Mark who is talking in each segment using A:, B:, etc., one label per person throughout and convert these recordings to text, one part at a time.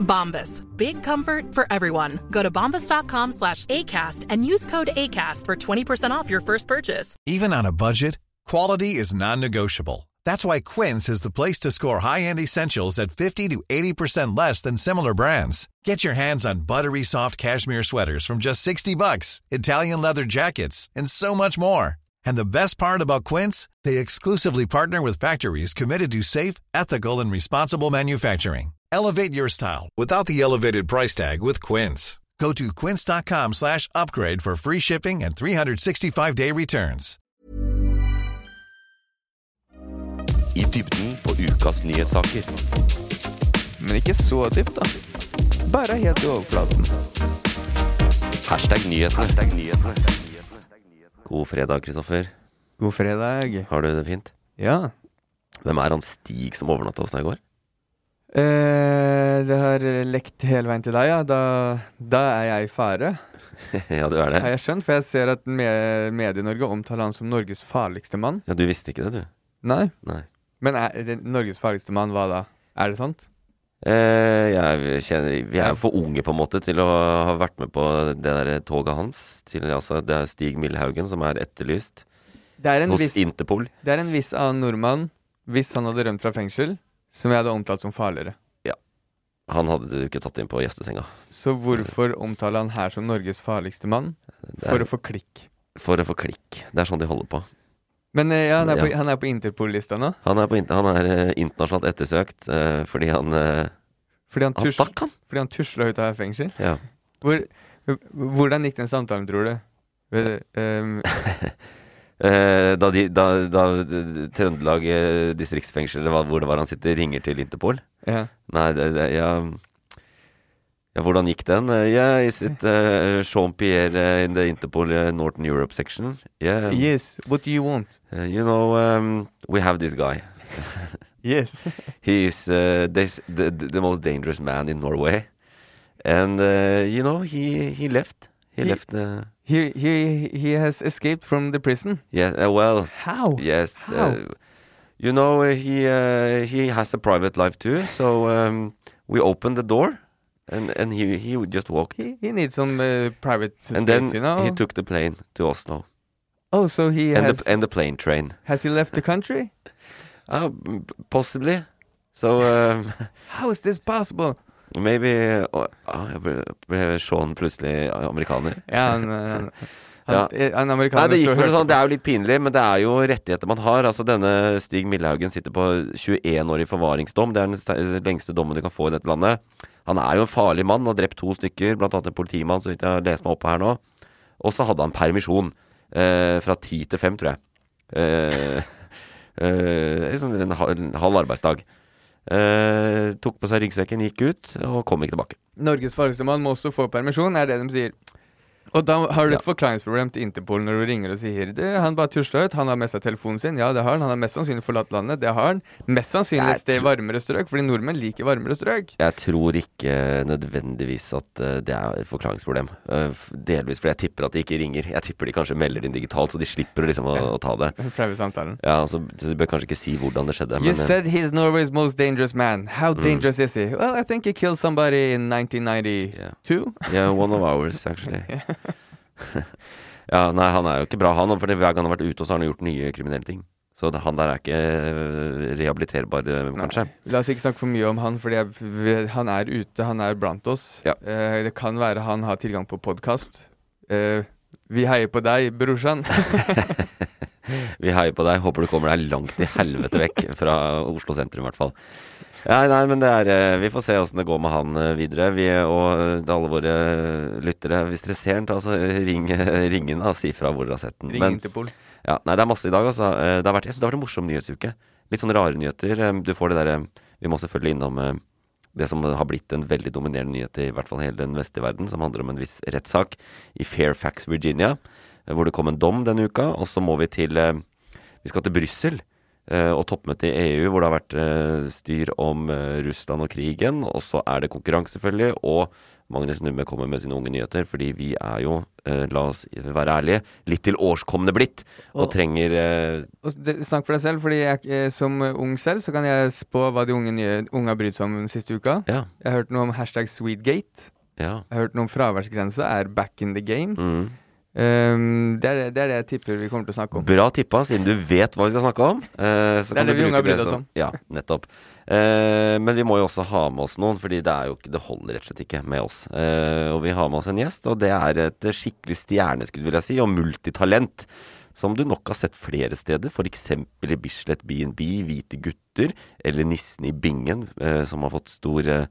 A: Bombas. Big comfort for everyone. Go to bombas.com slash ACAST and use code ACAST for 20% off your first purchase.
B: Even on a budget, quality is non-negotiable. That's why Quince is the place to score high-end essentials at 50 to 80% less than similar brands. Get your hands on buttery soft cashmere sweaters from just 60 bucks, Italian leather jackets, and so much more. And the best part about Quince, they exclusively partner with factories committed to safe, ethical, and responsible manufacturing. Elevate your style without the elevated price tag with Quince. Go to quince.com slash upgrade for free shipping and 365-day returns.
C: I dybden på ukas nyhetssaker.
D: Men ikke så dypt, da. Bare helt i overflaten.
C: Hashtag nyhetene. God fredag, Kristoffer.
D: God fredag.
C: Har du det fint?
D: Ja.
C: Hvem er han Stig som overnatta hos deg i går?
D: Eh, det har lekt hele veien til deg, ja. Da, da er jeg i fare,
C: ja, du er det.
D: har jeg skjønt. For jeg ser at me- Medie-Norge omtaler han som Norges farligste mann.
C: Ja, Du visste ikke det, du?
D: Nei.
C: Nei.
D: Men er det Norges farligste mann, hva da? Er det sant?
C: Eh, jeg kjenner, vi er jo for unge på en måte til å ha vært med på det der toget hans. Til, altså, det er Stig Millhaugen som er etterlyst
D: Det er en
C: hos
D: viss, det
C: Interpol.
D: er en viss annen nordmann, hvis han hadde rømt fra fengsel, som jeg hadde omtalt som farligere.
C: Han hadde du ikke tatt inn på gjestesenga.
D: Så hvorfor omtaler han her som Norges farligste mann?
C: Det
D: For
C: er,
D: å få klikk.
C: for å få klikk. Det er sånn de holder på.
D: Men eh, ja, han er på,
C: Ja.
D: han er på Interpol-lista nå.
C: Han er, på, inter- han er eh, internasjonalt ettersøkt eh, fordi han eh,
D: Fordi han,
C: Han
D: tus-
C: stakk, han!
D: fordi han tusla ut av fengsel.
C: Ja.
D: Hvor, hvordan gikk den samtalen, tror du? Ved- ehm,
C: Eh, da, de, da, da eh, Trøndelag eh, distriktsfengsel, eller hva- hvor det var han sitter, ringer til Interpol
D: ja.
C: Nei, det, det, ja, ja Hvordan gikk den? Eh, Yeah, is it eh, Jean-Pierre eh, in the Interpol eh, Northern Europe section? Yeah,
D: Yes, what do you want?
C: eh, you know, um, we have this guy.
D: Yes.
C: He is uh, this, the, the most dangerous man in Norway. And, uh, you know, he, he left. He,
D: He-
C: left. Uh,
D: He, he, he has escaped from the prison.
C: yeah, uh, well,
D: How?
C: Yes.
D: Oh, How?
C: Uh, you know, uh, he uh, he has a private life too, so um, we opened the door, and and he he would just walked,
D: He, he needs some eh, private space,
C: and then
D: you know?
C: he took the plane to Oslo,
D: oh, so he
C: and
D: has,
C: the and the plane train,
D: has he left the country?
C: uh, m- possibly. So um,
D: How is this possible?
C: maybe uh, ah, jeg ble, ble Sean plutselig uh, amerikaner.
D: Ja, han, han,
C: Ja.
D: han, eh, han
C: Nei,
D: amerikaner
C: det gikk
D: så
C: for det
D: hørte-
C: sånn. Det er jo litt pinlig, men det er jo rettigheter man har. Altså Denne Stig Millehaugen sitter på 21 år i forvaringsdom. Det er den ste- lengste dommen du kan få i dette landet. Han er jo en farlig mann. Har drept to stykker, blant annet en politimann, så vidt jeg har lest meg opp på her nå. Og så hadde han permisjon eh, fra ti til fem, tror jeg. Eh, eh, liksom en, hal- en halv arbeidsdag. Eh, tok på seg ryggsekken, gikk ut, og kom ikke tilbake.
D: Norges farligste mann må også få permisjon, er det de sier. Og da har du et forklaringsproblem til Interpol når du ringer og sier det, han bare tusla ut, han har med seg telefonen sin, ja det har han, han har mest sannsynlig forlatt landet, det har han. Mest sannsynlig
C: Jeg
D: et sted i
C: tror-
D: varmere strøk, fordi nordmenn liker varmere strøk.
C: Jeg tror ikke nødvendigvis at eh, det er et forklaringsproblem. Eh, f- Delvis fordi jeg tipper at de ikke ringer. Jeg tipper de kanskje melder det inn digitalt, så de slipper liksom å, å ta det.
D: Den flaue samtalen.
C: Ja, altså, så De bør kanskje ikke si hvordan det skjedde.
D: You
C: eh,
D: said he's Norway's most dangerous man. How dangerous is he? Well, I think he killed somebody in 1992.
C: yeah. Yeah, one of ours, actually. ja, nei, han er jo ikke bra, han. For hver gang han har vært ute, så har han gjort nye kriminelle ting. Så det- han der er ikke eh, rehabiliterbar, eh, kanskje.
D: La oss ikke snakke for mye om han, fordi jeg, vi- han er ute, han er blant oss.
C: Ja.
D: Eh, det kan være han har tilgang på podkast. vi heier på deg, brorsan.
C: Vi heier på deg. Håper du kommer deg langt i helvete vekk fra Oslo sentrum, i hvert fall. Nei, nei, men det er eh, Vi får se åssen det går med han eh, videre. Vi eh, og eh, alle våre eh, lyttere, hvis dere ser den, ta altså eh, ring, eh, ring inn og si fra hvor dere har sett den.
D: Ring
C: Men-
D: Interpol.
C: ja, nei, det er masse i dag, altså. Eh, Det har vært, jeg synes det har vært en morsom nyhetsuke. Litt sånn rare nyheter. Eh, Du får det derre Vi må selvfølgelig innom eh, det som har blitt en veldig dominerende nyhet i hvert fall hele den vestlige verden, som handler om en viss rettssak i Fairfax, Virginia. eh, hvor det kom en dom denne uka. Og så må vi til eh, Vi skal til Brussel. eh, Og toppmøte i EU hvor det har vært eh, styr om eh, Russland og krigen. Og så er det konkurranse, selvfølgelig. Og Magnus Numme kommer med sine unge nyheter, fordi vi er jo, eh, la oss være ærlige, litt til årskomne blitt. Og,
D: Og-
C: trenger eh,
D: Og s- det- snakk for deg selv, fordi jeg, eh, som ung selv så kan jeg spå hva de unge, nye, unge har brydd seg om den siste uka.
C: Ja.
D: Jeg har hørt noe om hashtag Sweetgate.
C: Ja.
D: Jeg har hørt noe om fraværsgrense er back in the game.
C: Mm.
D: Um, det, er, det er det jeg tipper vi kommer til å snakke om.
C: Bra tippa, siden du vet hva vi skal snakke om. Eh, så
D: Det er
C: kan
D: det
C: du
D: vi
C: bruke
D: unga bryr oss
C: som-
D: om.
C: Ja, nettopp. Eh, men vi må jo også ha med oss noen, fordi det, er jo ikke, det holder rett og slett ikke med oss. Eh, og vi har med oss en gjest, og det er et skikkelig stjerneskudd, vil jeg si, og multitalent. Som du nok har sett flere steder, f.eks. i Bislett B&B, Hvite gutter, eller Nissen i Bingen, eh, som har fått stor eh,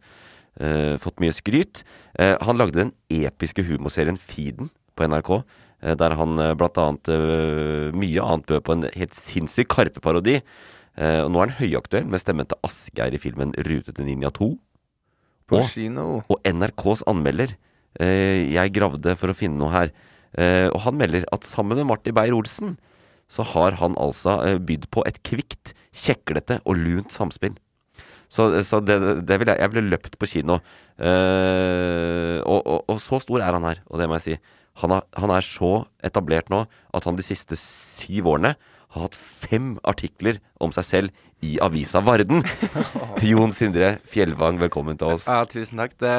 C: eh, fått mye skryt. Eh, han lagde den episke humorserien Feeden på NRK. eh, der han eh, blant annet eh, mye annet bød på en helt sinnssyk Karpe-parodi. Eh, og nå er han høyaktuell med stemmen til Asgeir i filmen Rute til Ninja 2.
D: På
C: Å.
D: kino.
C: Og NRKs anmelder. Eh, jeg gravde for å finne noe her. Eh, og han melder at sammen med Martin Beyer-Olsen så har han altså eh, bydd på et kvikt, kjeklete og lunt samspill. Så, så det, det ville jeg, jeg ville løpt på kino. Eh, og, og, og så stor er han her, og det må jeg si. Han, har, han er så etablert nå at han de siste syv årene har hatt fem artikler om seg selv i avisa Varden. Jon Sindre Fjellvang, velkommen til oss.
E: Ja, tusen takk. Det,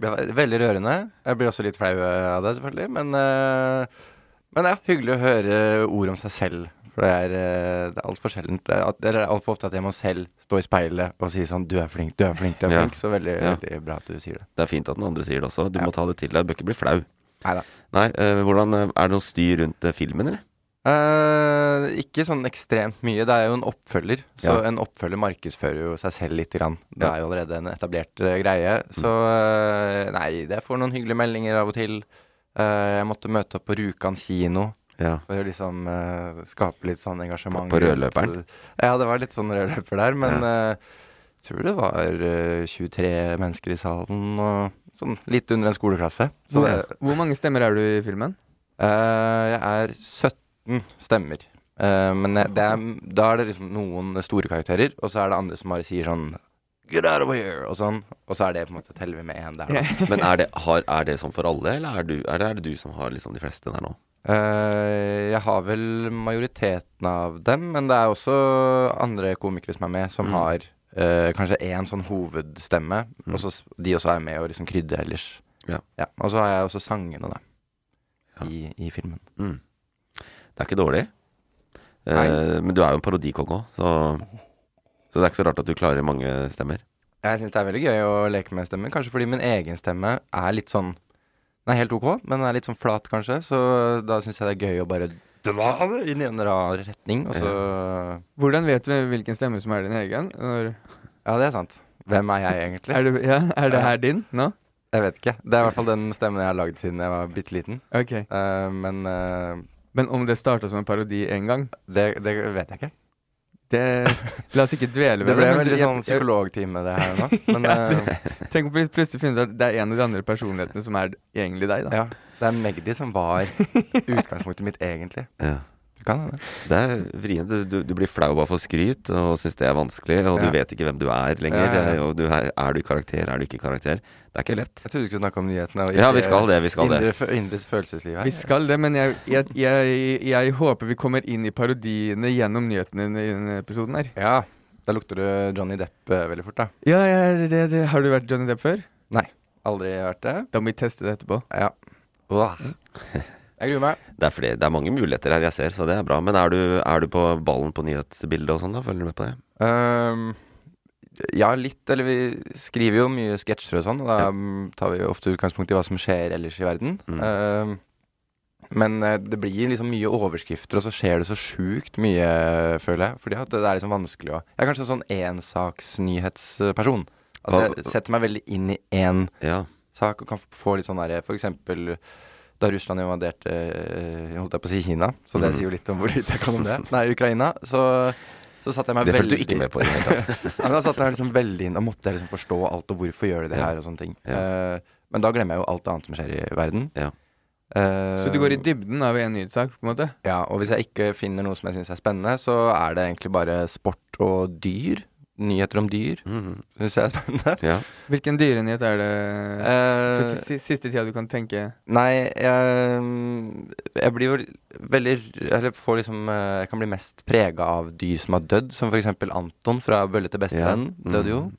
E: det var veldig rørende. Jeg blir også litt flau av det, selvfølgelig. Men, eh, men ja, hyggelig å høre ord om seg selv. For det er, eh, det er altfor sjeldent. Det er at- Eller det er altfor ofte at jeg må selv stå i speilet og si sånn Du er flink, du er flink, du er
C: Ja.
E: flink. Så veldig,
C: Ja.
E: veldig bra at du sier det.
C: Det er fint at den andre sier det også. Du må ta det til deg. Du bør ikke bli flau.
E: Neida.
C: Nei, eh, hvordan, eh, Er det noe styr rundt eh, filmen, eller?
E: Eh, ikke sånn ekstremt mye. Det er jo en oppfølger. Så
C: Ja.
E: en oppfølger markedsfører jo seg selv lite grann. Det
C: Ja.
E: er jo allerede en etablert eh, greie.
D: Mm.
E: Så eh, nei, jeg får noen hyggelige meldinger av og til. Eh, jeg måtte møte opp på Rjukan kino
C: Ja.
E: for å liksom eh, skape litt sånn engasjement.
C: På- på rødløperen?
E: rundt- Ja, det var litt sånn rødløper der. Men eh, tror det var eh, 23 mennesker i salen, og sånn litt under en skoleklasse. Så
D: Hvor,
E: det,
D: hvor mange stemmer er du i filmen?
E: Eh, jeg er 17 stemmer. Eh, men jeg, det er, da er det liksom noen store karakterer, og så er det andre som bare sier sånn Get out of here! Og sånn. Og så er det på en måte teller vi med én der, da.
C: Men er det, har, er det sånn for alle, eller er, du, er, det, er det du som har liksom de fleste der nå?
E: Eh, jeg har vel majoriteten av dem, men det er også andre komikere som er med,
C: Mm.
E: som har eh, kanskje én sånn hovedstemme, og så s- de også er med og liksom krydder ellers.
C: Mm. Ja.
E: Og så har jeg også sangene, da,
C: Ja.
E: i, i filmen.
C: Mm. Det er ikke dårlig. Eh,
E: Nei.
C: men du er jo en parodikonge òg, så, så det er ikke så rart at du klarer mange stemmer.
E: Jeg syns det er veldig gøy å leke med stemmer, kanskje fordi min egen stemme er litt sånn Den er helt ok, men den er litt sånn flat, kanskje, så da syns jeg det er gøy å bare dra det inn i en rar retning, og så
D: Hvordan vet du hvilken stemme som er din egen? Når,
E: Ja, det er sant. Hvem er jeg egentlig?
D: er, det, ja, er det her din nå?
E: Jeg vet ikke. Det er i hvert fall den stemmen jeg har lagd siden jeg var bitte liten.
D: Ok.
E: Eh, men eh,
D: Men om det starta som en parodi en gang?
E: det, det vet jeg ikke.
D: Det, la oss ikke dvele ved
E: Det ble
D: men
E: veldig
D: jeg-
E: sånn
D: jeg-
E: psykologtime, det her nå. Men eh,
D: Tenk om vi plutselig finner ut at det er en av de andre personlighetene som er egentlig deg, da.
E: ja, det er Magdi som var utgangspunktet mitt, egentlig.
C: Ja.
E: Det kan hende.
C: Det er vrient. Du, du, du blir flau av å få skryt og syns det er vanskelig, og du
E: Ja.
C: vet ikke hvem du er lenger.
E: Ja, ja, ja.
C: eh, Og du er, er du i karakter, er du ikke i karakter? Det er ikke lett.
E: Jeg trodde vi skulle snakke om nyhetene. Og
C: Ja, vi skal det. Vi skal det.
E: indre, fø- indre følelsesliv her.
D: Vi skal det, men jeg, jeg, jeg, jeg håper vi kommer inn i parodiene gjennom nyhetene i denne episoden her.
E: Ja. Da lukter du Johnny Depp eh, veldig fort, da.
D: Ja, ja det, det, Har du vært Johnny Depp før?
E: Aldri hørt det?
D: Da må vi teste det etterpå.
E: Ja. Åh. Jeg gruer meg.
C: Det er, flere, det er mange muligheter her jeg ser, så det er bra. Men er du, er du på ballen på nyhetsbildet og sånn, da? Følger du med på det?
E: Ehm, ja, litt. Eller vi skriver jo mye sketsjer og sånn, og da mm, tar vi jo ofte utgangspunkt i hva som skjer ellers i verden.
C: Mm.
E: Ehm, men eh, det blir liksom mye overskrifter, og så skjer det så sjukt mye, føler jeg. Fordi at det er liksom vanskelig å Jeg er kanskje en sånn ensaksnyhetsperson. At
C: Hva-
E: jeg setter meg veldig inn i én
C: Ja.
E: sak og kan f- få litt sånn derre For eksempel da Russland invaderte eh, Holdt jeg på å si Kina, så det
C: Mhm.
E: sier jo litt om hvor lite jeg kan om det. Nei, Ukraina. Så, så satte jeg meg
C: Det
E: veldig
C: fulgte du ikke med på i det hele tatt.
E: Ja, men da satte jeg meg liksom veldig inn. Da måtte jeg liksom forstå alt, og hvorfor gjør de det
C: Ja.
E: her, og sånne ting.
C: Ja.
E: Eh, men da glemmer jeg jo alt annet som skjer i verden.
C: Ja.
E: Eh,
D: Så du går i dybden av en nyhetssak, på en måte?
E: Ja, og hvis jeg ikke finner noe som jeg syns er spennende, så er det egentlig bare sport og dyr. Nyheter om dyr
C: Mhm.
E: syns jeg er spennende.
C: Ja.
D: Hvilken dyrenyhet er det
E: Eh,
D: for si- si- siste tida du kan tenke
E: Nei, jeg, jeg blir jo veldig Eller får liksom eh, Jeg kan bli mest prega av dyr som har dødd, som f.eks. Anton fra Bølle til bestevenn.
C: Ja. Mm.
E: Døde jo.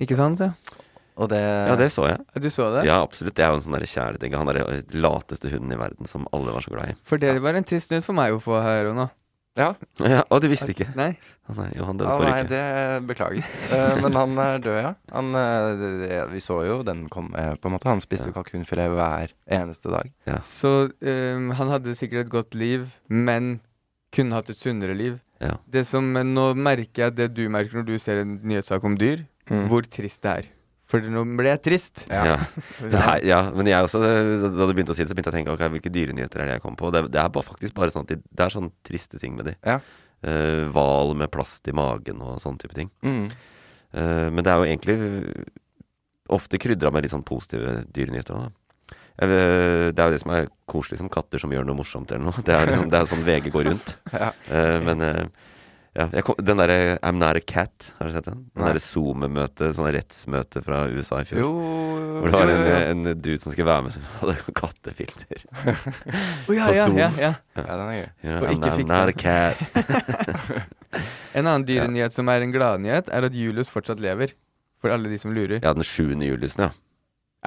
D: Ikke sant? ja?
E: Og det,
C: ja, det så jeg.
D: Du så det?
C: Ja, absolutt. Det er jo en sånn der kjæleting. Han er den lateste hunden i verden som alle var så glad i.
D: For det var en trist nyhet for meg å få her og nå.
C: Ja, og du visste ikke?
D: Nei?
C: Å nei, jo, han
E: Ja,
C: døde forrige
E: nei,
C: uke.
E: det beklager. Eh, men han er død, ja. Han, eh, det- det- vi så jo den komme, eh, på en måte. Han spiste jo kalkunfilet hver eneste dag.
D: Så ehm, han hadde sikkert et godt liv, men kunne hatt et sunnere liv.
C: Ja.
D: Det som eh, Nå merker jeg det du merker når du ser en nyhetssak om dyr, hvor trist det er. For nå ble jeg trist.
C: Ja. Ja. Nei, ja, men jeg også, eh, da du begynte å si det, så begynte jeg å tenke ok, hvilke dyrenyheter er det jeg kom på. Det, er- det er bare, faktisk bare sånn at de, det er sånne triste ting med de.
E: Ja.
C: Eh, Hval med plast i magen og sånne type ting.
E: Mm.
C: Eh, men det er jo egentlig eh, ofte krydra med litt sånn positive dyrenyheter. Da. Jeg, vet- det er jo det som er koselig, som katter som gjør noe morsomt eller noe. Det er, liksom, det er jo sånn VG går rundt.
E: Ja.
C: Eh, men eh, ja, jeg kom, den derre I'm not a cat, har du sett den? Den
E: Nei.
C: derre Zoom-møtet, sånn rettsmøte fra USA i fjor.
E: Jo
C: Hvor det var
E: jo, jo, jo.
C: en, eh, en dude som skulle være med, som hadde kattefilter.
D: Å, ja,
C: på
D: ja,
C: Zoom.
D: ja, ja.
E: Ja, den er gøy.
C: Ja,
D: Og
C: I'm
D: ikke
C: not-
D: fikk
C: not a
D: det.
C: cat.
D: En annen dyrenyhet som er en gladnyhet, er at Julius fortsatt lever. For alle de som lurer.
C: Ja, den sjuende julelysen, ja.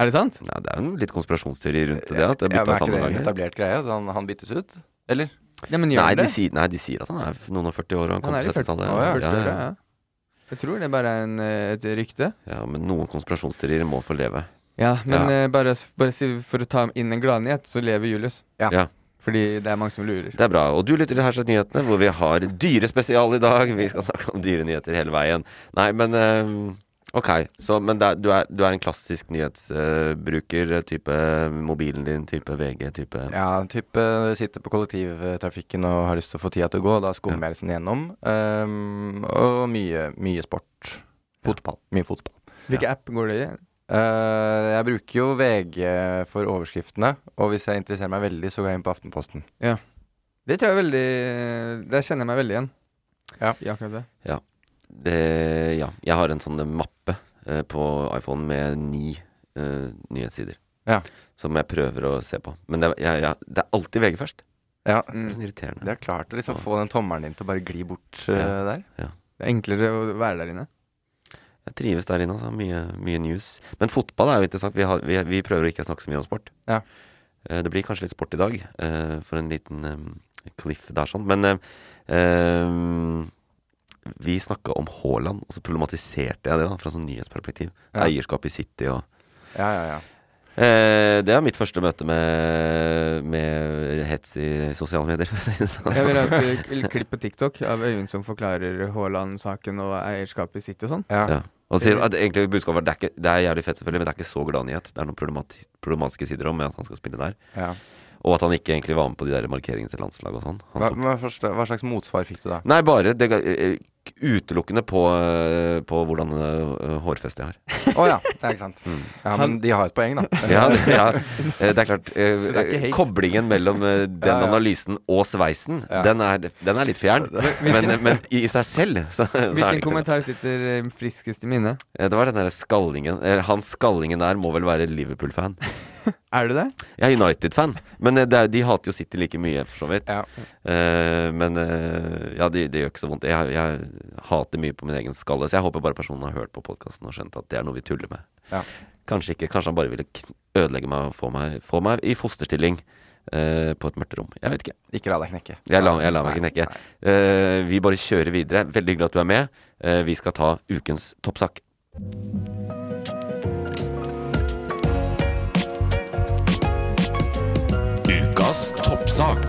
D: Er det sant?
C: ja. Det er jo en litt konspirasjonsteori rundt det. At det er
E: Ja,
C: bytta ut
E: men er ikke
C: andre
E: det en
C: ganger.
E: etablert greie? Så han, han byttes ut? Eller?
D: Ja, men gjør
C: Nei
D: det?
C: de, sier, nei, de sier at han er noen og 40 år og han kom på
D: Han er i 40-åra,
C: 70-tallet.
E: Å, ja.
C: ja, ja, ja.
D: Jeg tror det bare er en, eh, et rykte.
C: ja, men noen konspirasjonsteorier må få leve.
D: Ja, men
C: Ja.
D: eh, bare, bare si- for å ta inn en gladnyhet, så lever Julius.
E: Ja.
C: Ja.
D: Fordi det er mange som lurer.
C: Det er bra. Og du lytter til Herseth Nyhetene, hvor vi har dyrespesial i dag. Vi skal snakke om dyrenyheter hele veien. Nei, men ehm, Ok, så, men det er, du, er, du er en klassisk nyhetsbruker, eh, type mobilen din, type VG, type
E: Ja, type eh, sitter på kollektivtrafikken og har lyst til å få tida til å gå, og da skummer jeg liksom gjennom. Ehm, og mye, mye sport. Fotball. Mye fotball.
D: Hvilken app går det i?
E: Eh, jeg bruker jo VG for overskriftene, og hvis jeg interesserer meg veldig, så går jeg inn på Aftenposten.
D: Det tror jeg er veldig Der kjenner jeg meg veldig igjen.
E: Ja.
D: I akkurat det.
C: det, Ja, jeg har en sånn mappe eh, på iPhone med ni eh, nyhetssider.
E: Ja.
C: Som jeg prøver å se på. Men det, er- jeg, jeg, det er alltid VG først.
E: Ja,
C: Det er
D: Mm.
C: sånn irriterende.
E: det er klart å liksom få den tommelen din til å bare gli bort eh,
C: Ja.
E: der.
D: Det er enklere å være der inne.
C: Jeg trives der inne, altså. Mye, mye news. Men fotball er jo interessant. Vi, har, vi, vi prøver å ikke snakke så mye om sport.
E: Ja.
C: Eh, Det blir kanskje litt sport i dag, eh, for en liten eh, cliff der sånn. Men eh, eh, vi snakka om Haaland, og så problematiserte jeg det da, fra sånn nyhetsperspektiv.
E: Ja.
C: Eierskap i City og
E: Ja, ja, ja.
C: eh, Det er mitt første møte med, med hets i sosiale medier. for å si det sånn.
D: Jeg vil ha et eh, klipp på TikTok av Øyunn som forklarer Haaland-saken og eierskapet i City og sånn.
E: ja.
C: Ja. Og sier at egentlig budskapet var det er, ikke, det er jævlig fett, selvfølgelig, men det er ikke så glad nyhet. Det er noen problemati problematiske sider om med at han skal spille der.
E: ja.
C: Og at han ikke egentlig var med på de der markeringene til landslaget og sånn. Han
E: Hva,
C: tok-
E: hva, forstå- hva slags motsvar fikk du da?
C: Nei, bare det, ga- eh, utelukkende på, eh, på hvordan eh, hårfeste jeg har.
E: Å ja, det er ikke sant.
D: Mm.
E: Ja, men de har et poeng, da.
C: Ja, det- ja, eh, det er klart. eh,
D: Så det er ikke hate?
C: koblingen mellom eh, den
E: Ja, ja.
C: analysen og sveisen,
E: Ja.
C: den, er, den er litt fjern. Men, men i seg selv, så, så er det
D: Hvilken
C: ikke det.
D: kommentar sitter eh, friskest i minnet?
C: Eh, Det var den derre skallingen. Eh, Han skallingen der må vel være Liverpool-fan.
D: Er det det?
C: Jeg er United-fan, men eh, det er, de hater jo City like mye, for så vidt.
E: Ja.
C: Eh, men eh, ja, det, det gjør ikke så vondt. Jeg, jeg hater mye på min egen skalle, så jeg håper bare personen har hørt på podkasten og skjønt at det er noe vi tuller med.
E: Ja.
C: Kanskje ikke, kanskje han bare ville kn- ødelegge meg og få meg, få meg i fosterstilling eh, på et mørkt rom. Jeg vet ikke.
E: Ikke la deg knekke.
C: Jeg lar, jeg lar meg ikke
E: Nei,
C: knekke.
E: nei.
C: Eh, vi bare kjører videre. Veldig hyggelig at du er med. Eh, vi skal ta ukens toppsak.
F: Ukas toppsak.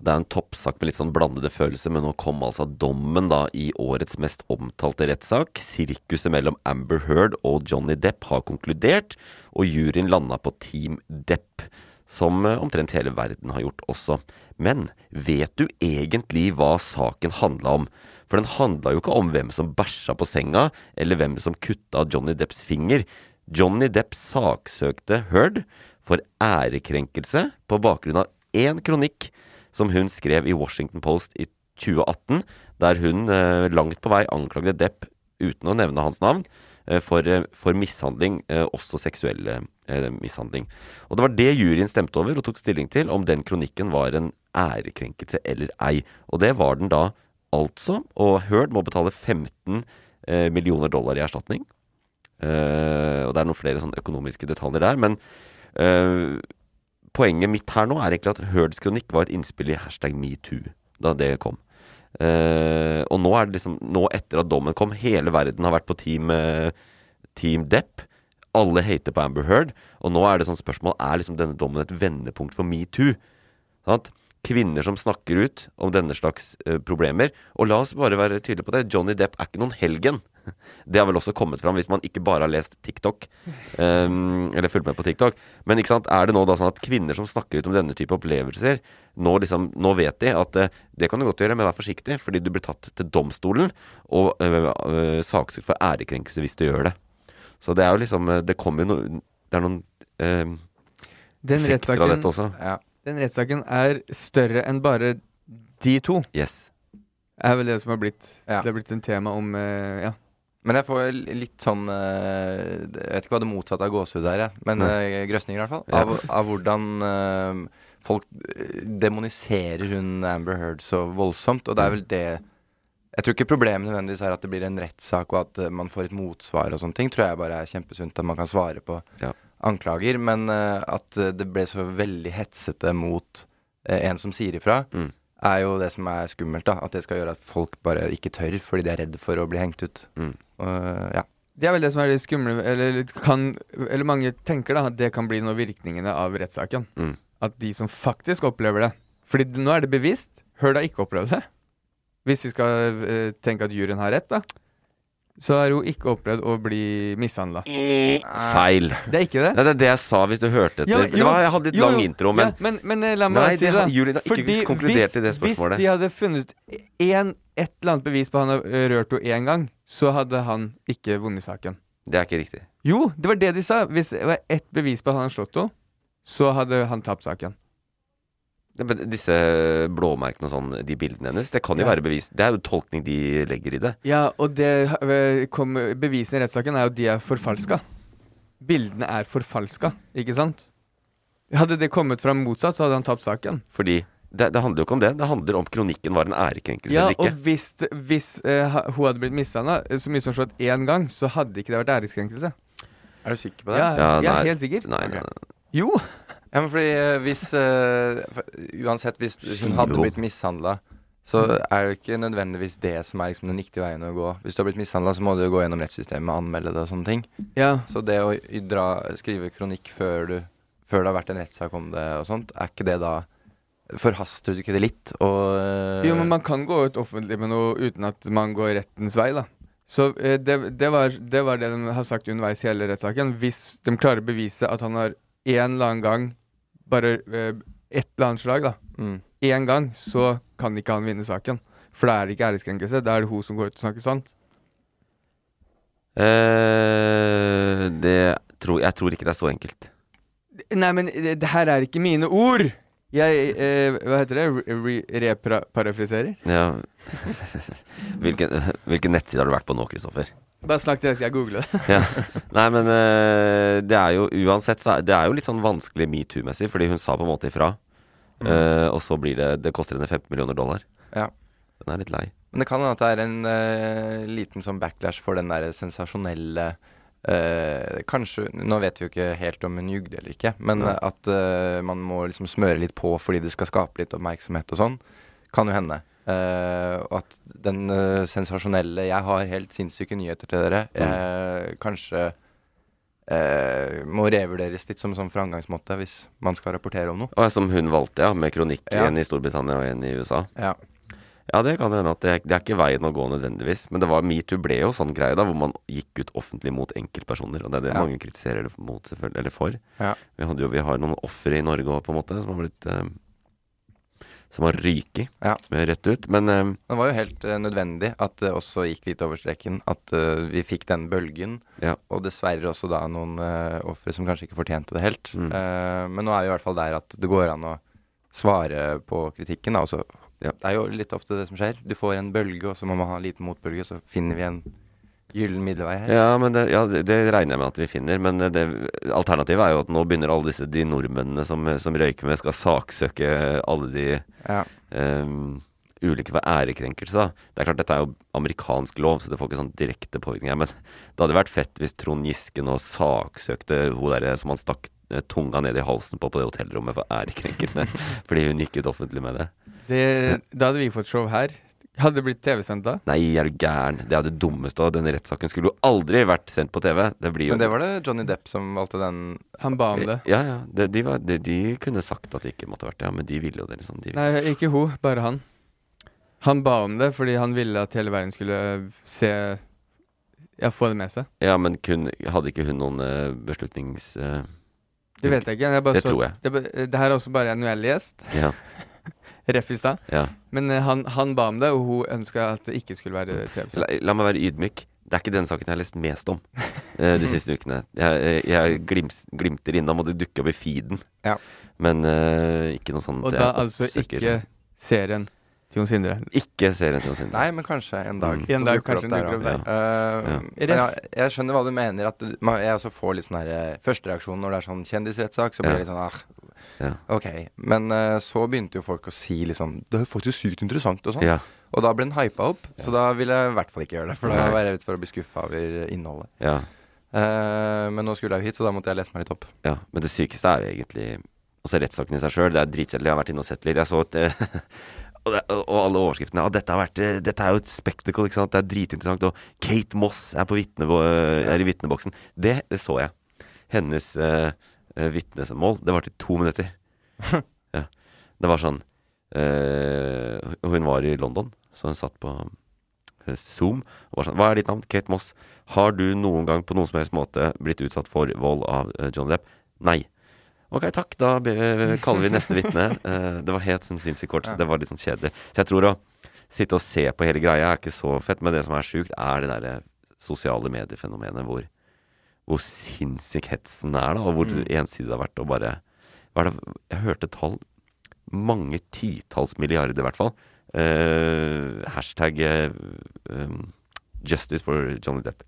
C: Det er en toppsak med litt sånn blandede følelser, men nå kom altså dommen da i årets mest omtalte rettssak. Sirkuset mellom Amber Heard og Johnny Depp har konkludert, og juryen landa på Team Depp. Som eh, omtrent hele verden har gjort også. Men vet du egentlig hva saken handla om? For den handla jo ikke om hvem som bæsja på senga, eller hvem som kutta Johnny Depps finger. Johnny Depp saksøkte Heard for ærekrenkelse på bakgrunn av én kronikk som hun skrev i Washington Post i 2018, der hun eh, langt på vei anklagde Depp, uten å nevne hans navn, eh, for, eh, for mishandling, eh, også seksuell eh, mishandling. Og det var det juryen stemte over og tok stilling til, om den kronikken var en ærekrenkelse eller ei. Og det var den da altså, og Heard må betale 15 eh, millioner dollar i erstatning. Eh, og det er noen flere sånne økonomiske detaljer der, men eh, poenget mitt her nå er egentlig at Heards kronikk var et innspill i hashtag metoo da det kom. Eh, og nå er det liksom Nå etter at dommen kom, hele verden har vært på Team, eh, team Depp. Alle hater på Amber Heard. Og nå er det sånn spørsmål Er liksom denne dommen et vendepunkt for metoo? Sant? Kvinner som snakker ut om denne slags eh, problemer. Og la oss bare være tydelige på det. Johnny Depp er ikke noen helgen. Det har vel også kommet fram hvis man ikke bare har lest TikTok. ehm, eller fulgt med på TikTok. Men ikke sant, er det nå da sånn at kvinner som snakker ut om denne type opplevelser, nå, liksom, nå vet de at eh, det kan du godt gjøre, men vær forsiktig, fordi du blir tatt til domstolen og øh, øh, saksøkt for ærekrenkelse hvis du gjør det. Så det er jo liksom eh, Det kommer jo noe Det er noen eh,
D: Den
C: effekter av dette
D: rettssaken,
C: også.
E: Ja.
D: den rettssaken er større enn bare de to.
C: Yes.
D: Er vel det som har blitt
E: Ja.
D: Det har blitt en tema om eh, Ja.
E: Men jeg får l- litt sånn eh, Jeg vet ikke hva det motsatte av gåsehud er, jeg. men eh, grøsninger i hvert fall.
C: Ja.
E: Av, av hvordan eh, folk eh, demoniserer hun Amber Heard så voldsomt. Og
C: Mm.
E: det er vel det Jeg tror ikke problemet nødvendigvis er at det blir en rettssak og at eh, man får et motsvar og sånne ting. Tror jeg bare er kjempesunt at man kan svare på
C: Ja.
E: anklager. Men eh, at eh, det ble så veldig hetsete mot eh, en som sier ifra.
C: Mm.
E: Er jo det som er skummelt, da. At det skal gjøre at folk bare ikke tør fordi de er redd for å bli hengt ut.
C: Mm.
E: Og, ja.
D: Eh, Det er vel det som er det skumle Eller, litt kan, eller mange tenker da at det kan bli noe av virkningene av rettssaken.
C: Mm.
D: At de som faktisk opplever det Fordi d- nå er det bevisst. Hør da ikke opplevd det. Hvis vi skal eh, tenke at juryen har rett, da. Så har hun ikke opplevd å bli mishandla.
C: Feil.
D: Det er ikke det.
C: Nei, det er det jeg sa hvis du hørte etter.
D: Ja,
C: det
D: jo,
C: var, jeg hadde litt
D: jo,
C: lang
D: jo.
C: intro, men
D: ja, men, men eh, la meg
C: Nei,
D: bare si
C: det
D: det.
C: har-
D: da.
C: Julie har ikke konkludert i det spørsmålet.
D: Hvis de hadde funnet én, et eller annet bevis på han har eh, rørt henne én gang, så hadde han ikke vunnet saken.
C: det er ikke riktig.
D: Jo, det var det de sa. Hvis det var ett bevis på at han har slått henne, så hadde han tapt saken.
C: Det, men disse blåmerkene og sånn, de bildene hennes, det kan jo
D: Ja.
C: være bevis. Det er jo tolkning de legger i det.
D: Ja, og det eh, kom, bevisene i rettssaken er jo at de er forfalska. Bildene er forfalska, ikke sant? Hadde det kommet fram motsatt, så hadde han tapt saken.
C: Fordi det, det handler jo ikke om det. Det handler om kronikken var en ærekrenkelse
D: Ja,
C: eller
D: og
C: ikke.
D: hvis, det- hvis eh, ha- hun hadde blitt mishandla så mye som slått én gang, så hadde ikke det vært æreskrenkelse.
E: Er du sikker på
D: Ja,
E: det?
D: jeg
C: Ja,
D: er
C: nei.
D: helt sikker.
C: Nei, nei,
E: Ok.
C: nei.
D: Jo!
E: Ja, men fordi eh, hvis eh, for- Uansett, hvis hun hadde
C: Skivebom.
E: blitt mishandla, så er det jo ikke nødvendigvis det som er liksom, den riktige veien å gå. Hvis du har blitt mishandla, så må du jo gå gjennom rettssystemet og anmelde det og sånne ting.
D: Ja.
E: Så det å i- dra, skrive kronikk før, du, før det har vært en rettssak om det og sånt, er ikke det da Forhaster du ikke det litt? Og eh,
D: Jo, men man kan gå ut offentlig med noe uten at man går rettens vei, da. Så eh, det, det, var, det var det de har sagt underveis i hele rettssaken. Hvis de klarer å bevise at han har en eller annen gang Bare eh, et eller annet slag, da.
E: mm.
D: Én gang, så kan ikke han vinne saken. For da er det ikke æreskrenkelse. Da er det hun som går ut og snakker sånn. sant.
C: Eh, det tror, jeg tror ikke det er så enkelt.
D: Nei, men det, det her er ikke mine ord! Jeg eh, Hva heter det? Re- Reparafriserer?
C: Ja. Hvilken, hvilken nettside har du vært på nå, Kristoffer?
D: Bare snakk til dere, skal jeg google det.
C: Ja. Nei, men eh, det er jo uansett så er, Det er jo litt sånn vanskelig metoo-messig, fordi hun sa på en måte ifra.
D: Mm.
C: Eh, og så blir det Det koster henne 15 millioner dollar.
E: Ja.
C: Den er litt lei.
E: Men det kan hende at det er en eh, liten sånn backlash for den der sensasjonelle eh, Kanskje Nå vet vi jo ikke helt om hun jugde eller ikke, men
C: Nei.
E: eh, at eh, man må liksom smøre litt på fordi det skal skape litt oppmerksomhet og sånn, kan jo hende. Eh, Og at den eh, sensasjonelle 'jeg har helt sinnssyke nyheter til dere' eh, kanskje eh, må revurderes litt som en sånn framgangsmåte hvis man skal rapportere om noe.
C: Og som hun valgte, ja. Med kronikk,
E: Ja.
C: en i Storbritannia og en i USA.
E: Ja.
C: Ja, det kan hende at det, det er ikke veien å gå nødvendigvis. Men det var metoo ble jo sånn greie da, hvor man gikk ut offentlig mot enkeltpersoner. Og det er det
E: Ja.
C: mange kritiserer det mot, selvfølgelig, eller for.
E: Ja.
C: Vi, hadde jo, vi har noen ofre i Norge òg, på en måte, som har blitt eh, som har ryket
E: Ja.
C: eh, rett ut. Men eh,
E: Men det var jo helt eh, nødvendig at det også gikk litt over streken. At eh, vi fikk den bølgen.
C: Ja.
E: Og dessverre også da noen uh, ofre som kanskje ikke fortjente det helt.
C: Mm.
E: Eh, men nå er vi i hvert fall der at det går an å svare på kritikken. Da, og så-
C: Ja.
E: Det er jo litt ofte det som skjer. Du får en bølge, og så må man ha en liten motbølge, så finner vi en gyllen middelvei her.
C: Ja, men det, ja, det, det regner jeg med at vi finner. Men eh, det, alternativet er jo at nå begynner alle disse de nordmennene som, som røyker med, skal saksøke alle de
E: Ja.
C: ehm, ulike for ærekrenkelse. Da. Det er klart dette er jo amerikansk lov, så det får ikke sånn direkte påvirkning her. Men det hadde vært fett hvis Trond Giske nå saksøkte hun derre som han stakk eh, tunga ned i halsen på på det hotellrommet for ærekrenkelse. fordi hun gikk ut offentlig med det.
D: Det, da hadde vi fått show her. Hadde det blitt TV-sendt da?
C: Nei, er du gæren. Det er det dummeste. Og denne rettssaken skulle jo aldri vært sendt på TV. Det blir jo
E: Men det var det Johnny Depp som valgte den
D: Han ba om det.
C: Ja, ja. De, de, var, de, de kunne sagt at det ikke måtte vært det, ja, men de ville jo det. liksom de,
D: Nei, ikke hun, bare han. Han ba om det fordi han ville at hele verden skulle eh, se Ja, få det med seg.
C: Ja, men kun, hadde ikke hun noen eh, beslutnings... eh,
D: Det vet jeg ikke. Jeg bare
C: Det
D: så,
C: tror jeg.
D: Det, ba- eh, det her er også bare en uheldig gjest.
C: ja,
D: Ref i stad.
C: ja.
D: Men eh, han, han ba om det, og hun ønska at det ikke skulle være TV-sendt.
C: La, la meg være ydmyk. Det er ikke den saken jeg har lest mest om eh, de siste ukene. Jeg, eh, jeg glims, glimter innom, og det dukker opp i feeden.
E: Ja.
C: Men eh, ikke noe sånt
D: Og
C: jeg
D: da altså
C: oppsøker.
D: ikke serien til Jon Sindre.
C: Ikke serien til Sindre.
E: Nei, men kanskje en dag.
C: Mm.
D: En
E: så
D: dag
E: dukker
D: kanskje
E: det opp der
D: dukker det
E: også.
C: opp
E: Eh,
C: Ja.
E: men ja, jeg skjønner hva du mener. At du, man, jeg også får litt sånn her eh, Førstereaksjon når det er sånn kjendisrettssak, så blir
C: Ja.
E: det litt sånn ah,
C: Ja.
E: ok. Men eh, så begynte jo folk å si liksom Det er faktisk sykt interessant og sånn.
C: Ja,
E: Og da ble den hypa opp, så da ville jeg i hvert fall ikke gjøre det. For da
C: Nei.
E: var jeg redd for å bli skuffa over innholdet.
C: ja,
E: Eh, men nå skulle jeg jo hit, så da måtte jeg lese meg litt opp.
C: ja. Men det sykeste er jo egentlig Altså rettssaken i seg sjøl. Det er dritkjedelig. Jeg har vært inne og sett litt. Jeg så et eh, og, det, og alle overskriftene. Ja, dette, har vært, eh, dette er jo et spectacle, ikke sant. Det er dritinteressant. Og Kate Moss er, på vitnebo er i vitneboksen. Det, det så jeg. Hennes eh, eh, vitnesmål, det varte i to minutter. ja. Det var sånn eh, Hun var i London, så hun satt på eh, Zoom og var sånn Hva er ditt navn? Kate Moss. Har du noen gang på noen som helst måte blitt utsatt for vold av eh, Johnny Depp? Nei. Ok, takk. Da eh, kaller vi neste vitne. Eh, det var helt sånn sinnssykt kort, så det var litt sånn kjedelig. Så jeg tror å sitte og se på hele greia er ikke så fett, men det som er sjukt, er det derre sosiale mediefenomenet hvor, hvor sinnssyk hetsen er, da, og hvor ensidig det har vært å bare hva er det, Jeg hørte tall. Mange titalls milliarder, i hvert fall. Eh, hashtag eh, um, Justice for Johnny Depp.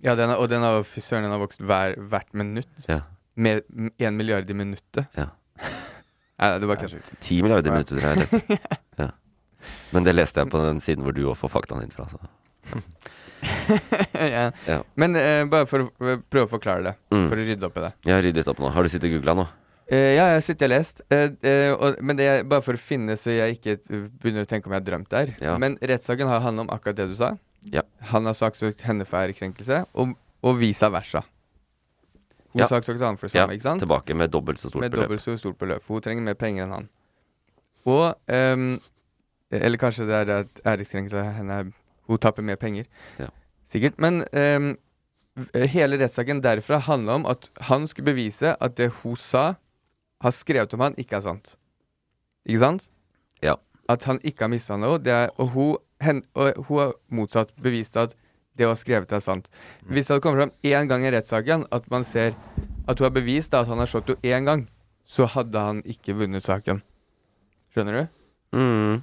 D: Ja, den har, og den har, fy søren, den har vokst hver, hvert minutt.
C: Ja.
D: Med m- en milliard i minuttet.
C: Ja.
D: Nei, det var kanskje ikke
C: Ti milliarder minutter, tror jeg jeg leste. Ja. Men det leste jeg på den siden hvor du òg får faktaene dine fra. Så.
D: ja.
C: Ja.
D: Men eh, bare for å eh, prøve å forklare det,
C: Mm.
D: for å rydde opp i det.
C: Jeg har ryddet opp nå. Har du sittet og googla nå?
D: Eh, ja, jeg har sittet og lest, eh, eh, og, men det er bare for å finne så jeg ikke t- begynner å tenke om jeg har drømt der.
C: Ja.
D: Men rettssaken har handla om akkurat det du sa.
C: Ja.
D: Han har saksøkt henne for ærekrenkelse, og, og vice versa. Hun
C: Ja.
D: saksøkte han for det
C: Ja,
D: samme, ikke sant?
C: tilbake med dobbelt så stort
D: med
C: beløp.
D: dobbelt så stort beløp. for Hun trenger mer penger enn han. Og ehm, Eller kanskje det er det at æreskrenkelse av henne er- Hun taper mer penger.
C: Ja.
D: Sikkert. Men ehm, v- hele rettssaken derfra handla om at han skulle bevise at det hun sa, har skrevet om han, ikke er sant. Ikke sant?
C: Ja.
D: At han ikke har mishandla henne. Det er, og, hun, hen, og hun har motsatt bevist at det hun har skrevet, er sant.
C: Mm.
D: Hvis det hadde kommet fram én gang i rettssaken at man ser at hun har bevist da, at han har slått henne én gang, så hadde han ikke vunnet saken. Skjønner du?
C: Mm.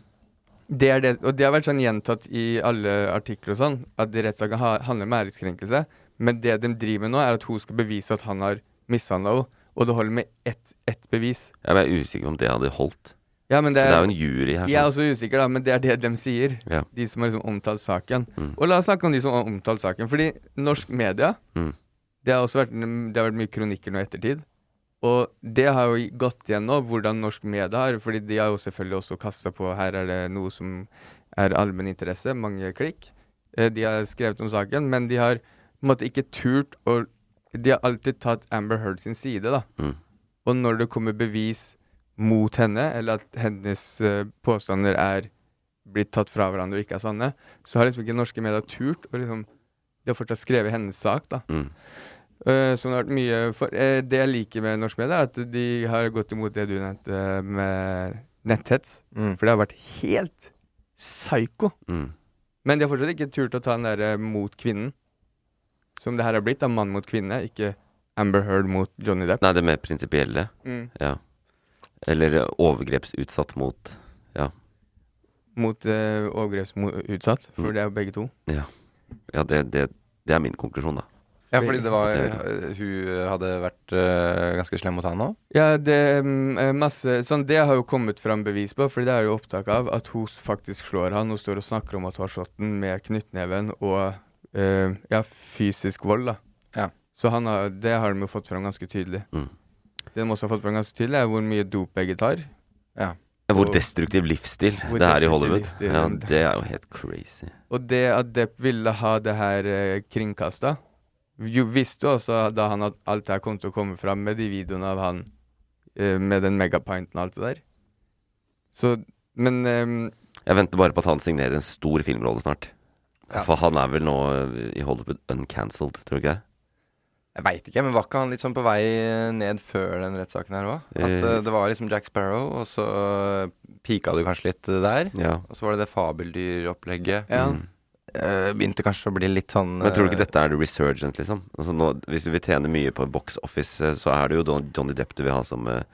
D: Det er det, og det har vært sånn gjentatt i alle artikler og sånn, at rettssaken ha- handler om æreskrenkelse. Men det de driver med nå, er at hun skal bevise at han har mishandla henne. Og det holder med ett, ett bevis.
C: Ja, men jeg er usikker på om det hadde holdt.
D: Ja, men det
C: Det
D: er,
C: er jo en jury her.
D: Jeg er
C: Sånn.
D: også usikker, da, men det er det de sier.
C: Ja.
D: De som har liksom omtalt saken.
C: Mm.
D: Og la oss snakke om de som har omtalt saken. Fordi norsk media
C: Mm.
D: Det har også vært, det har vært mye kronikker nå i ettertid. Og det har jo gått igjen nå, hvordan norsk media har Fordi de har jo selvfølgelig også kasta på her er det noe som er allmenn interesse, mange klikk. Eh, De har skrevet om saken, men de har på en måte ikke turt å De har alltid tatt Amber Heard sin side, da.
C: Mm.
D: Og når det kommer bevis mot henne, eller at hennes eh, påstander er blitt tatt fra hverandre og ikke er sanne, så har liksom ikke norske medier turt å liksom De har fortsatt skrevet hennes sak, da.
C: Mm.
D: Eh, som det har vært mye for. Eh, det jeg liker med norsk media, er at de har gått imot det du nevnte med netthets.
E: Mm.
D: For det har vært helt psyko.
C: Mm.
D: Men de har fortsatt ikke turt å ta den derre mot kvinnen. Som det her har blitt, da. Mann mot kvinne, ikke Amber Heard mot Johnny Depp.
C: Nei, det mer prinsipielle.
D: Mm.
C: Ja. Eller overgrepsutsatt mot
D: Mot uh, overgrepsutsatt, for
C: Mm.
D: det er jo begge to.
C: Ja, det, det, det er min konklusjon, da.
E: Ja, fordi det var eh,
C: Det vet
E: Hun hadde vært eh, ganske slem mot han nå.
D: Ja, det mm, er masse Sånn, det har jo kommet fram bevis på, for det er det jo opptak av at hun s- faktisk slår han. Hun står og snakker om at hun har slått den med knyttneven og eh, ja, fysisk vold, da.
E: Ja.
D: Så han har, det har de jo fått fram ganske tydelig.
C: Mm.
D: Det de også har fått fram ganske tydelig, er hvor mye dop begge tar.
C: Ja, Hvor
D: Og-
C: destruktiv livsstil
D: Hvor
C: det er i
D: destruktiv
C: Hollywood.
D: livsstil.
C: Ja, det er jo helt crazy.
D: Og det at Depp ville ha det her eh, kringkasta, jo visste jo også da han at alt det her kom til å komme fram med de videoene av han eh, med den megapinten og alt det der. Så Men ehm,
C: Jeg venter bare på at han signerer en stor filmrolle snart.
E: Ja.
C: For han er vel nå eh, i Hollywood uncancelled, tror du ikke det?
E: Jeg veit ikke, men var ikke han litt sånn på vei ned før den rettssaken her òg? At
C: Eh.
E: eh, det var liksom Jack Sparrow, og så pika du kanskje litt eh, der.
C: Ja.
E: Og så var det det fabeldyropplegget.
D: Ja.
C: Mm.
E: Eh, begynte kanskje å bli litt sånn
C: Men tror du ikke
E: eh,
C: dette er the resurgence, liksom? Altså nå, hvis du vil tjene mye på box office, eh, så er det jo Don- Johnny Depp du vil ha som eh,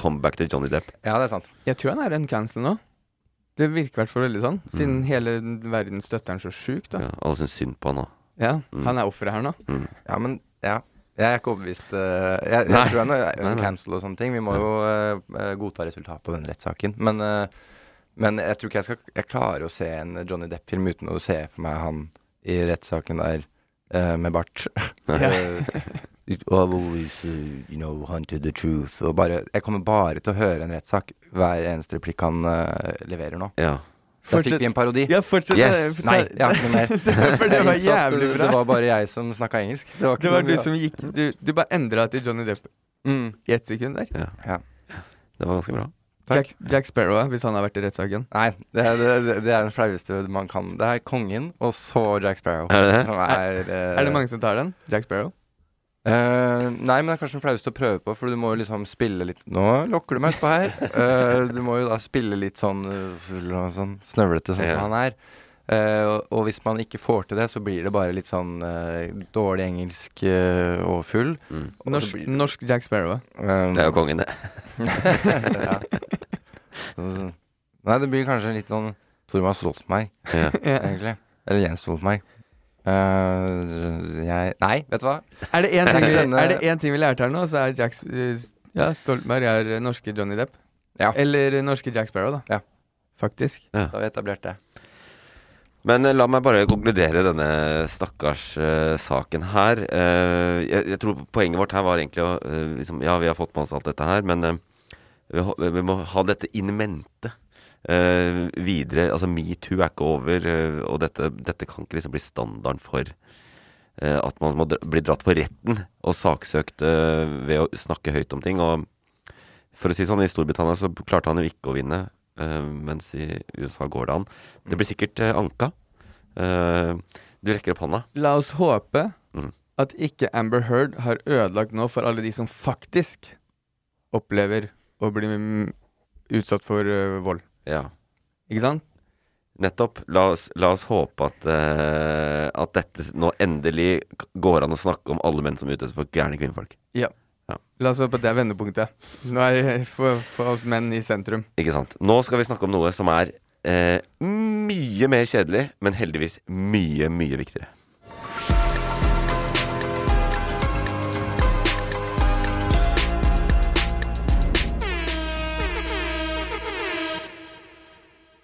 C: comeback til Johnny Depp.
E: Ja, det er sant.
D: Jeg tror han er en cancel nå. Det virker i hvert fall veldig sånn.
E: Mm.
D: Siden hele verden støtter han så sjukt, da.
C: Ja, alle syns synd på han nå.
D: Ja,
C: Mm.
D: Han er offeret her nå.
E: Ja, men ja. Jeg er ikke overbevist. eh, jeg,
C: Nei.
E: jeg tror han
C: Nei,
E: er
C: nei.
E: cancel og sånne ting. Vi må jo eh, eh, godta resultatet av den rettssaken. Men, eh, men jeg tror ikke jeg skal Jeg klarer å se en Johnny Depp-film uten å se for meg han i rettssaken der eh, med bart. Eh, It always, uh, you know, hunted the truth. Og bare, jeg kommer bare til å høre en rettssak hver eneste replikk han eh, leverer nå.
C: Ja.
E: Da fikk vi en parodi.
D: Ja, fortsett.
C: Yes.
E: Nei, jeg har ikke noe mer.
D: For det
E: Jeg
D: var
E: innså at
D: jævlig
E: Det
D: bra.
E: var bare jeg som snakka engelsk. Det var, ikke
D: Det var
E: noe
D: du
E: bra.
D: som gikk Du, du bare endra til Johnny Depp
E: Mm.
D: i ett sekund der.
C: ja.
E: Ja.
C: Det var ganske bra.
D: Jack, Jack Sparrow, hvis han har vært i rettssaken.
E: Nei, det, er- det, det, det er den flaueste man kan. Det er kongen, og så Jack Sparrow.
C: Er det det?
E: Som er, eh,
D: Er det mange som tar den? Jack Sparrow?
E: eh, nei, men det er kanskje den flaueste å prøve på, for du må jo liksom spille litt Nå lokker du meg utpå her. Eh, du må jo da spille litt sånn eh, full og sånn snøvlete sånn
C: Ja.
E: som han er. Eh, og, og hvis man ikke får til det, så blir det bare litt sånn eh, dårlig engelsk eh, og full.
C: Mm.
E: Og så
D: Norsk,
E: blir det-
D: norsk Jack Sparrow.
E: Eh,
C: Det er jo kongen, det.
E: ja. Så- Nei, det blir kanskje litt sånn Tormar Stoltenberg,
C: Ja.
E: egentlig. Eller Jens Stoltenberg. Eh, jeg Nei, vet du hva?
D: Er det én ting, vi-
E: Denne-
D: er det én ting vi lærte her nå, så er Jack Sp- eh, Ja, Stoltenberg er eh, norske Johnny Depp.
E: Ja.
D: Eller eh, norske Jack Sparrow, da.
E: Ja.
D: Faktisk.
E: Da har vi etablert det.
C: Men eh, la meg bare konkludere denne stakkars eh, saken her. Eh, jeg, jeg tror poenget vårt her var egentlig å eh, liksom, Ja, vi har fått med oss alt dette her, men eh, vi, ho- vi må ha dette in mente. eh, videre, altså Metoo er ikke over, eh, og dette, dette kan ikke liksom bli standarden for eh, at man må dra, bli dratt for retten og saksøkt eh, ved å snakke høyt om ting. Og for å si det sånn, i Storbritannia så klarte han jo ikke å vinne, eh, mens i USA går det an. Det blir sikkert eh, anka. Eh, du rekker opp hånda.
D: La oss håpe
C: Mhm.
D: at ikke Amber Heard har ødelagt nå for alle de som faktisk opplever å bli mm, utsatt for eh, vold.
C: Ja.
D: Ikke sant?
C: Nettopp. La oss, la oss håpe at, eh, at dette nå endelig k- går an å snakke om alle menn som utøves for gærne kvinnfolk.
D: La oss håpe at det er vendepunktet. Nå er det for, for oss menn i sentrum.
C: Ikke sant? Nå skal vi snakke om noe som er eh, mye mer kjedelig, men heldigvis mye, mye viktigere.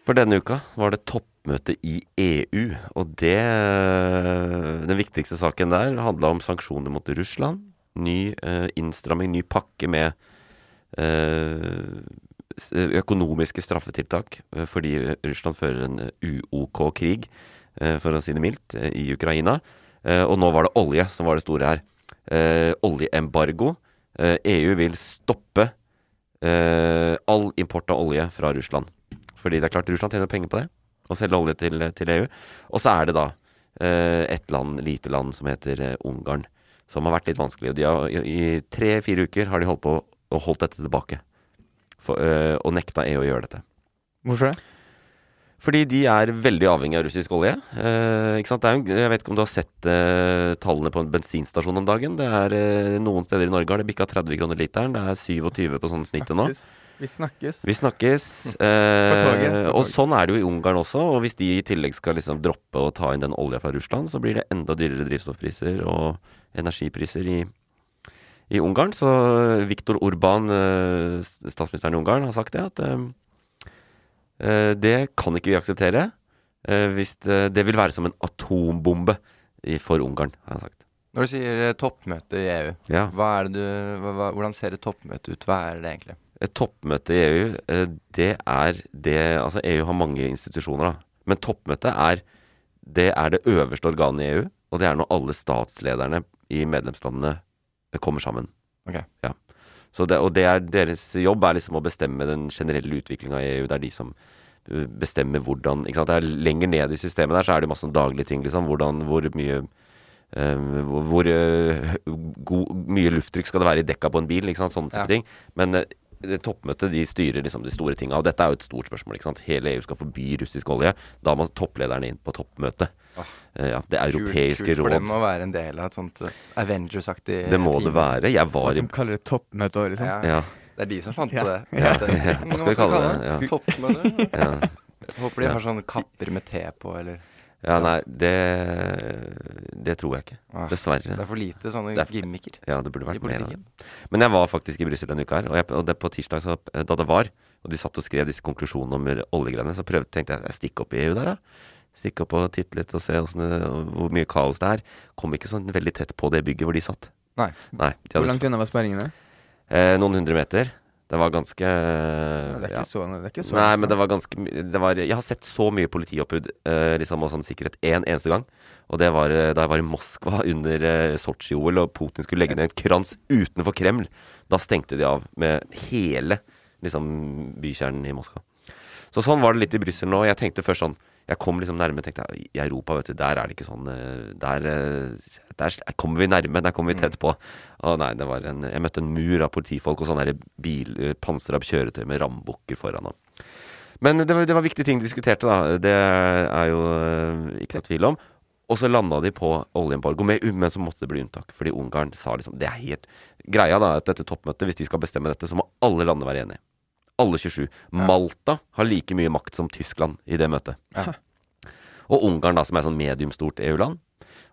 C: For denne uka var det toppmøte i EU, og det eh, Den viktigste saken der handla om sanksjoner mot Russland. Ny eh, innstramming, ny pakke med eh, s- økonomiske straffetiltak eh, fordi Russland fører en eh, uok krig, eh, for å si det mildt, eh, i Ukraina. Eh, og nå var det olje som var det store her. Eh, oljeembargo. Eh, EU vil stoppe eh, all import av olje fra Russland. Fordi det er klart Russland tjener penger på det, å selge olje til, eh, til EU. Og så er det da eh, et land, lite land som heter eh, Ungarn, som har vært litt vanskelig. Og de har, I i tre-fire uker har de holdt på og holdt dette tilbake. for, eh, og nekta EU å gjøre dette.
D: Hvorfor det?
C: Fordi de er veldig avhengig av russisk olje. Eh, ikke sant? Det er, jo- jeg vet ikke om du har sett eh, tallene på en bensinstasjon om dagen. Det er eh, Noen steder i Norge har det bikka 30 kroner literen. Det er 27 på sånn snittet nå.
D: Snakkes. Vi snakkes.
C: Vi snakkes.
D: Mm. På toget,
C: Eh,
D: på
C: og
D: toget.
C: sånn er det jo i Ungarn også. Og hvis de i tillegg skal liksom droppe å ta inn den olja fra Russland, så blir det enda dyrere drivstoffpriser og energipriser i, i Ungarn. Så Viktor Urban, eh, s- statsministeren i Ungarn, har sagt det at eh, eh, det kan ikke vi akseptere. Eh, hvis det, det vil være som en atombombe i, for Ungarn, har han sagt.
E: Når du sier eh, toppmøte i EU,
C: Ja.
E: hva er det du, hva, hva, hvordan ser et toppmøte ut? Hva er det egentlig?
C: Et toppmøte i EU, eh, det er det Altså, EU har mange institusjoner, da. Men toppmøtet er det, er det øverste organet i EU, og det er når alle statslederne i medlemslandene eh, kommer sammen.
E: Ok.
C: Ja. Så det, og det er, deres jobb er liksom å bestemme den generelle utviklinga i EU. Det er de som eh, bestemmer hvordan ikke sant? Det er Lenger ned i systemet der så er det masse sånn daglige ting, liksom. Hvordan, hvor mye eh, hvor, hvor eh, god, mye lufttrykk skal det være i dekka på en bil? Ikke sant? Sånne type
E: Ja.
C: ting. Men eh, det toppmøtet de styrer liksom de store tinga. Og dette er jo et stort spørsmål. ikke sant? Hele EU skal forby russisk olje. Da må topplederne inn på toppmøtet. Eh, ja, det europeiske
E: kult, kult for
C: råd.
E: dem å være en del av et sånt eh, Avengers-aktig
D: Eh,
C: Det må
E: team.
C: det være. Jeg var i
D: At de kaller det toppmøte òg, liksom.
E: Ja.
C: Ja.
E: Det er de som fant
D: Ja.
E: på det.
C: Ja.
E: Det-
C: Ja, hva skal vi kalle det? Ja.
E: Toppmøte?
C: ja.
E: Jeg Håper de
C: Ja.
E: har sånne kapper med te på, eller
C: ja nei, det Det tror jeg ikke.
E: Ah, Det
C: Dessverre.
E: er for lite sånne
C: Det er-
E: gimmicker.
C: Ja, det burde
E: I
C: vært mer av
E: politikken.
C: det. Men jeg var faktisk i Brussel denne uka her, og, jeg, og det på tirsdag, så, da det var, og de satt og skrev disse konklusjonene om oljegreiene, så prøvde, tenkte jeg jeg stikker opp i EU der, da. Stikke opp og titte litt og se hvordan det, hvor mye kaos det er. Kom ikke sånn veldig tett på det bygget hvor de satt.
E: Nei.
C: Nei, de
D: Hvor
C: hadde
D: langt unna var sperringene?
C: eh, noen hundre meter. Det var ganske
D: Ja, det er
C: ja.
D: ikke så, det er ikke så
C: Nei, men det var ganske my- det var, Jeg har sett så mye politioppbud eh, liksom, og sånn sikkerhet én eneste gang. Og det var eh, da jeg var i Moskva under eh, Sotsji-OL og Putin skulle legge ned en krans utenfor Kreml. Da stengte de av med hele liksom, bykjernen i Moskva. Så sånn var det litt i Brussel nå. Jeg tenkte først sånn Jeg kom liksom nærme tenkte jeg, I Europa, vet du, der er det ikke sånn eh, Der, eh, der kommer vi nærme. Der kommer vi tett på. Å nei, det var en Jeg møtte en mur av politifolk og sånne der bil, eh, pansra kjøretøy med rambukker foran. Og. Men det var, det var viktige ting de diskuterte, da. Det er jo eh, ikke noe tvil om. Og så landa de på oljeembargo, med, men så måtte det bli unntak. Fordi Ungarn sa liksom Det er helt Greia da er at dette toppmøtet, hvis de skal bestemme dette, så må alle landene være enige. Alle 27. Malta har like mye makt som Tyskland i det møtet. Og Ungarn, da, som er sånn mediumstort EU-land.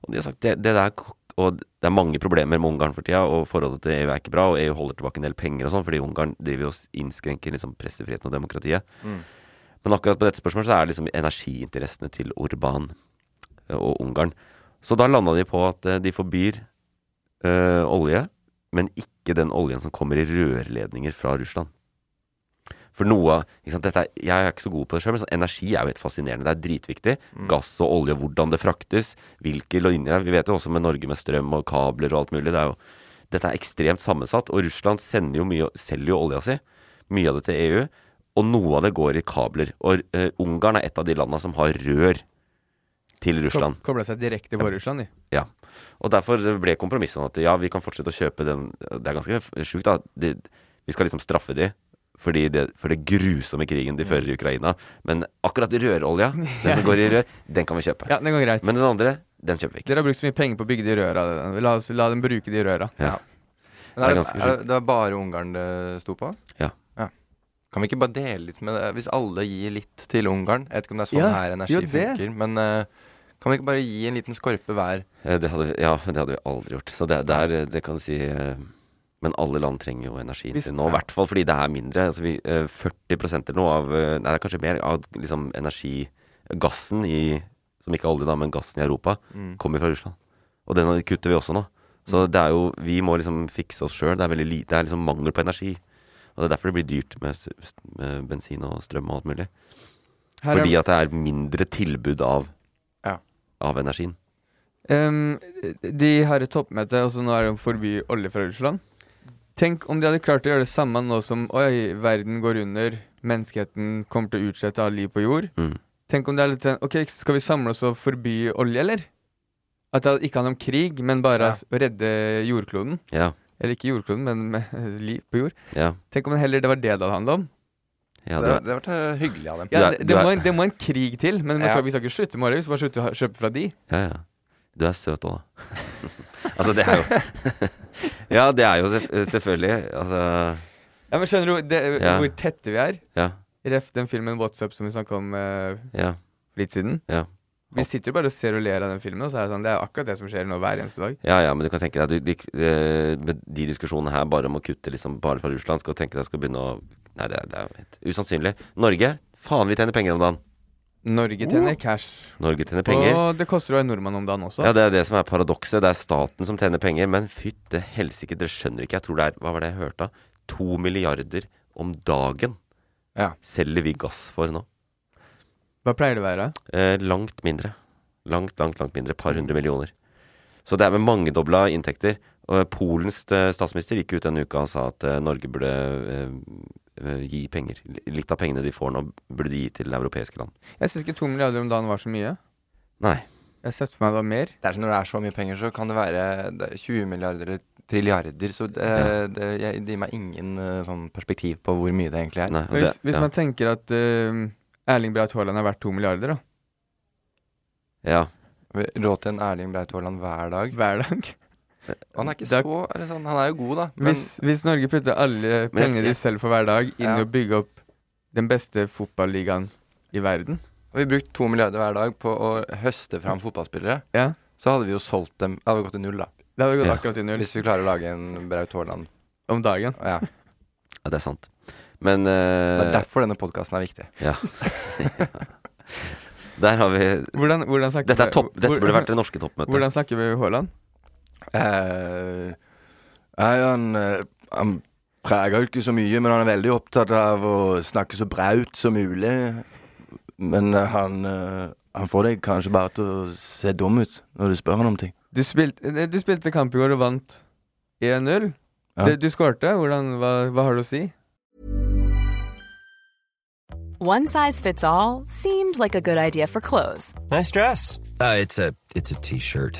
C: Og de har sagt det, det der k- Og det er mange problemer med Ungarn for tida, og forholdet til EU er ikke bra, og EU holder tilbake en del penger og sånn, fordi Ungarn driver jo og s- innskrenker liksom pressefriheten og demokratiet. Men akkurat på dette spørsmålet så er det liksom energiinteressene til Orban eh, og Ungarn. Så da landa de på at eh, de forbyr eh, olje, men ikke den oljen som kommer i rørledninger fra Russland. For noe av- ikke sant, dette er, Jeg er ikke så god på det sjøl, men sånn, energi er jo helt fascinerende. Det er dritviktig. Gass og olje, hvordan det fraktes, hvilke linjer Vi vet jo også med Norge med strøm og kabler og alt mulig. Det er jo, dette er ekstremt sammensatt. Og Russland sender jo mye, selger jo olja si. Mye av det til EU. Og noe av det går i kabler. Og eh, Ungarn er et av de landa som har rør til Russland.
D: Kobla seg direkte på Russland, de.
C: Ja. Og derfor ble kompromisset sånn at ja, vi kan fortsette å kjøpe den Det er ganske f- sjukt, da. De, vi skal liksom straffe de fordi det, for det grusomme krigen de fører i Ukraina. Men akkurat rørolja, den som går i rør, den kan vi kjøpe.
D: Ja, det går greit.
C: Men den andre, den kjøper vi ikke.
D: Dere har brukt så mye penger på å bygge de røra. La, oss- la dem bruke de røra.
C: Ja. Det er
E: Men er det,
C: ganske
E: er det, det er bare Ungarn det sto på?
C: Ja.
E: Kan vi ikke bare dele litt med det? Hvis alle gir litt til Ungarn Jeg vet ikke om det er sånn
D: Ja,
E: her energi
D: jo, det.
E: funker, men eh, kan vi ikke bare gi en liten skorpe hver?
C: Eh, Det hadde, vi- ja, det hadde vi aldri gjort. Så det, det, er, det kan du si eh, Men alle land trenger jo energien
D: Hvis-
C: sin nå, i hvert fall fordi det er mindre. Altså vi, eh, 40 eller noe av eh, Nei, det er kanskje mer av liksom energi Gassen i Som ikke er olje, da, men gassen i Europa,
D: Mm.
C: kommer fra Russland. Og den kutter vi også nå. Så det er jo Vi må liksom fikse oss sjøl. Det er veldig li- Det er liksom mangel på energi. Og det er derfor det blir dyrt med, st- st- med bensin og strøm og alt mulig.
D: Her er-
C: Fordi at det er mindre tilbud av
E: Ja.
C: Av energien.
D: Ehm, de har et toppmøte, og så nå er det å forby olje fra Russland. Tenk om de hadde klart å gjøre det samme nå som Oi, verden går under, menneskeheten kommer til å utslette all liv på jord.
C: Mm.
D: Tenk om det er litt sånn, Ok, skal vi samle oss og forby olje, eller? At det ikke handler om krig, men bare
E: Ja.
D: å redde jordkloden.
C: Ja.
D: Eller ikke jordkloden, men med liv på jord.
C: Ja.
D: Tenk om det heller det var det det hadde handla om.
C: ja
E: det,
C: du,
E: det har vært eh, hyggelig av dem.
C: Du
D: Ja,
C: er-
D: det,
C: du
D: det,
C: er-
D: må en, det må en krig til, men man
E: Ja.
D: skal, vi skal ikke slutte med det. Vi skal bare slutte å ha- kjøpe fra de.
C: Ja, ja. Du er søt òg, da. altså, det er jo Ja, det er jo selvf- selvfølgelig. Altså
D: Ja, men Skjønner du det,
C: Ja.
D: hvor tette vi er?
C: Ja.
D: Ref den filmen WhatsApp som vi snakka om eh,
C: Ja.
D: for litt siden.
C: Ja.
D: Vi sitter jo bare og ser og ler av den filmen, og så er det sånn Det er jo akkurat det som skjer nå hver eneste dag.
C: Ja, ja, men du kan tenke deg du, de, eh, med de diskusjonene her bare om å kutte liksom bare fra Russland, skal du tenke deg skal begynne å Nei, det, er- det er jo helt usannsynlig. Norge? Faen, vi tjener penger om dagen.
D: Norge tjener cash.
C: Norge tjener Oh. penger.
D: Og det koster å være nordmann om dagen også.
C: Ja, det er det som er paradokset. Det er staten som tjener penger, men fytte helsike, dere skjønner ikke. Jeg tror det er Hva var det jeg hørte? da? To milliarder om dagen
E: Ja.
C: selger vi gass for nå.
D: Hva pleier det å være?
C: Eh, langt mindre. Langt, langt, langt mindre. Par hundre millioner. Så det er med mangedobla inntekter. Og Polens eh, statsminister gikk ut denne uka og sa at eh, Norge burde eh, eh, gi penger. Litt av pengene de får nå, burde de gi til europeiske land.
D: Jeg syns ikke to milliarder om dagen var så mye.
C: Nei.
D: Jeg setter for meg det var mer.
E: Det er sånn Når det er så mye penger, så kan det være det er 20 milliarder eller trilliarder. Så det,
C: Ja.
E: det, jeg, det gir meg ingen eh, sånn perspektiv på hvor mye det egentlig er.
C: nei og
D: Men hvis,
C: det-
D: hvis
C: ja.
D: man tenker at eh, Erling Braut Haaland er verdt to milliarder, da.
C: ja.
E: Råd til en Erling Braut Haaland hver dag.
D: Hver dag.
E: Han er ikke
D: Det er-
E: så eller sånn, Han er jo god, da. Men
D: Hvis, hvis Norge putter alle pengene de
C: jeg-
D: selv får hver dag, inn i
E: Ja.
D: å bygge opp den beste fotballigaen i verden
E: vi har brukt to milliarder hver dag på å høste fram fotballspillere.
D: Ja.
E: Så hadde vi jo solgt dem. Det hadde gått til null, da.
D: Det hadde gått
C: Ja.
D: akkurat i null
E: Hvis vi klarer å lage en Braut Haaland.
D: om dagen.
E: Ja.
C: ja, det er sant. Men
E: Det
C: eh,
E: er derfor denne podkasten er viktig.
C: der har vi
D: Hvordan, hvordan snakker
C: Dette, er
D: vi-
C: topp, dette
D: hvor-
C: burde vært det norske toppmøtet.
D: Hvordan snakker vi Haaland?
E: Eh, Nei, han, eh, han preger jo ikke så mye, men han er veldig opptatt av å snakke så braut som mulig. Men eh, han, eh, han får deg kanskje bare til å se dum ut når du spør han om ting.
D: Du spilte, eh, du spilte kamp i går og vant 1-0.
E: Ja.
D: Det- Du skårte. Hvordan, hva, hva har du å si?
G: One size fits all seemed like a good idea for clothes
F: Nice dress. Uh, it's a it's a t-shirt.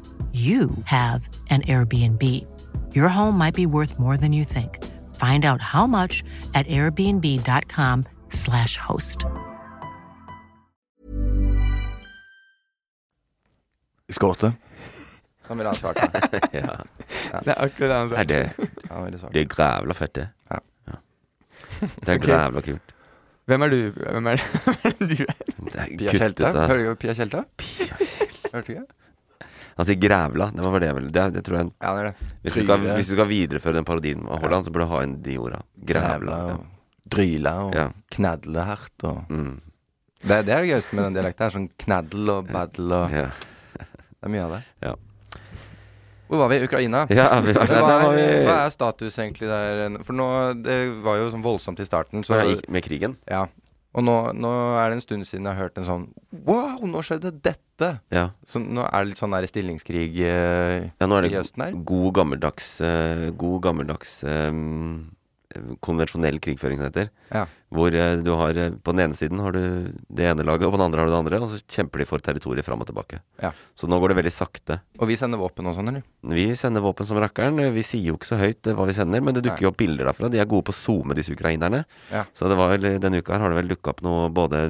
A: you have an Airbnb. Your home might be worth more than you think. Find out how much at airbnb.com/slash host.
H: Skåte.
E: Han ville ha svart, da.
C: ja.
D: Det er akkurat det han sa.
C: er det,
E: Han ville svart.
C: det er grævla fett, det.
E: Ja.
C: Det er
D: Ok.
C: grævla kult.
D: Hvem er du? Hvem er det du er?
C: Det er
E: Pia
C: kutt ut
E: Tjelta?
C: av-
E: Hører du på Pia Tjelta? Hørte du ikke?
C: Han sier grævla. Det var vel det, vel. Det, det tror jeg
E: Ja, han gjør det.
C: hvis du, skal,
E: Dryla.
C: hvis du skal videreføre den parodien med Haaland, så burde du ha inn de orda. Grævla.
E: og dryla og
C: Ja.
E: knadlehardt og
C: Ja. Mm.
E: Det, det er det gøyeste med den dialekten. er Sånn knaddel og baddel og Det er mye av det.
C: Ja.
E: Hvor var vi? Ukraina.
C: Ja, vi var der.
E: hva,
C: Der var
E: er,
C: vi.
E: hva er status egentlig der? For nå Det var jo sånn voldsomt i starten. Så,
C: Ja, i- med krigen?
E: Ja. Og nå, nå er det en stund siden jeg har hørt en sånn Wow, nå skjedde dette!
C: Ja.
E: Så nå er det litt sånn der stillingskrig eh,
C: Ja, nå er det
E: i Østen her.
C: go- god gammeldags, eh, god gammeldags ehm, konvensjonell krigføring, som det heter.
E: Ja.
C: Hvor eh, du har eh, på den ene siden har du det ene laget, og på den andre har du det andre, og så kjemper de for territoriet fram og tilbake.
E: Ja.
C: Så nå går det veldig sakte.
E: Og vi sender våpen og sånn, eller?
C: Vi sender våpen som rakkeren. Vi sier jo ikke så høyt eh, hva vi sender, men det dukker jo opp bilder derfra. De er gode på å zoome, disse ukrainerne.
E: Ja.
C: Så det var vel, eh, denne uka her har det vel dukka opp noe både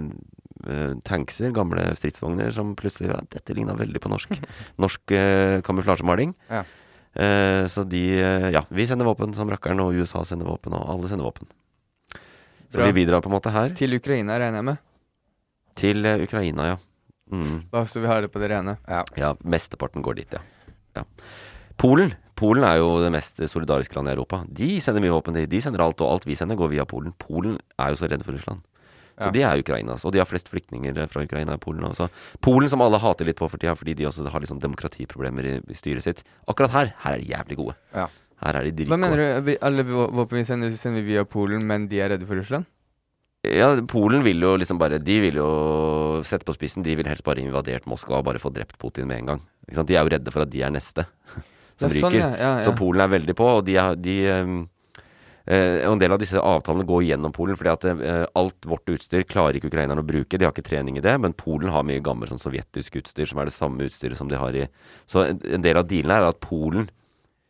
C: eh, tankser, gamle stridsvogner, som plutselig ja, Dette ligna veldig på norsk. norsk eh, kamuflasjemaling.
E: Ja.
C: Eh, så de eh, Ja, vi sender våpen som rakkeren, og USA sender våpen, og alle sender våpen. Så
D: Bra.
C: vi bidrar på en måte her
D: Til Ukraina, regner jeg med.
C: til eh, Ukraina, ja. Mm.
D: Bare så vi har det på det rene.
C: Ja, mesteparten går dit, ja. ja. Polen. Polen er jo det mest solidariske landet i Europa. De sender mye våpen, de. De sender alt, og alt vi sender går via Polen. Polen er jo så redd for Russland. Så
E: Ja.
C: de er Ukrainas, og de har flest flyktninger fra Ukraina i Polen også. Polen som alle hater litt på for tida, fordi de også har litt sånn demokratiproblemer i, i styret sitt. Akkurat her, her er de jævlig gode.
E: Ja.
C: Her er de
D: Hva mener
C: dritgode.
D: du? Vi, alle vå- våpen vi sender, sender vi via Polen, men de er redde for Russland?
C: Ja, Polen vil jo liksom bare De vil jo sette på spissen. De vil helst bare invadert Moskva og bare få drept Putin med en gang. Ikke sant? De er jo redde for at de er neste som
D: Ja, sånn,
C: ryker.
D: ja, ja,
C: Så
D: ja.
C: Polen er veldig på, og de, er- de ehm, eh, og en del av disse avtalene går gjennom Polen, fordi at eh, alt vårt utstyr klarer ikke ukrainerne å bruke. De har ikke trening i det, men Polen har mye gammelt sånn sovjetisk utstyr, som er det samme utstyret som de har i Så en, en del av dealen her er at Polen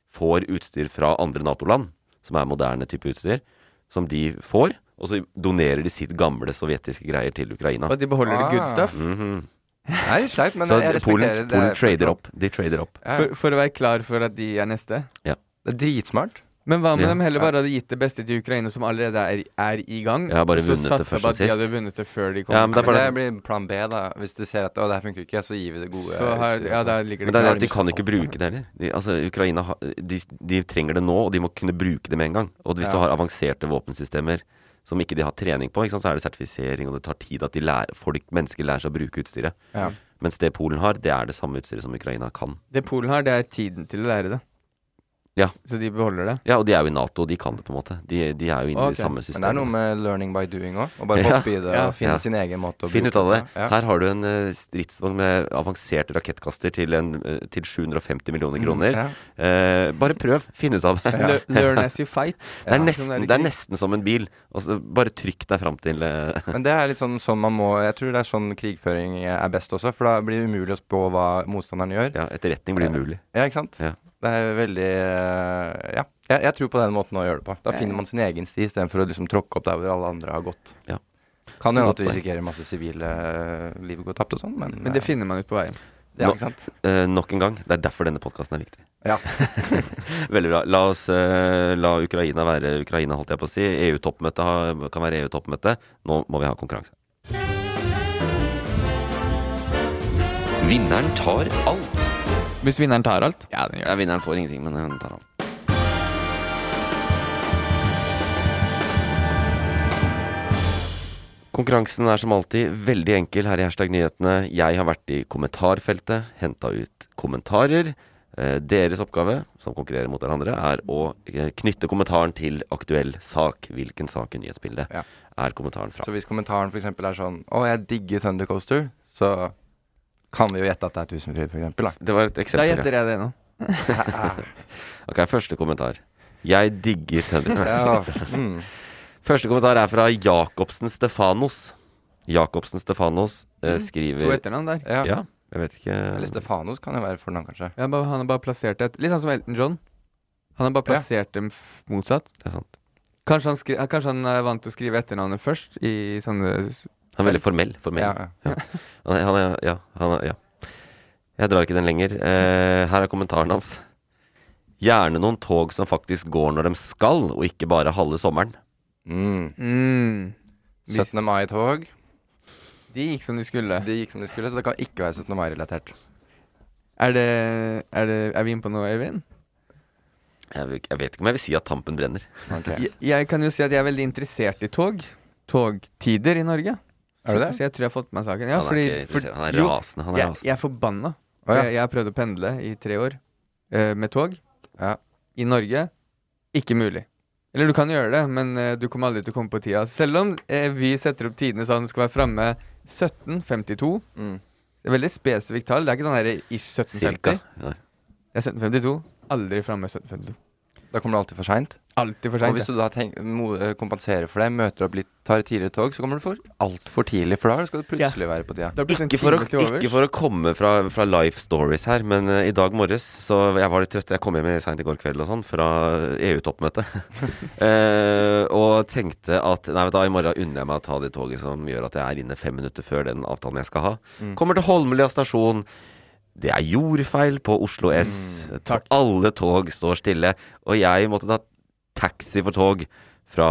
C: får utstyr fra andre Nato-land, som er moderne type utstyr, som de får, og så donerer de sitt gamle sovjetiske greier til Ukraina.
D: Og at de beholder
E: Ah.
D: the good stuff?
C: Mhm.
E: Det er litt sleipt, men
C: så
E: jeg respekterer
C: Polen,
E: det.
C: Polen trader opp. De trader opp.
E: Ja,
D: For, for å være klar for at de er neste?
E: det er dritsmart.
D: Men hva om
C: Ja.
D: de heller bare hadde gitt det beste til Ukraina, som allerede er, er i gang?
C: Ja, bare
D: og så
C: vunnet det
D: satsa
C: først
D: på
C: og
D: at de
C: sist.
D: hadde vunnet det før de kom?
C: Ja, men det er
E: Men
C: bare
E: det
C: at-
E: blir plan B, da. Hvis de ser at å, det her funker ikke, så gir vi det gode.
D: så her,
E: utstyret
D: ja,
E: og sånn.
D: der
C: Men
D: ligger det
C: det er det
D: klart.
C: at de kan jo ikke bruke det heller. De, altså, Ukraina har- de, de trenger det nå, og de må kunne bruke det med en gang. Og hvis
E: Ja.
C: du har avanserte våpensystemer som ikke de har trening på, ikke sant, så er det sertifisering, og det tar tid at de lærer, folk, mennesker lærer seg å bruke utstyret.
E: Ja.
C: Mens det Polen har, det er det samme utstyret som Ukraina kan.
D: Det Polen har, det er tiden til å lære det.
C: Ja.
D: Så de beholder det.
C: Ja, og de er jo i Nato, og de kan det på en måte. De, de er jo inne
D: Ok,
C: i det samme
E: Men det er noe
C: systemet.
E: med learning by doing òg. Å bare
C: Ja,
E: hoppe i det
D: ja.
E: og finne
C: Ja.
E: sin egen måte å
C: Finn ut av det.
E: på. Ja.
C: Her har du en eh, stridsvogn med avanserte rakettkaster til, en, eh, til 750 millioner kroner.
E: Mm, Ja.
C: Eh, bare prøv. Finn ut av det.
D: Le- Learn as you fight.
C: Det er,
D: Sånn
C: nesten,
D: i
C: det er
D: krig.
C: nesten som en bil. Altså, bare trykk deg fram til eh,
E: Men det er litt sånn, sånn man må Jeg tror det er sånn krigføring er best også, for da blir det umulig å spå hva motstanderen gjør.
C: Ja, etterretning blir umulig.
E: Ja, ikke sant?
C: Ja.
E: Det er veldig eh, Ja. Jeg, jeg tror på den måten å gjøre det på. Da finner man sin egen sti istedenfor å liksom tråkke opp der hvor alle andre har gått.
C: Ja.
E: Kan hende
C: Godt
E: at du
C: poeng.
E: risikerer masse sivile eh, liv går tapt og sånn, men,
D: Men det finner man ut på veien.
E: ja,
C: Nå-
E: ikke sant?
C: Eh, nok en gang, det er derfor denne podkasten er viktig.
E: Ja.
C: Veldig bra. La oss eh, la Ukraina være Ukraina, holdt jeg på å si. EU-toppmøtet ha- kan være EU-toppmøte. Nå må vi ha konkurranse. Vinneren tar alt.
D: Hvis vinneren tar alt Ja, den
C: Ja, vinneren får ingenting, men hun tar alt. Konkurransen er som alltid veldig enkel her i Hashtag nyhetene. Jeg har vært i kommentarfeltet, henta ut kommentarer. Eh, Deres oppgave, som konkurrerer mot hverandre, er å eh, knytte kommentaren til aktuell sak. Hvilken sak i nyhetsbildet
E: Ja.
C: er kommentaren fra?
E: Så hvis kommentaren f.eks. er sånn Å, jeg digger Thunder Coaster, så kan vi jo gjette at det er Tusenfryd, f.eks.
C: Det var et
D: Da
C: eksempel.
D: gjetter jeg det nå.
C: ja. Ok, første kommentar. Jeg digger Tønder.
E: Ja. Mm.
C: Første kommentar er fra Jacobsen Stefanos. Jacobsen Stefanos eh, skriver
D: Mm. To etternavn der.
E: ja.
C: Ja, jeg vet ikke
E: Eller Stefanos kan jo være fornavn, kanskje.
D: Ja, bare, han har bare plassert et Litt sånn som Elton John. Han har bare
E: Ja.
D: plassert dem f- motsatt.
C: Det er sant.
D: Kanskje han, skri eh, kanskje han er vant til å skrive etternavnet først, i sånne s-
C: Han er veldig formell. formell.
E: Ja, ja.
C: Han, er- han er, ja, han er, ja. Jeg drar ikke den lenger. Eh, her er kommentaren hans. Gjerne noen tog som faktisk går når de skal, og ikke bare halve sommeren.
E: Mm.
D: mm.
E: 17. mai-tog.
D: De gikk som de skulle.
E: De gikk som de skulle, så det kan ikke være 17. mai-relatert.
D: Er, det, er, det, er vi inne på noe, Øyvind?
C: Jeg, vil- jeg vet ikke om jeg vil si at tampen brenner.
E: Ok.
D: Jeg, jeg kan jo si at jeg er veldig interessert i tog. Togtider i Norge. Er du det? Så jeg tror jeg har fått med meg saken. Ja,
C: Han er
D: fordi,
C: ikke interessert. Han er
D: jo,
C: rasende. Han er
D: jeg,
C: rasende.
D: jeg er forbanna.
C: Å, ja.
D: jeg, jeg har prøvd å pendle i tre år eh, med tog. I Norge ikke mulig. Eller du kan gjøre det, men eh, du kommer aldri til å komme på tida. Selv om eh, vi setter opp tidene sånn skal være framme 17.52.
C: Mm.
D: Det er veldig spesifikt tall. Det er ikke sånn her ish 1750.
C: Nei.
D: Det er 1752. Aldri framme 1752.
E: Da kommer du alltid for seint.
D: Alltid for sent,
E: Og hvis du da tenk, mo, eh, kompenserer for det, møter opp litt, tar et tidligere tog, så kommer du for altfor tidlig. For da skal du plutselig være på tida.
C: Ikke for, å, ikke for å komme fra, fra life stories her, men eh, i dag morges så Jeg var litt trøtt. Jeg kom hjem seint i går kveld og sånn, fra EU-toppmøtet. eh, og tenkte at nei, vet du, hva, i morgen unner jeg meg å ta det toget som gjør at jeg er inne fem minutter før den avtalen jeg skal ha.
F: Mm.
C: Kommer til Holmlia stasjon. Det er jordfeil på Oslo S.
D: Mm,
C: To- Alle tog står stille. Og jeg måtte ta taxi for tog fra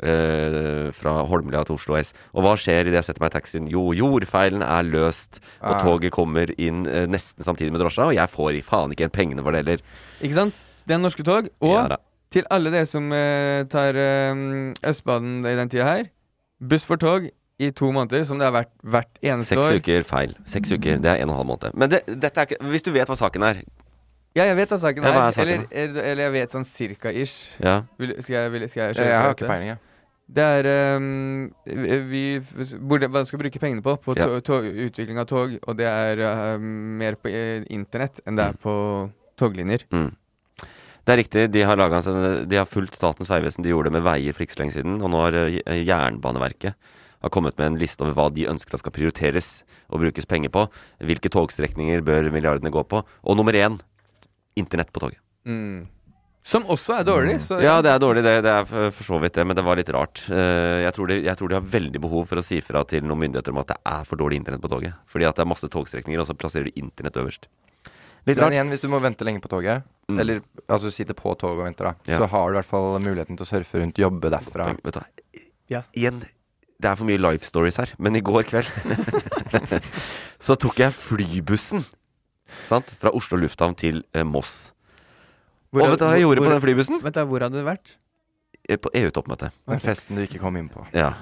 C: eh, fra Holmlia til Oslo S. Og hva skjer idet jeg setter meg i taxien? Jo, jordfeilen er løst, og
D: Ah.
C: toget kommer inn eh, nesten samtidig med drosja, og jeg får i faen ikke pengene for det heller.
D: Ikke sant? Det er norske tog. Og
C: Ja da.
D: til alle dere som eh, tar eh, Østbanen i den tida her, buss for tog i to måneder, som det har vært hvert eneste
C: Seks
D: år.
C: uker feil. Seks uker, det er en og en halv måned. Men det, dette er ikke Hvis du vet hva saken er
D: Ja, jeg vet hva saken
C: Ja,
D: er.
C: hva er saken
D: eller, eller, eller jeg vet sånn cirka-ish.
C: Ja.
D: Vil, skal jeg, vil, skal jeg
E: Jeg
D: kjøre
E: har
D: på
E: ikke
D: dette?
E: peiling, jeg.
D: Det er ehm, vi, burde, Hva skal vi bruke pengene på? På
C: Ja.
D: to, to, utvikling av tog, og det er ehm, mer på eh, internett enn det er på toglinjer.
C: Mm. Det er riktig, de har, laget, en sånn- de har fulgt Statens vegvesen. De gjorde det med veier for ikke så lenge siden. Og nå har eh, Jernbaneverket har kommet med en liste over hva de ønsker at skal prioriteres og brukes penger på. Hvilke togstrekninger bør milliardene gå på? Og nummer én internett på toget.
D: Mm. Som også er dårlig. Så,
C: Mm. Ja, det er dårlig, det. Det er for for så vidt det, men det var litt rart. Eh, Jeg tror de, jeg tror de har veldig behov for å si fra til noen myndigheter om at det er for dårlig internett på toget. Fordi at det er masse togstrekninger, og så plasserer du internett øverst. Litt
E: Men
C: rart.
E: igjen, hvis du må vente lenge på toget,
C: Mm.
E: eller altså sitte på toget og vente, da,
C: Ja.
E: så har du i hvert fall muligheten til å surfe rundt, jobbe derfra.
C: Vet du hva? Igjen, det er for mye life stories her, men i går kveld så tok jeg flybussen sant? fra Oslo lufthavn til eh, Moss. og vet du hva jeg gjorde på den flybussen?
D: Vent da, Hvor hadde du vært?
C: Eh, På EU-toppmøtet.
E: Den festen du ikke kom inn på.
C: Ja.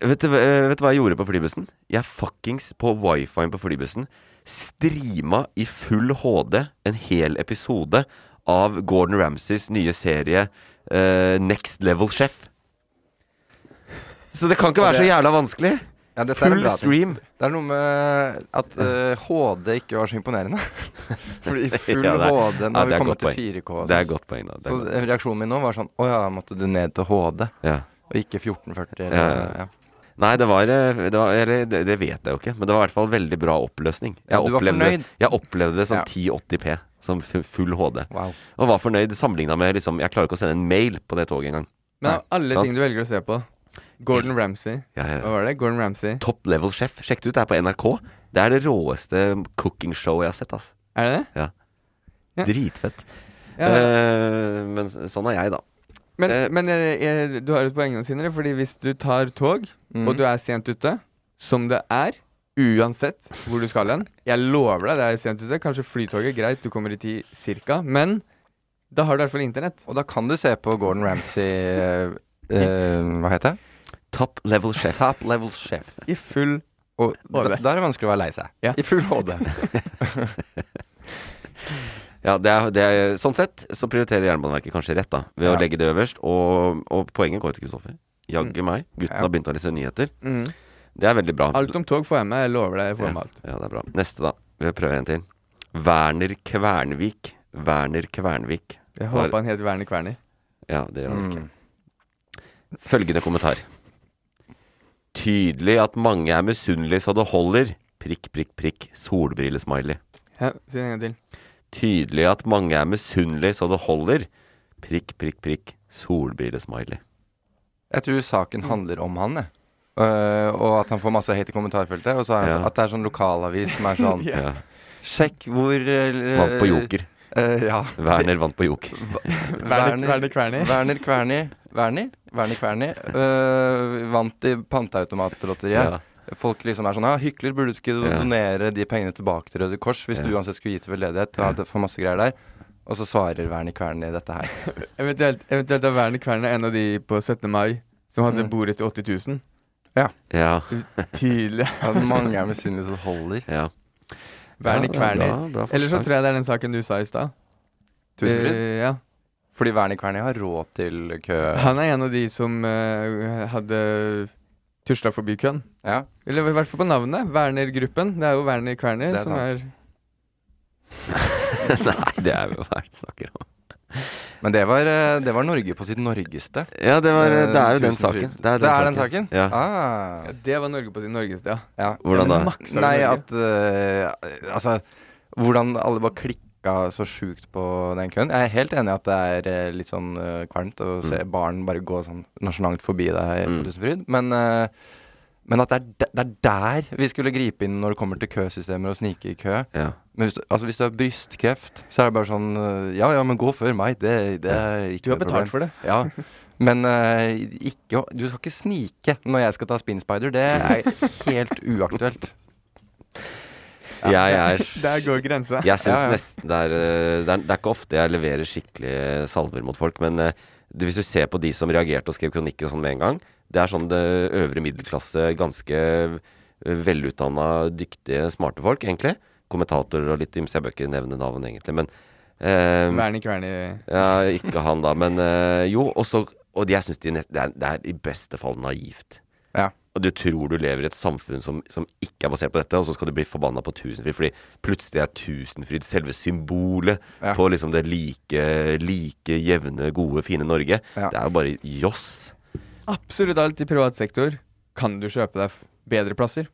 C: Vet du, hva- eh, vet du hva jeg gjorde på flybussen? Jeg fuckings på wifien på flybussen streama i full HD en hel episode av Gordon Ramsays nye serie eh, Next Level Chef. Så det kan ikke være så jævla vanskelig.
E: Ja, dette er en
C: full
E: bra ting.
C: stream.
E: Det er noe med at eh, HD ikke var så imponerende. Fordi i full
C: Ja, det er-
E: HD
C: ja,
E: Når
C: det
E: vi
C: er
E: kommer
C: godt
E: til
C: poeng.
E: 4K og
C: Det er
E: sånn.
C: godt poeng, da. Det er
E: Så
C: godt
E: eh, reaksjonen min nå var sånn Å ja, måtte du ned til HD?
C: Ja.
E: Og ikke 1440?
C: Ja,
E: Eller,
C: ja.
E: ja.
C: Nei, det var, eh, det, var eller, det, det vet jeg jo ikke, men det var i hvert fall veldig bra oppløsning. Jeg,
E: Ja, du var
C: opplevde,
E: fornøyd?
C: jeg opplevde det som
E: Ja.
C: 1080P, som fu- full HD.
E: Wow.
C: Og var fornøyd sammenligna med liksom, Jeg klarer ikke å sende en mail på det toget engang.
D: Men av alle
C: Sant?
D: ting du velger å se på Gordon Ramsay.
C: Ja, ja, ja.
D: Hva var det? Gordon Ramsay.
C: Top Level Chef. Sjekk det ut, det er på NRK. Det er det råeste cookingshowet jeg har sett. Ass.
D: Er det det?
C: Ja.
D: Ja.
C: Dritfett.
D: Ja.
C: Eh, men s- sånn er jeg, da.
D: Men, men eh, eh, du har et poeng, Sindre. Fordi hvis du tar tog,
E: Mhm.
D: og du er sent ute, som det er, uansett hvor du skal hen Jeg lover deg, det er sent ute. Kanskje flytoget, greit, du kommer i tid cirka. Men da har du i hvert fall internett.
E: Og da kan du se på Gordon Ramsay eh, eh, Hva heter det?
C: Top Level Chef.
E: Top Level Chef.
D: I full
E: Og
D: HD.
E: da, da er det vanskelig å være lei seg.
D: Ja.
E: I full HD.
C: Ja, det er, det er, sånn sett så prioriterer Jernbaneverket kanskje rett, da. Ved
E: Ja.
C: å legge det øverst. Og, og poenget går til Kristoffer. Jaggu meg. Gutten
E: Ja.
C: har begynt å lese nyheter.
E: Mm.
D: Mhm.
C: Det er veldig bra.
D: Alt om tog får jeg med. Jeg lover deg, jeg får
C: ja.
D: med alt.
C: Ja, det er bra. Neste, da. Vi prøver en til. Werner Kvernvik. Werner Kvernvik.
D: Jeg
C: Var-
D: håper han heter Werner Kverner.
C: Ja, det gjør han ikke.
E: Mm.
C: Følgende kommentar. Tydelig at mange er misunnelige så det holder. Prikk, prikk, prikk. Solbrillesmiley.
D: Ja, si det en gang til.
C: Tydelig at mange er misunnelige så det holder. Prikk, prikk, prikk. Solbrillesmiley.
E: Jeg tror saken handler om han, jeg. Eh, og at han får masse hate i kommentarfeltet. Og så er han
C: Ja.
E: sånn- at det er sånn lokalavis som er sånn
C: Ja.
E: Sjekk hvor eh,
C: Vant på joker.
E: eh, ja.
C: Werner vant på joker.
D: Werner, Werner Kverner.
E: Werner Kverni Werni? Werner Kverni eh, vant i panteautomatlotteriet.
C: Ja.
E: Folk liksom er sånn Ja, hykler, burde du ikke
C: Ja.
E: donere de pengene tilbake til Røde Kors hvis du
C: Ja.
E: uansett skulle gi til veldedighet? Og hadde for masse greier der. Og så svarer Werner Kverni dette her.
D: Eventuelt, eventuelt er Werner Kverner en av de på 17. mai som hadde
E: Mm.
D: bordet til 80 000.
E: Ja.
D: Tidlig.
E: Ja, mange er misunnelige som holder.
C: Ja.
D: Vern i
E: Ja, det er bra-
D: kverner.
E: bra
D: Eller så
E: forslag.
D: tror jeg det er den saken du sa i stad.
E: Tusenfryd?
D: Eh, ja.
E: Fordi Wernicke-Wernie har råd til kø.
D: Han er en av de som eh, hadde tusla forbi køen.
E: Ja.
D: Eller i hvert fall på navnet. Werner-gruppen. Det er jo Werner Kverner
E: Det er
D: som
E: sant.
C: Nei, det er jo hva er det du snakker om?
E: Men det var, eh, det var Norge på sitt norgeste.
C: Ja, det, var,
E: Eh,
C: det er jo den
E: Tusenfryd.
C: saken.
E: Det er den saken?
C: Ja.
E: Ah.
D: er Det var Norge på sin norgeste, ja.
E: Ja.
C: Hvordan da?
D: Maksa
E: Nei,
D: Norge.
E: at eh, Altså, hvordan alle bare klikka så sjukt på den køen. Jeg er helt enig i at det er eh, litt sånn eh, kvalmt å se barn bare gå sånn nasjonalt forbi deg
C: Mm.
E: på Tusenfryd, men eh, men at det er, de, det er der vi skulle gripe inn når det kommer til køsystemer og snike i kø.
C: Ja.
E: Men hvis du, altså hvis du har brystkreft, så er det bare sånn eh, Ja ja, men gå før meg. Det, det er ikke
D: Du har
E: noe problem.
D: betalt for det.
E: Ja, men eh, ikke, å- du skal ikke snike når jeg skal ta spinspider. Det er helt uaktuelt.
C: Jeg er
D: Der går grensa.
C: Jeg syns
E: Ja, ja.
C: nesten det er, eh, det er Det er ikke ofte jeg leverer skikkelig salver mot folk, men eh, du- hvis du ser på de som reagerte og skrev kronikker og sånn med en gang, det er sånn det øvre middelklasse, ganske eh, velutdanna, dyktige, smarte folk, egentlig. Kommentatorer og litt ymse. Jeg bør ikke nevne navn, egentlig, men eh,
D: Werner Kverner.
C: ja, Ikke han, da, men eh, jo. Og så Og jeg syns de, nett- det, er- det er i beste fall naivt.
E: Ja.
C: Og du tror du lever i et samfunn som, som ikke er basert på dette, og så skal du bli forbanna på Tusenfryd, fordi plutselig er Tusenfryd selve symbolet
E: Ja.
C: på liksom det like, like jevne, gode, fine Norge.
E: Ja.
C: Det er jo bare joss.
D: Absolutt alt i privat sektor kan du kjøpe deg f- bedre plasser.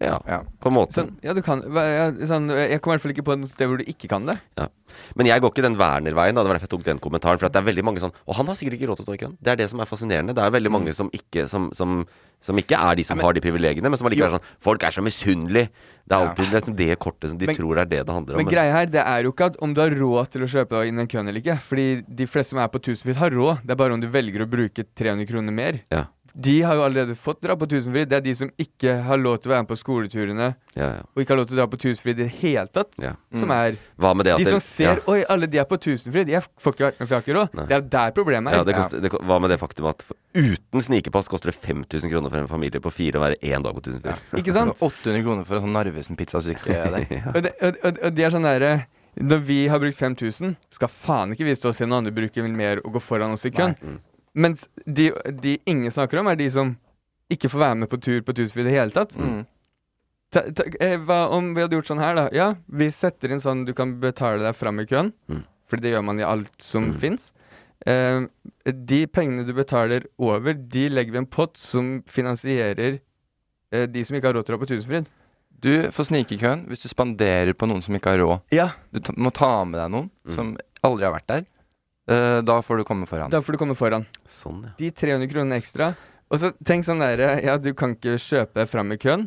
C: Ja,
E: Ja.
C: på en måte.
D: Sånn, ja, du kan hva- ja, sånn, Jeg kommer i hvert fall ikke på noe sted hvor du ikke kan det.
C: Ja. Men jeg går ikke den Werner-veien, da. Det var derfor jeg tok den kommentaren. For at det er veldig mange sånn Og han har sikkert ikke råd til å stå i køen. Det er det som er fascinerende. Det er veldig
D: Mm.
C: mange som ikke, som, som, som ikke er de som har de privilegiene, men som allikevel er sånn Folk er så misunnelige. Det er alltid liksom det kortet som de
D: Men-
C: tror er det det handler om.
D: Men greia her, det er jo ikke at om du har råd til å kjøpe deg inn i en køen eller ikke. Fordi de fleste som er på Tusenfryd, har råd. Det er bare om du velger å bruke 300 kroner mer.
C: Ja.
D: De har jo allerede fått dra på Tusenfryd. Det er de som ikke har lov til å være med på skoleturene,
C: Ja, ja.
D: og ikke har lov til å dra på Tusenfryd i det hele tatt,
C: Ja. Mm.
D: som er
C: Hva med det at
D: De som
C: det- ja.
D: ser Oi, alle de er på Tusenfryd. Jeg får ikke vært med, for jeg har ikke råd.
C: Nei.
D: Det er jo der problemet er.
C: Ja, det koster, det, ko- hva med det faktum at for, uten snikepass koster det 5000 kroner for en familie på fire å være én dag på Tusenfryd?
D: Ikke sant?
E: 800 kroner for en sånn Narvesen-pizzastykke der.
D: Og det, og, og, og det er sånn derre Når vi har brukt 5000, skal faen ikke vi stå og se noen andre bruke mer og gå foran oss i køen.
C: mm.
D: Mens de, de ingen snakker om, er de som ikke får være med på tur på Tusenfryd i det hele tatt. Ta, ta, eh, hva om vi hadde gjort sånn her, da? Ja, vi setter inn sånn du kan betale deg fram i køen.
C: Mm.
D: Fordi det gjør man i alt som fins. Eh, de pengene du betaler over, de legger vi i en pott som finansierer eh, de som ikke har råd til å dra på Tusenfryd.
E: Du får snike i køen hvis du spanderer på noen som ikke har råd.
D: Ja,
E: Du ta, må ta med deg noen
C: Mm.
E: som aldri har vært der. Eh, da får du komme foran.
D: Da får du komme foran.
C: Sånn, ja.
D: De 300 kronene ekstra. Og så tenk sånn derre Ja, du kan ikke kjøpe deg fram i køen.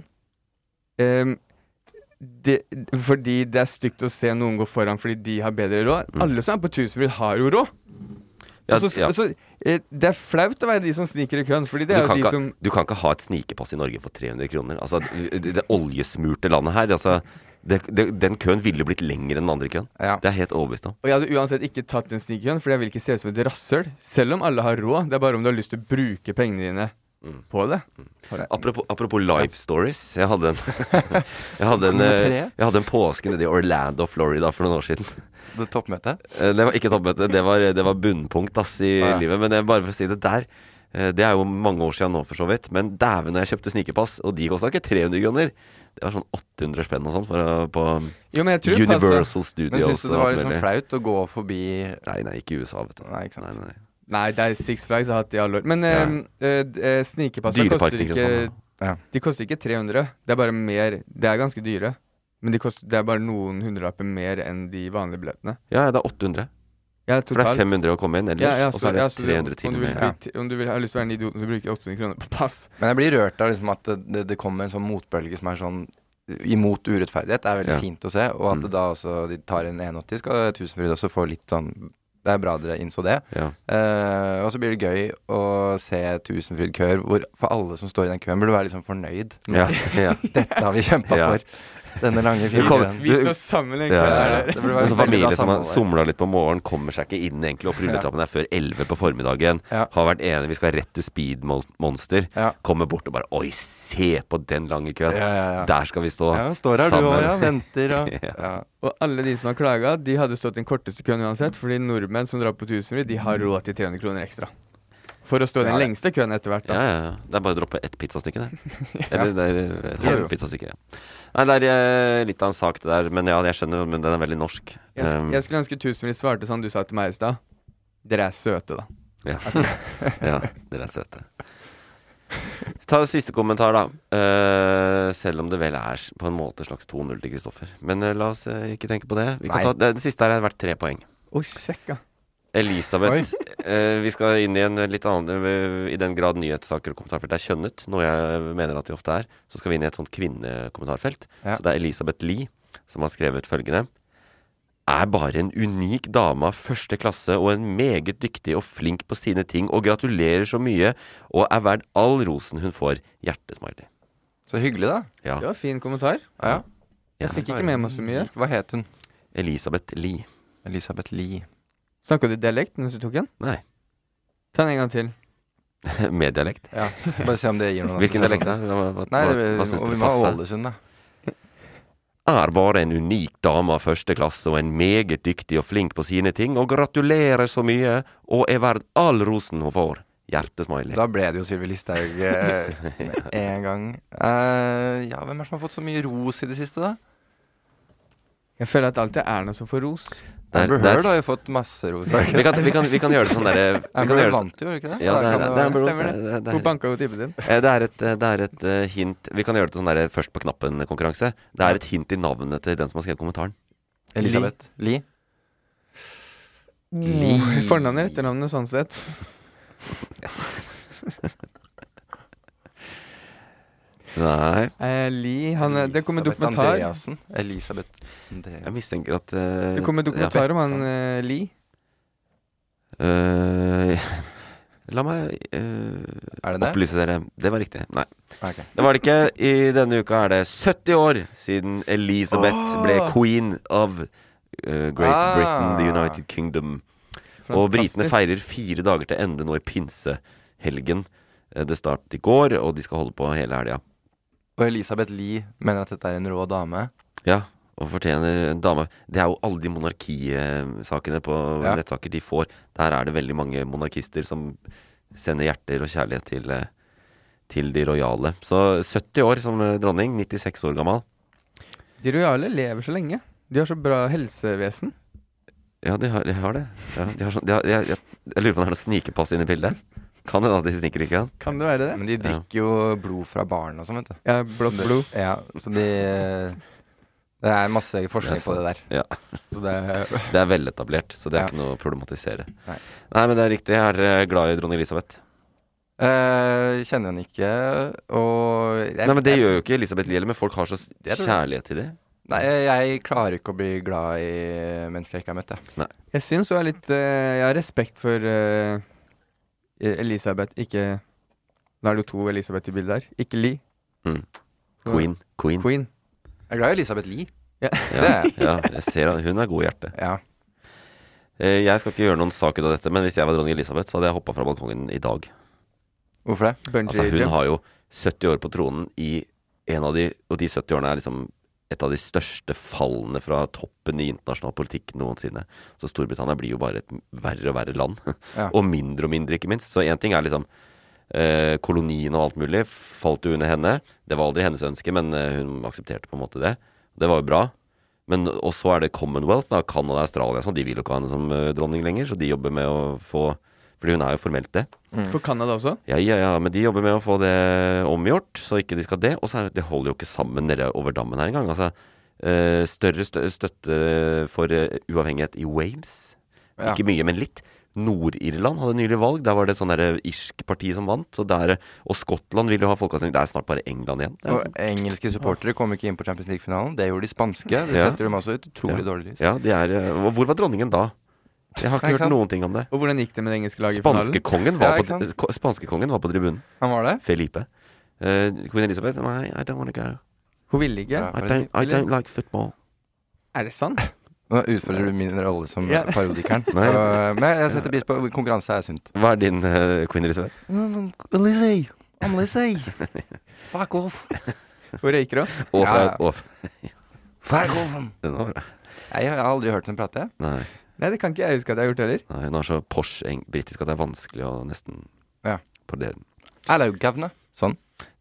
D: Ehm, det, fordi det er stygt å se noen gå foran fordi de har bedre råd.
C: Mm.
D: Alle som er på Tusenfryd, har jo råd.
C: Ja,
D: Og så-
C: ja.
D: og så, eh, det er flaut å være de som sniker i køen, fordi det
C: Du
D: er jo
C: kan,
D: de
C: ikke,
D: som
C: du kan ikke ha et snikepass i Norge for 300 kroner. Altså, det, det oljesmurte landet her altså, det, det, Den køen ville blitt lengre enn den andre køen.
E: Ja.
C: Det er jeg helt overbevist om.
D: Og jeg hadde uansett ikke tatt en snik i køen, fordi jeg vil ikke se ut som et rasshøl. Selv om alle har råd. Det er bare om du har lyst til å bruke pengene dine
C: Mm.
D: på det.
C: Apropos, apropos life stories. Jeg hadde en, jeg hadde en,
E: Nummer
C: eh,
E: tre?
C: jeg hadde en påske nede i Orlando, Florida for noen år siden.
E: Det toppmøtet.
C: Eh, Det var ikke toppmøte, det var, det var bunnpunkt ass, i
E: Ja.
C: livet. Men jeg bare for å si det der eh, Det er jo mange år siden nå, for så vidt. Men dæven, jeg kjøpte snikepass, og de kosta ikke 300 kroner. Det var sånn 800 spenn og sånn for å- på
D: Jo, men jeg tror altså, det passer.
C: Universal Studios.
E: Men syns du
C: og
E: det
C: alt
E: var
D: sånn
E: liksom
C: mulig.
E: flaut å gå forbi
C: Nei, nei, ikke i USA, vet du.
E: Nei, ikke sant.
C: Nei, nei.
D: Nei, det er Six Flags jeg har hatt i alle år. Men ehm, eh, ja. snikepasser
C: Dyreparken,
D: koster ikke
C: ikke sånn, sant?
E: Ja.
D: De koster ikke 300. Det er bare mer Det er ganske dyre. Men de koster, det er bare noen hundrelapper mer enn de vanlige billettene.
C: Ja, ja, det er 800.
D: Ja,
C: For det
D: totalt.
C: er 500 å komme inn ellers,
D: Ja, ja,
C: og så er det
D: ja, så du-
C: 300 til
D: om du
C: med.
D: vil
C: Ja.
D: bli- Om du vil, har lyst til å være den idioten som bruker 800 kroner på pass.
E: Men jeg blir rørt av liksom at det- det, det kommer en sånn motbølge som er sånn imot urettferdighet. Det er
C: Ja.
E: veldig fint å se. Og at
C: Mm.
E: da også de tar en 180, skal Tusenfryd også få litt sånn Det er bra dere innså det.
C: Ja.
E: Eh, og så blir det gøy å se Tusenfryd-køer hvor for alle som står i den køen, burde være liksom fornøyd.
C: Ja, ja.
E: Dette har vi kjempa
C: Ja.
E: for. Denne lange
C: Du kommer-
E: fingeren.
C: du- Ja, ja, ja.
E: Det burde være
C: Og så
E: veldig bra
C: familie som har
E: samarbeid.
C: somla litt på morgenen, kommer seg ikke inn egentlig opp rulletrappen der før 11 på formiddagen. Har vært enige, vi skal rett til Speed Mon- Monster. Kommer bort og bare Oi, se på den lange køen!
D: Ja, ja, ja.
C: Der skal vi stå
D: Ja,
E: står her du
C: sammen.
E: også, ja, venter og-
C: ja.
D: Og alle de som har klaga, de hadde stått den korteste køen uansett, fordi nordmenn som drar på tusenfryd, de har råd til 300 kroner ekstra. For å stå i den
C: Ja, ja.
D: lengste køen etter hvert, da.
C: Ja, ja, ja. Det er bare å droppe ett pizzastykke, det.
D: Ja.
C: Eller det er eh, et
D: Ja,
C: halvt
D: jo.
C: pizzastykke. Ja. Nei, det er eh, litt av en sak, det der. Men ja, jeg skjønner, men den er veldig norsk.
D: Jeg, sk-
C: Um,
D: jeg skulle ønske tusenfryd svarte sånn du sa til meg i stad. Dere er søte, da.
C: Ja. ja, dere er søte. Ta siste kommentar, da. Eh, selv om det vel er på en måte slags 2-0 til Kristoffer. Men eh, la oss eh, ikke tenke på det. Vi kan
D: Nei.
C: ta, den siste her har vært tre poeng.
D: Oi, sjekk, ja.
C: Elisabeth, eh, vi skal inn i en litt annen eh, I den grad nyhetssaker og kommentarfelt er kjønnet, noe jeg mener at de ofte er, så skal vi inn i et sånt kvinnekommentarfelt.
D: Ja.
C: Så det er Elisabeth Lie som har skrevet følgende. Er bare en unik dame av første klasse og en meget dyktig og flink på sine ting, og gratulerer så mye, og er verd all rosen hun får. Hjertesmiley.
E: Så hyggelig, da.
C: Ja.
D: Det var fin kommentar.
E: Ja.
C: Ja,
D: Jeg fikk
C: bare-
D: ikke med meg så mye.
E: Hva het hun?
C: Elisabeth Lie.
E: Elisabeth Lie.
D: Snakka du dialekt mens du tok den?
C: Nei.
D: Ta den en gang til.
C: Med dialekt.
E: Ja, Bare se om det gir noen
C: Hvilken dialekt, da?
E: assosiasjoner.
C: Hva, hva,
E: Nei,
C: hva,
E: det-
C: hva syns
E: og
C: dere
E: vi må ha
C: passer?
E: Ålesund, da.
C: er bare en unik dame av første klasse og en meget dyktig og flink på sine ting, og gratulerer så mye, og er verd all rosen hun får. Hjertesmiley.
E: Da ble det jo Sylvi Listhaug eh, med en gang. Eh, ja, hvem er det som har fått så mye ros i det siste, da?
D: Jeg føler at det alltid er noe som får ros.
C: Det er-
E: Amber
C: det er-
E: Heard har jo fått masse ros. har ikke
C: Vi kan,
E: det?
C: vi, kan, vi kan gjøre det sånn derre vi kan
E: Amber
C: gjøre
E: Heard
C: det-
E: vant jo, ikke det?
C: Ja, det
E: Da
C: er,
E: kan
C: det er
E: være-
C: Amber Heard.
E: stemmer det.
C: Det er- det er-
D: Hun banka jo typen din.
C: Eh, Det er et, eh, det er et eh, hint Vi kan gjøre det sånn derre først på knappen-konkurranse. Det er et hint i navnet til den som har skrevet kommentaren.
E: Elisabeth Lie.
D: Li. Fornavnet og etternavnet sånn sett.
C: Nei.
D: Eh, Li han, eh, Det kommer
E: Elisabeth
D: dokumentar
E: Andreassen. Elisabeth Andreassen.
C: Jeg mistenker at eh,
D: Det kommer
C: ja.
D: dokumentar om han eh, Li.
C: Eh, La meg eh,
E: Er det det?
C: opplyse dere. Det var riktig. Nei.
E: Ok.
C: Det var det ikke. I denne uka er det 70 år siden Elizabeth ble queen of eh, Great
E: Ah.
C: Britain, the United Kingdom. Og britene feirer fire dager til ende nå i pinsehelgen. Eh, Det startet i går, og de skal holde på hele helga.
E: Og Elisabeth Lie mener at dette er en rå dame.
C: Ja, og fortjener en dame. Det er jo alle de monarkisakene på
E: Ja.
C: nettsaker de får. Der er det veldig mange monarkister som sender hjerter og kjærlighet til, eh, til de rojale. Så 70 år som eh, dronning, 96 år gammel.
D: De rojale lever så lenge. De har så bra helsevesen.
C: Ja, de har, de har det. Ja, de har sånn, de har, jeg, jeg, jeg lurer på om det er noe snikepass inn i bildet. Kan hende at de sniker ikke an.
D: Kan det være det?
E: Men de drikker jo blod fra barn og sånn, vet du.
D: Ja, Blått blod.
E: Ja, så de Det er masse forskning på det der.
C: Ja.
E: Så det
C: Det er veletablert, så det er
E: Ja.
C: ikke noe å problematisere.
E: Nei.
C: Nei, men det er riktig. Jeg er eh, glad i dronning Elisabeth.
E: Eh, kjenner henne ikke, og jeg,
C: Nei, men Det
E: jeg,
C: gjør jo ikke Elisabeth Lie heller, men folk har så s- kjærlighet til det.
E: Nei, jeg klarer ikke å bli glad i mennesker jeg ikke har møtt, jeg.
D: Jeg syns hun er litt eh, Jeg har respekt for eh, Elisabeth, ikke Nå er det jo to Elisabeth i bildet her. Ikke Li.
C: Mm. Queen. Queen.
D: Queen.
E: Jeg er glad i Elisabeth Lie.
C: Ja, ja, jeg ser at Hun er god i hjertet.
E: Ja.
C: Eh, Jeg skal ikke gjøre noen sak ut av dette, men hvis jeg var dronning Elisabeth, så hadde jeg hoppa fra balkongen i dag.
E: Hvorfor det?
D: Bungee
C: Altså, hun
D: jump.
C: har jo 70 år på tronen i en av de Og de 70 årene er liksom et av de største fallene fra toppen i internasjonal politikk noensinne. Så Storbritannia blir jo bare et verre og verre land.
E: Ja.
C: og mindre og mindre, ikke minst. Så én ting er liksom eh, kolonien og alt mulig falt jo under henne. Det var aldri hennes ønske, men eh, hun aksepterte på en måte det. Det var jo bra. Men og så er det Commonwealth, da, Canada, Australia og sånn. De vil jo ikke ha henne som eh, dronning lenger, så de jobber med å få Fordi hun er jo formelt det.
D: For Canada også.
C: Ja, ja, ja, men de jobber med å få det omgjort, så ikke de skal det. Og så er- det holder jo ikke sammen nede over dammen her engang. Altså, eh, større stø støtte for eh, uavhengighet i Wales.
E: Ja.
C: Ikke mye, men litt. Nord-Irland hadde nylig valg. Der var det sånn derre irsk parti som vant. Så der, eh, og Skottland vil jo ha folkeavstemning. Det er snart bare England igjen. Det er
E: Og engelske supportere kom ikke inn på Champions League-finalen. Det gjorde de spanske. Det
C: Ja.
E: setter dem også i et utrolig dårlig lys.
C: Ja, de er eh, og Hvor var dronningen da? Jeg har
E: Nei,
C: ikke
E: ikke
C: hørt
E: sant?
C: noen ting om det.
D: Og hvordan gikk det med det engelske laget i finalen?
C: Spanskekongen
E: Ja,
C: var,
E: ikke sant?
C: på- ko- spanskekongen var på tribunen.
E: Han var det?
C: Felipe. Eh, Queen Elizabeth Nei, I don't wanna go.
D: Hun ville ikke.
C: I don't, I don't like football.
D: Er det sant?
E: Nå utfordrer du min rolle som
D: Ja.
E: parodikeren.
C: Nei.
E: Og- Men jeg setter pris på konkurranse er sunt.
C: Hva er din uh, queen reserve?
E: Mm, Lizzie! I'm Lizzie! Fuck off!
D: Hun røyker òg.
C: Og fra
E: Ja.
C: og,
E: Fuck off!
C: Den var bra.
E: Nei, Jeg har aldri hørt henne prate. jeg.
C: Nei,
D: Nei, det kan ikke jeg huske at jeg har gjort heller.
C: nei, hun er så Porsche-britisk at det er vanskelig å nesten
E: Ja.
C: på det.
E: Allaugavne. Sånn.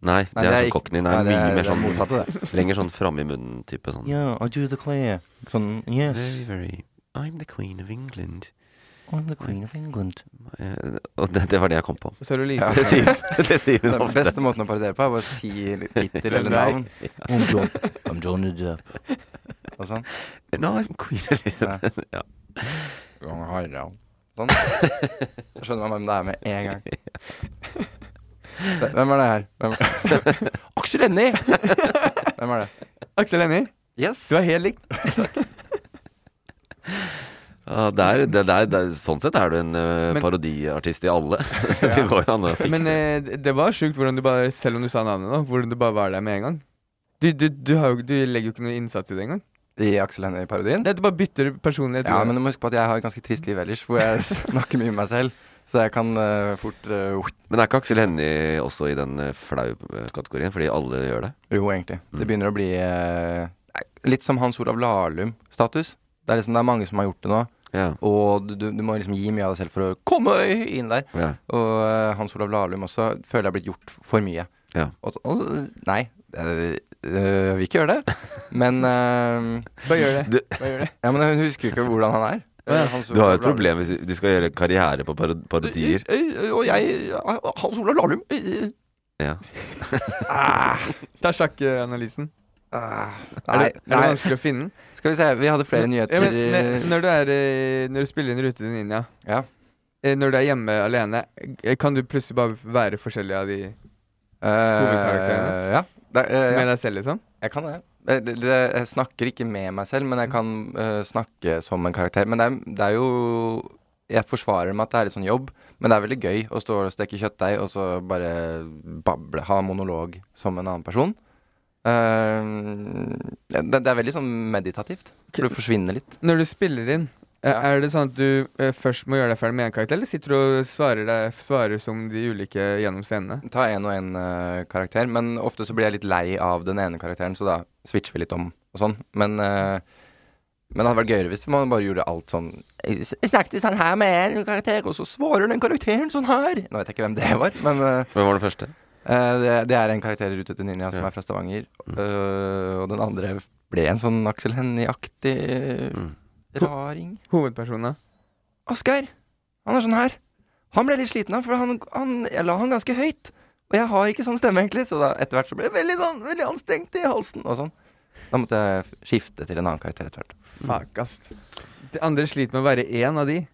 C: Nei, det er,
E: ikke-
C: sånn cockney. Nei,
E: det
C: mye mer
E: er- det er
C: sånn
E: motsatte, det.
C: Lenger sånn framme i munnen-type sånn.
E: Yeah, I do the clear. Sånn, yes.
C: Very, very I'm the queen of England.
E: I'm the queen of England.
C: Eh, Og det, det var det jeg kom på.
D: Og så er det
E: Ja.
D: Lise.
C: Det sier, det sier hun
E: Den
C: ofte.
E: beste måten å parodiere på er bare å si tittel eller
D: Nei.
E: navn. I'm John, I'm Johnny Depp. Og sånn.
C: No, I'm queen Elizabeth. Ja.
E: Sånn. Da skjønner man hvem det er med en gang. Hvem er det her? Hvem Aksel Hennie! Hvem er det?
D: Aksel Hennie,
E: Yes.
D: du er helt lik.
C: Ja, der, det- der, der, sånn sett er du en eh,
D: Men-
C: parodiartist i alle. det går jo an å fikse.
D: Men eh, det- det var sjukt hvordan du bare, selv om du sa navnet nå, hvordan du bare var der med en gang. Du, du, du, har jo, du legger jo ikke noe innsats i det engang.
E: I Aksel Hennie-parodien?
D: Nei, Du bare bytter personlighet.
E: Ja,
D: du.
E: men du må huske på at jeg har et ganske trist liv ellers, hvor jeg snakker mye med meg selv. Så jeg kan eh, fort eh,
C: Men er ikke Aksel Hennie også i den eh, flau eh, kategorien? Fordi alle gjør det.
E: Jo, egentlig.
C: Mm.
E: Det begynner å bli eh, litt som Hans Olav Lahlum-status. Det er liksom, det er mange som har gjort det nå,
C: Ja.
E: og du, du, du må liksom gi mye av deg selv for å komme inn der.
C: ja.
E: Og eh, Hans Olav Lahlum også føler jeg har blitt gjort for mye.
C: Ja.
E: Og, og, nei, øh, øh, vil ikke gjøre det. Men øh,
D: Bare gjør det.
C: Du-
D: Bare gjør det.
E: ja, men hun husker jo ikke hvordan han er. Hans
C: Du har jo
E: Olav
C: et problem hvis du skal gjøre karriere på paro- parodier.
E: Lahlum. Øh, øh, Og jeg Hans Olav Lahlum. øh, øh.
C: Ja.
D: Ta sjakkanalysen. Er,
E: ah. Nei,
D: det- er det
E: nei.
D: vanskelig å finne den?
E: Skal vi se, vi hadde flere
D: Ja,
E: nyheter.
D: men, ne- når, du er, eh, når du spiller inn rutene dine, ja.
E: Ja.
D: Eh, Når du er hjemme alene, eh, kan du plutselig bare være forskjellig av de
E: Øh,
D: hovedkarakterene.
E: ja. Det, øh,
D: med
E: ja.
D: deg selv, liksom?
E: Jeg kan det. Jeg, Eh, det, det. jeg snakker ikke med meg selv, men jeg kan øh, snakke som en karakter. Men det er, det er jo Jeg forsvarer med at det er litt sånn jobb, men det er veldig gøy å stå og steke kjøttdeig og så bare bable, ha monolog som en annen person. Ehm, det, det er veldig sånn meditativt. For du forsvinner litt.
D: Når du spiller inn, eh, er det sånn at du eh, først må gjøre deg ferdig med en karakter, eller sitter du og svarer, deg, svarer som de ulike gjennom scenene?
E: Ta én og én karakter, men ofte så blir jeg litt lei av den ene karakteren, så da switcher vi litt om og sånn. Men, eh, men det hadde vært gøyere hvis man bare gjorde alt sånn Jeg s- jeg snakket sånn her med en karakter, og så svarer den karakteren sånn her. Nå vet jeg ikke hvem det var, men eh,
C: Hvem var den første?
E: eh, det, det er en karakter i Rute til Ninja som
C: Ja. Mm.
E: er fra Stavanger, eh, og den andre ble en sånn Aksel Hennie-aktig eh,
C: Mm.
E: raring.
D: Hovedpersona.
E: Asgeir, han er sånn her. Han ble litt sliten av, for han, han, jeg la han ganske høyt. Og jeg har ikke sånn stemme, egentlig, så da, etter hvert så ble det veldig sånn, veldig anstrengt i halsen og sånn. Da måtte jeg f- skifte til en annen karakter etter hvert.
D: Fuck, ass. De andre sliter med å være én av de.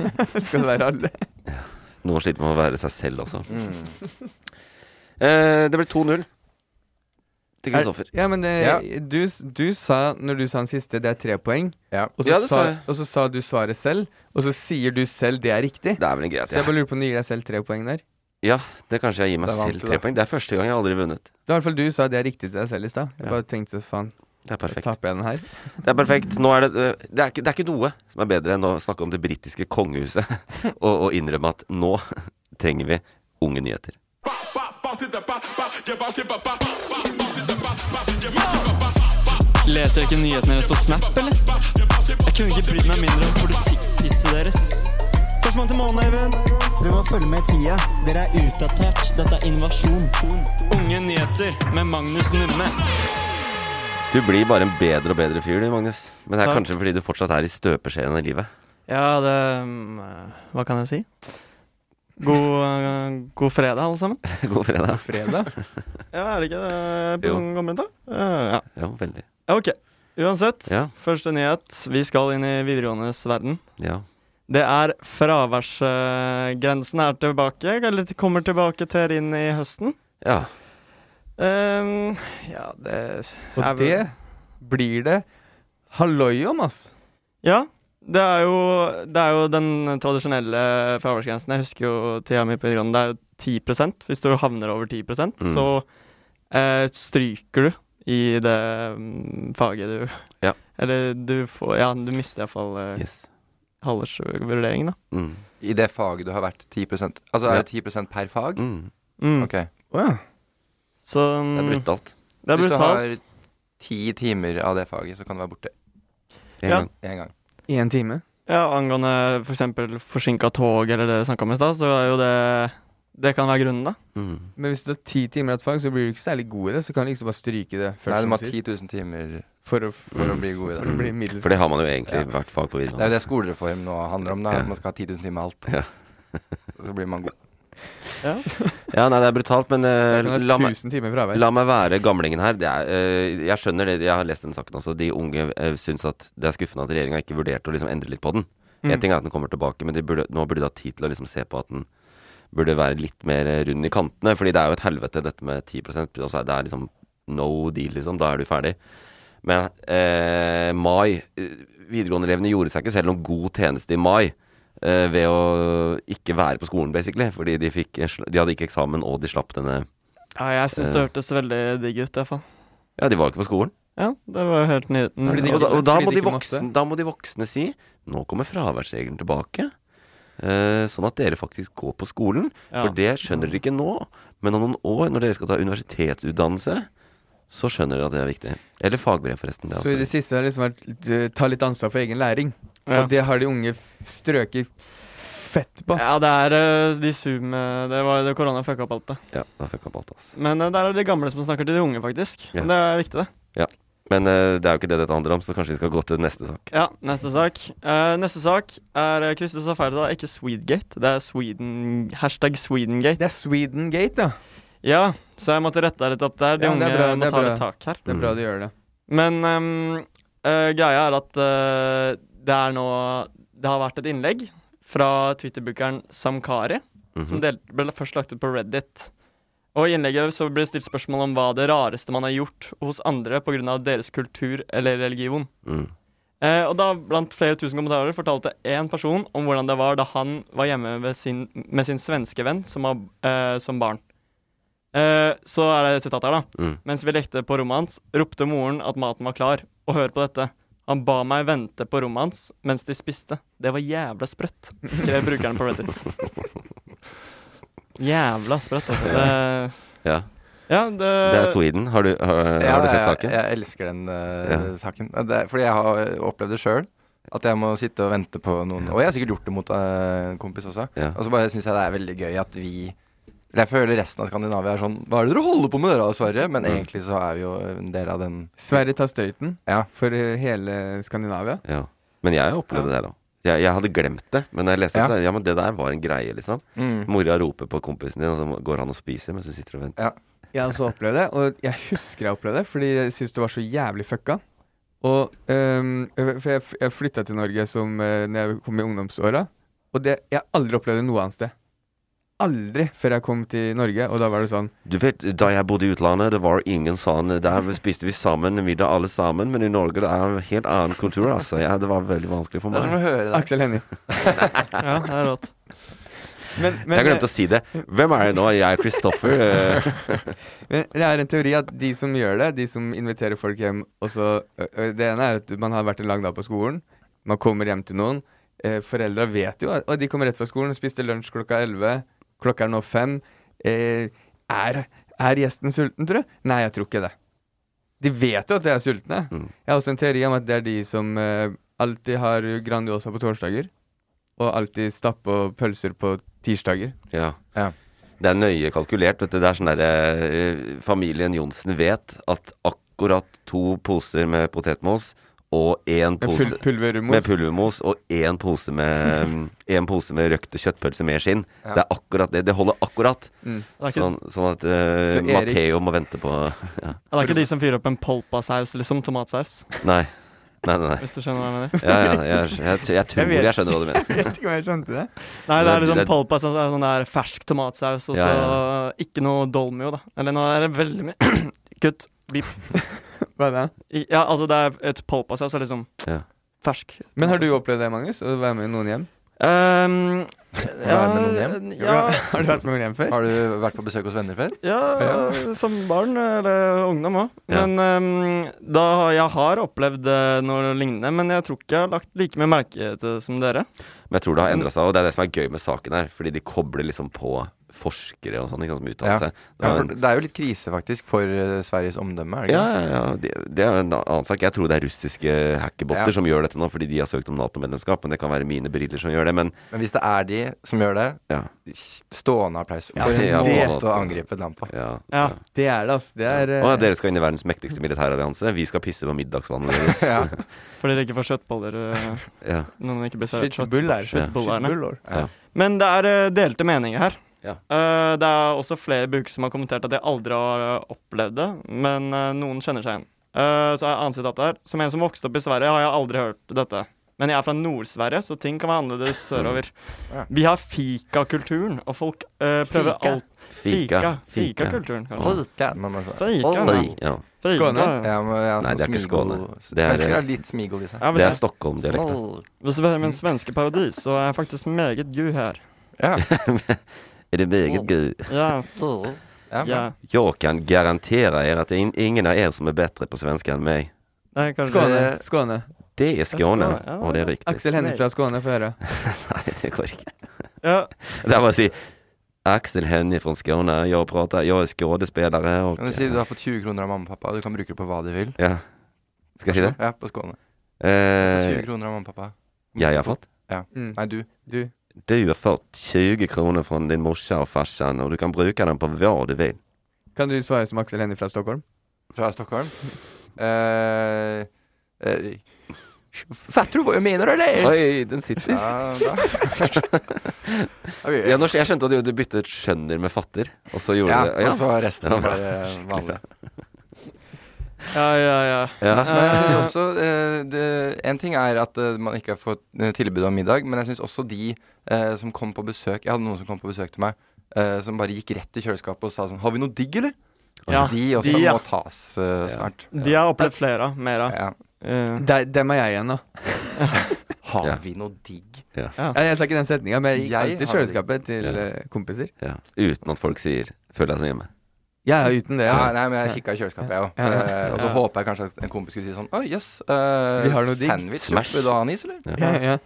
D: Skal det være alle?
C: Noen sliter med å være seg selv også. Eh, det ble 2-0 til Kristoffer.
D: Ja, men eh,
E: Ja.
D: Du, s- du sa, når du sa den siste, det er tre poeng.
E: Ja.
D: Og så,
C: Ja, det
D: sa,
C: sa jeg.
D: og så sa du svaret selv, og så sier du selv det er riktig.
C: Det er vel en greie at
D: Så jeg
C: jeg
D: bare lurer på om du gir deg selv tre poeng der.
C: Ja, det kanskje jeg gir meg
E: Da vant
C: selv
E: du,
C: tre
E: da.
C: poeng. Det er første gang jeg har aldri vunnet.
D: Det var i hvert fall du sa det er riktig til deg selv i stad. Jeg
C: Ja.
D: bare tenkte faen,
C: Det er perfekt.
D: taper jeg den her?
C: Det er perfekt. Nå er det, eh, det, er ikke, det er ikke noe som er bedre enn å snakke om det britiske kongehuset og, og innrømme at nå trenger vi unge nyheter.
I: Leser jeg ikke nyhetene deres på Snap, eller? Jeg kunne ikke brydd meg mindre om politikkpisset deres. Førstemann til månen, Eivind. Prøv å følge med i tida. Dere er utdatert. Dette er innovasjon. Unge nyheter med Magnus Numme.
C: Du blir bare en bedre og bedre fyr, du, Magnus. Men det er
I: Takk.
C: kanskje fordi du fortsatt er i støpeskjeen i livet.
I: Ja, det mm, eh, Hva kan jeg si? God, eh, god fredag, alle sammen.
C: God fredag.
D: Fredag?
I: Ja, er det ikke det
C: Jo.
I: på kommet, da? Eh, ja.
C: Jo, veldig.
I: ja, ok. Uansett,
C: Ja.
I: første nyhet. Vi skal inn i videregåendes verden.
C: ja.
I: Det er fraværsgrensen er tilbake, eller t- kommer tilbake til inn i høsten.
C: ja.
I: Ehm, ja, det
D: Og
I: er vel-
D: det blir det halloi om, ass.
I: Ja. Det er jo, det er jo den tradisjonelle fraværsgrensen. Jeg husker jo tida mi på videregående. Det er jo 10 Hvis du havner over 10
C: Mm.
I: så eh, stryker du
J: i det mm, faget du
C: Ja.
J: Eller du får Ja, du mister iallfall
I: eh,
J: uh,
C: yes.
J: halvårsvurdering, da.
C: Mm.
E: I det faget du har vært 10 Altså er det 10 per fag?
J: Mm.
E: Ok.
J: Så mm,
C: Det er brutalt.
J: Det er
E: Hvis du har
J: brutalt.
E: ti timer av det faget, så kan du være borte.
J: Ja. gang.
E: En gang.
D: I en time?
J: Ja, angående f.eks. For forsinka tog, eller det dere snakka om i stad, så er jo det Det kan være grunnen, da.
C: Mm.
D: Men hvis du har ti timer av et fag, så blir du ikke særlig god i det. Så kan du liksom bare stryke det først
E: Nei, du
D: som
E: må ha
D: sist.
E: 10 000 timer
D: for å,
E: for å
C: Mm.
E: bli god i det.
D: For å bli middels.
C: For det har man jo egentlig i
E: Ja.
C: hvert fag på
E: Det er jo
C: videregående.
E: det skolereform nå handler om. Da.
C: Ja.
E: At man skal ha 10 000 timer alt. så blir man god.
J: Ja.
C: Ja, nei, det er brutalt, men eh,
D: Jeg kan ha
C: la, meg,
D: 1000 timer fravær.
C: la meg være gamlingen her. Det er, eh, jeg skjønner det, jeg har lest den saken også. De unge uh, syns at det er skuffende at regjeringa ikke vurderte å liksom endre litt på den.
D: Mm.
C: En ting er at den kommer tilbake, men de burde, nå burde de ha tid til å liksom se på at den burde være litt mer eh, rund i kantene. Fordi det er jo et helvete, dette med 10 og så er Det er liksom no deal, liksom. Da er du ferdig. Men eh, mai eh, Videregående-elevene gjorde seg ikke selv noen god tjeneste i mai. eh, ved å ikke være på skolen, basically. Fordi de, fikk, eh, sl- de hadde ikke eksamen, og de slapp denne
J: Ja, jeg syns
C: Eh.
J: det hørtes veldig digg ut, iallfall.
C: Ja, de var jo ikke på skolen.
J: Ja, det var jo helt nydelig.
C: Mm. og da, og da, må de voksne, da må de voksne si Nå kommer fraværsregelen tilbake. eh, sånn at dere faktisk går på skolen.
J: Ja.
C: For det skjønner dere ikke nå. Men om noen år, når dere skal ta universitetsutdannelse, så skjønner dere at det er viktig. Eller fagbrev, forresten. Det, er altså-
D: Så i det
C: også.
D: siste har det liksom vært eh, ta litt ansvar for egen læring.
J: Ja.
D: Og det har de unge f- strøket fett på.
J: Ja, det er eh, de Zoom eh, Det var det korona fucka opp alt, det.
C: Ja, da fikk jeg opp alt, ass.
J: Men eh, der er det de gamle som snakker til de unge, faktisk.
C: Ja.
J: Det er viktig, det.
C: Ja. Men eh, det er jo ikke det dette handler om, så kanskje vi skal gå til neste sak.
J: Ja, neste sak. Eh, neste sak er eh, Kristus har feil i dag, ikke Swedegate. Det er Sweden, hashtag Swedengate.
D: Det er
J: ja.
D: Swedengate,
J: Ja, så jeg måtte rette deg litt opp der. De
D: Ja,
J: unge
D: det er bra,
J: må
D: det er
J: ta
D: bra.
J: litt tak her.
D: Det
C: Mm.
D: er bra de gjør det.
J: Men ehm, eh, greia er at eh, det er nå Det har vært et innlegg fra Twitter-bookeren Samkari, som del, ble først lagt ut på Reddit. Og I innlegget så ble det stilt spørsmål om hva det rareste man har gjort hos andre pga. deres kultur eller religion.
C: Mm.
J: Eh, og da Blant flere tusen kommentarer fortalte én person om hvordan det var da han var hjemme ved sin, med sin svenske venn som, var, eh, som barn. Eh, så er det et sitat her, da.
C: Mm.
J: Mens vi lekte på rommet hans, ropte moren at maten var klar. Og hør på dette. Han ba meg vente på rommet hans mens de spiste. Det var jævla sprøtt, skrev brukeren på Reddit. Jævla sprøtt, altså. Det,
C: Ja.
J: ja, det,
C: Det er Sweden. Har du, har,
E: Ja,
C: har du sett
E: jeg,
C: saken?
E: Jeg elsker den eh,
C: Ja.
E: saken. Det, er- fordi jeg har opplevd det sjøl. At jeg må sitte og vente på noen. Og jeg har sikkert gjort det mot eh, en kompis også.
C: Ja.
E: Og så bare syns jeg det er veldig gøy at vi eller Jeg føler resten av Skandinavia er sånn Hva er det dere holder på med, dere, da, Sverige? Men
D: Mm.
E: egentlig så er vi jo en del av den
D: Sverige tar støyten
E: Ja.
D: for eh, hele Skandinavia.
C: Ja. Men jeg har opplevd det der òg. Jeg, jeg hadde glemt det, men når jeg leste det,
D: Ja.
C: så sa jeg, ja, men det der var en greie, liksom.
D: Mm.
C: Mora roper på kompisen din, og så går han og spiser mens du sitter og venter.
D: Jeg har også opplevd det, og jeg husker jeg opplevde det, fordi jeg syntes det var så jævlig fucka. Og ehm, jeg- For jeg, f- jeg flytta til Norge som, eh, når jeg kom i ungdomsåra, og det, jeg har aldri opplevd det noe annet sted. Aldri før jeg kom til Norge, og da var det sånn
C: Du vet, da jeg bodde i utlandet, det var ingen sånn Der spiste vi sammen, middag alle sammen, men i Norge det er en helt annen kultur, altså. Ja, det var veldig vanskelig for
E: Det er som å
C: meg.
E: høre det.
D: Aksel Hennie.
J: Ja, det er rått.
D: Men, men, eh,
C: Jeg glemte å si det. Hvem er det nå? Jeg er Christoffer. eh.
D: Men det er en teori at de som gjør det, de som inviterer folk hjem og så, ø, ø, Det ene er at man har vært en lang dag på skolen, man kommer hjem til noen. Eh, foreldra vet jo at og de kommer rett fra skolen, spiste lunsj klokka 11, klokka er nå fem. Eh, er, er gjesten sulten, tror du? Nei, jeg tror ikke det. De vet jo at de er sultne.
C: Mm.
D: Jeg har også en teori om at det er de som eh, alltid har Grandiosa på torsdager, og alltid stappe og pølser på tirsdager.
C: Ja.
D: Ja.
C: Det er nøye kalkulert, vet du. Det er sånn derre eh, Familien Johnsen vet at akkurat to poser med potetmos og én
D: Med
C: pose
D: pul- pulvermos.
C: med pulvermos og én pose med mm, En pose med røkte kjøttpølser med skinn.
D: Ja.
C: Det er akkurat det. Det holder akkurat.
D: Mm.
J: Det er ikke-
C: Sånn, sånn at eh,
D: Så Erik-
C: Matteo må vente på ja.
J: Ja,
D: Sånn.
J: Det er ikke de som fyrer opp en polpasaus, liksom. Tomatsaus.
C: Nei. Nei, nei, nei.
J: Hvis du skjønner hva jeg mener.
C: Ja, ja, jeg, jeg, jeg tror jeg,
D: vet-
C: skjønner hva du mener.
D: Jeg vet ikke om jeg skjønte det.
J: Nei, det er
C: Det-
J: liksom
C: det-
J: polpa som er sånn der fersk tomatsaus, og så
C: Ja, ja.
J: ikke noe dolmio, da. Eller nå er det veldig mye Kutt. Blip.
D: Hva er det?
J: I- Ja, altså det er et polpasaus er liksom
C: Ja.
J: fersk.
D: Men har du opplevd det, Magnus? Å være med noen hjem?
J: Ehm,
E: Har du vært med noen hjem?
J: ja.
E: Har du vært med noen hjem før? Har du vært på besøk hos venner før?
J: Ja, som barn, eller ungdom òg.
E: Ja.
J: Men ehm, da, jeg har opplevd eh, noe lignende, men jeg tror ikke jeg har lagt like mye merke til det som dere.
C: Men jeg tror det har endra seg, og det er det som er gøy med saken her. Fordi de kobler liksom på forskere og sånn, ikke sant, som uttaler
E: Ja.
C: seg. Det
E: ja,
C: var
E: for
C: en-
E: det er jo litt krise faktisk for eh, Sveriges omdømme, er det
C: Ja,
E: ikke?
C: ja, ja. Det, det er en annen sak. Jeg tror det er russiske hackerbotter
E: Ja.
C: som gjør dette nå, fordi de har søkt om Nato-medlemskap. Men det kan være mine briller som gjør det. Men,
E: Men hvis det er de som gjør det,
C: ja.
E: stående applaus. For
C: Ja, det er
E: en
C: måte.
E: måte å angripe et land på.
C: Ja.
D: Ja, det er det, altså. Det er
C: Å ja,
J: eh,
C: dere skal inn i verdens mektigste militærallianse. Vi skal pisse på middagsvannet deres.
E: Ja.
J: For dere ikke får kjøttboller eh,
C: Ja.
J: når man ikke blir servert kjøtt-
D: Skitbuller.
J: kjøttbollerne.
D: Skitbuller.
C: Ja.
J: Men det er eh, delte meninger her.
C: Ja.
J: Eh, det er også flere brukere som har kommentert at de aldri har eh, opplevd det, men eh, noen kjenner seg igjen. Eh, så er annet sitat her. Som en som vokste opp i Sverige, har jeg aldri hørt dette. Men jeg er fra Nord-Sverige, så ting kan være annerledes sørover.
E: Ja.
J: Vi har fikakulturen, og folk eh, prøver
E: Fika.
J: alt
C: Fika. Fika.
J: Fikakulturen. kanskje.
E: Fika, må
G: altså-
E: man si.
J: Fika.
C: Oi, ja.
J: Fika.
E: Skåne? Ja, men, ja,
C: Nei,
E: sånn
C: det er ikke
E: smigel-
C: Skåne. Det er-
E: Svensker er litt smigel i seg.
J: Ja, men
C: Det er
J: se.
C: Stockholm-dialekten.
J: Hvis vi er med en svenske paradis, så er jeg faktisk meget god her.
E: Ja.
C: Er det meget gøy?
J: Ja.
E: Ja, men-
J: ja.
C: Jeg kan garantere dere at det er ingen av dere som er bedre på svenska enn meg.
J: Nei, kanskje
D: Skåne. Skåne.
C: Det er Skåne,
J: Skåne, ja.
C: og det er riktig.
D: Aksel Hennie fra Skåne, få høre.
C: Nei, det går ikke.
J: Ja.
C: Det er bare å si Aksel Hennie fra Skåne. Jeg prater, jeg er skuespiller. Og,
E: Kan du si du har fått 20 kroner av mamma og pappa, du kan bruke det på hva du vil?
C: ja. Skal jeg si det?
E: Ja, på Skåne.
C: Eh,
E: 20 kroner av mamma og pappa.
C: jeg har fått
E: Ja.
D: Mm.
E: Nei, du.
D: Du.
C: Du har fått 20 kroner fra din morsa og farsan, og du kan bruke den på hva du vil.
D: Kan du svare som Aksel Hennie fra Stockholm?
E: Fra Stockholm? Eh, eh, Fatter du hva jeg mener, eller?
C: Oi, den sitter.
E: Eh. Ja, da.
C: Ja, nå skj- jeg skjønte at du- du byttet 'skjønner' med 'fatter', og så gjorde
E: Ja,
C: du det.
E: og så resten
C: Ja.
E: var eh, vanlig.
J: Ja, ja, ja.
C: Ja.
E: Men jeg synes også eh, det, En ting er at eh, man ikke har fått eh, tilbud om middag, men jeg syns også de eh, som kom på besøk Jeg hadde noen som kom på besøk til meg, eh, som bare gikk rett i kjøleskapet og sa sånn Har vi noe digg, eller?
J: Ja,
E: de også
J: de, ja.
E: må tas eh, snart.
J: De har opplevd flere av. Mer av.
E: Ja.
J: Eh,
D: Der, dem er jeg igjen, da.
E: Har
C: Ja.
E: vi noe digg?
D: Ja, jeg sa ikke den setninga, men jeg gikk
E: Jeg
D: alltid i
E: har det.
D: kjøleskapet til
C: Ja.
D: eh, kompiser.
C: Ja. Uten at folk sier 'føl deg som hjemme'.
D: Jeg er uten det.
E: Ja,
D: Ja.
E: nei, men jeg kikka i kjøleskapet, jeg òg.
D: Ja, ja.
E: Eh, og så håper jeg kanskje at en kompis skulle si sånn Å, jøss. eh,
D: Vi har noe digg.
E: Sandwich.
C: Smash.
E: Vil du ha en is, eller?
D: Ja, ja.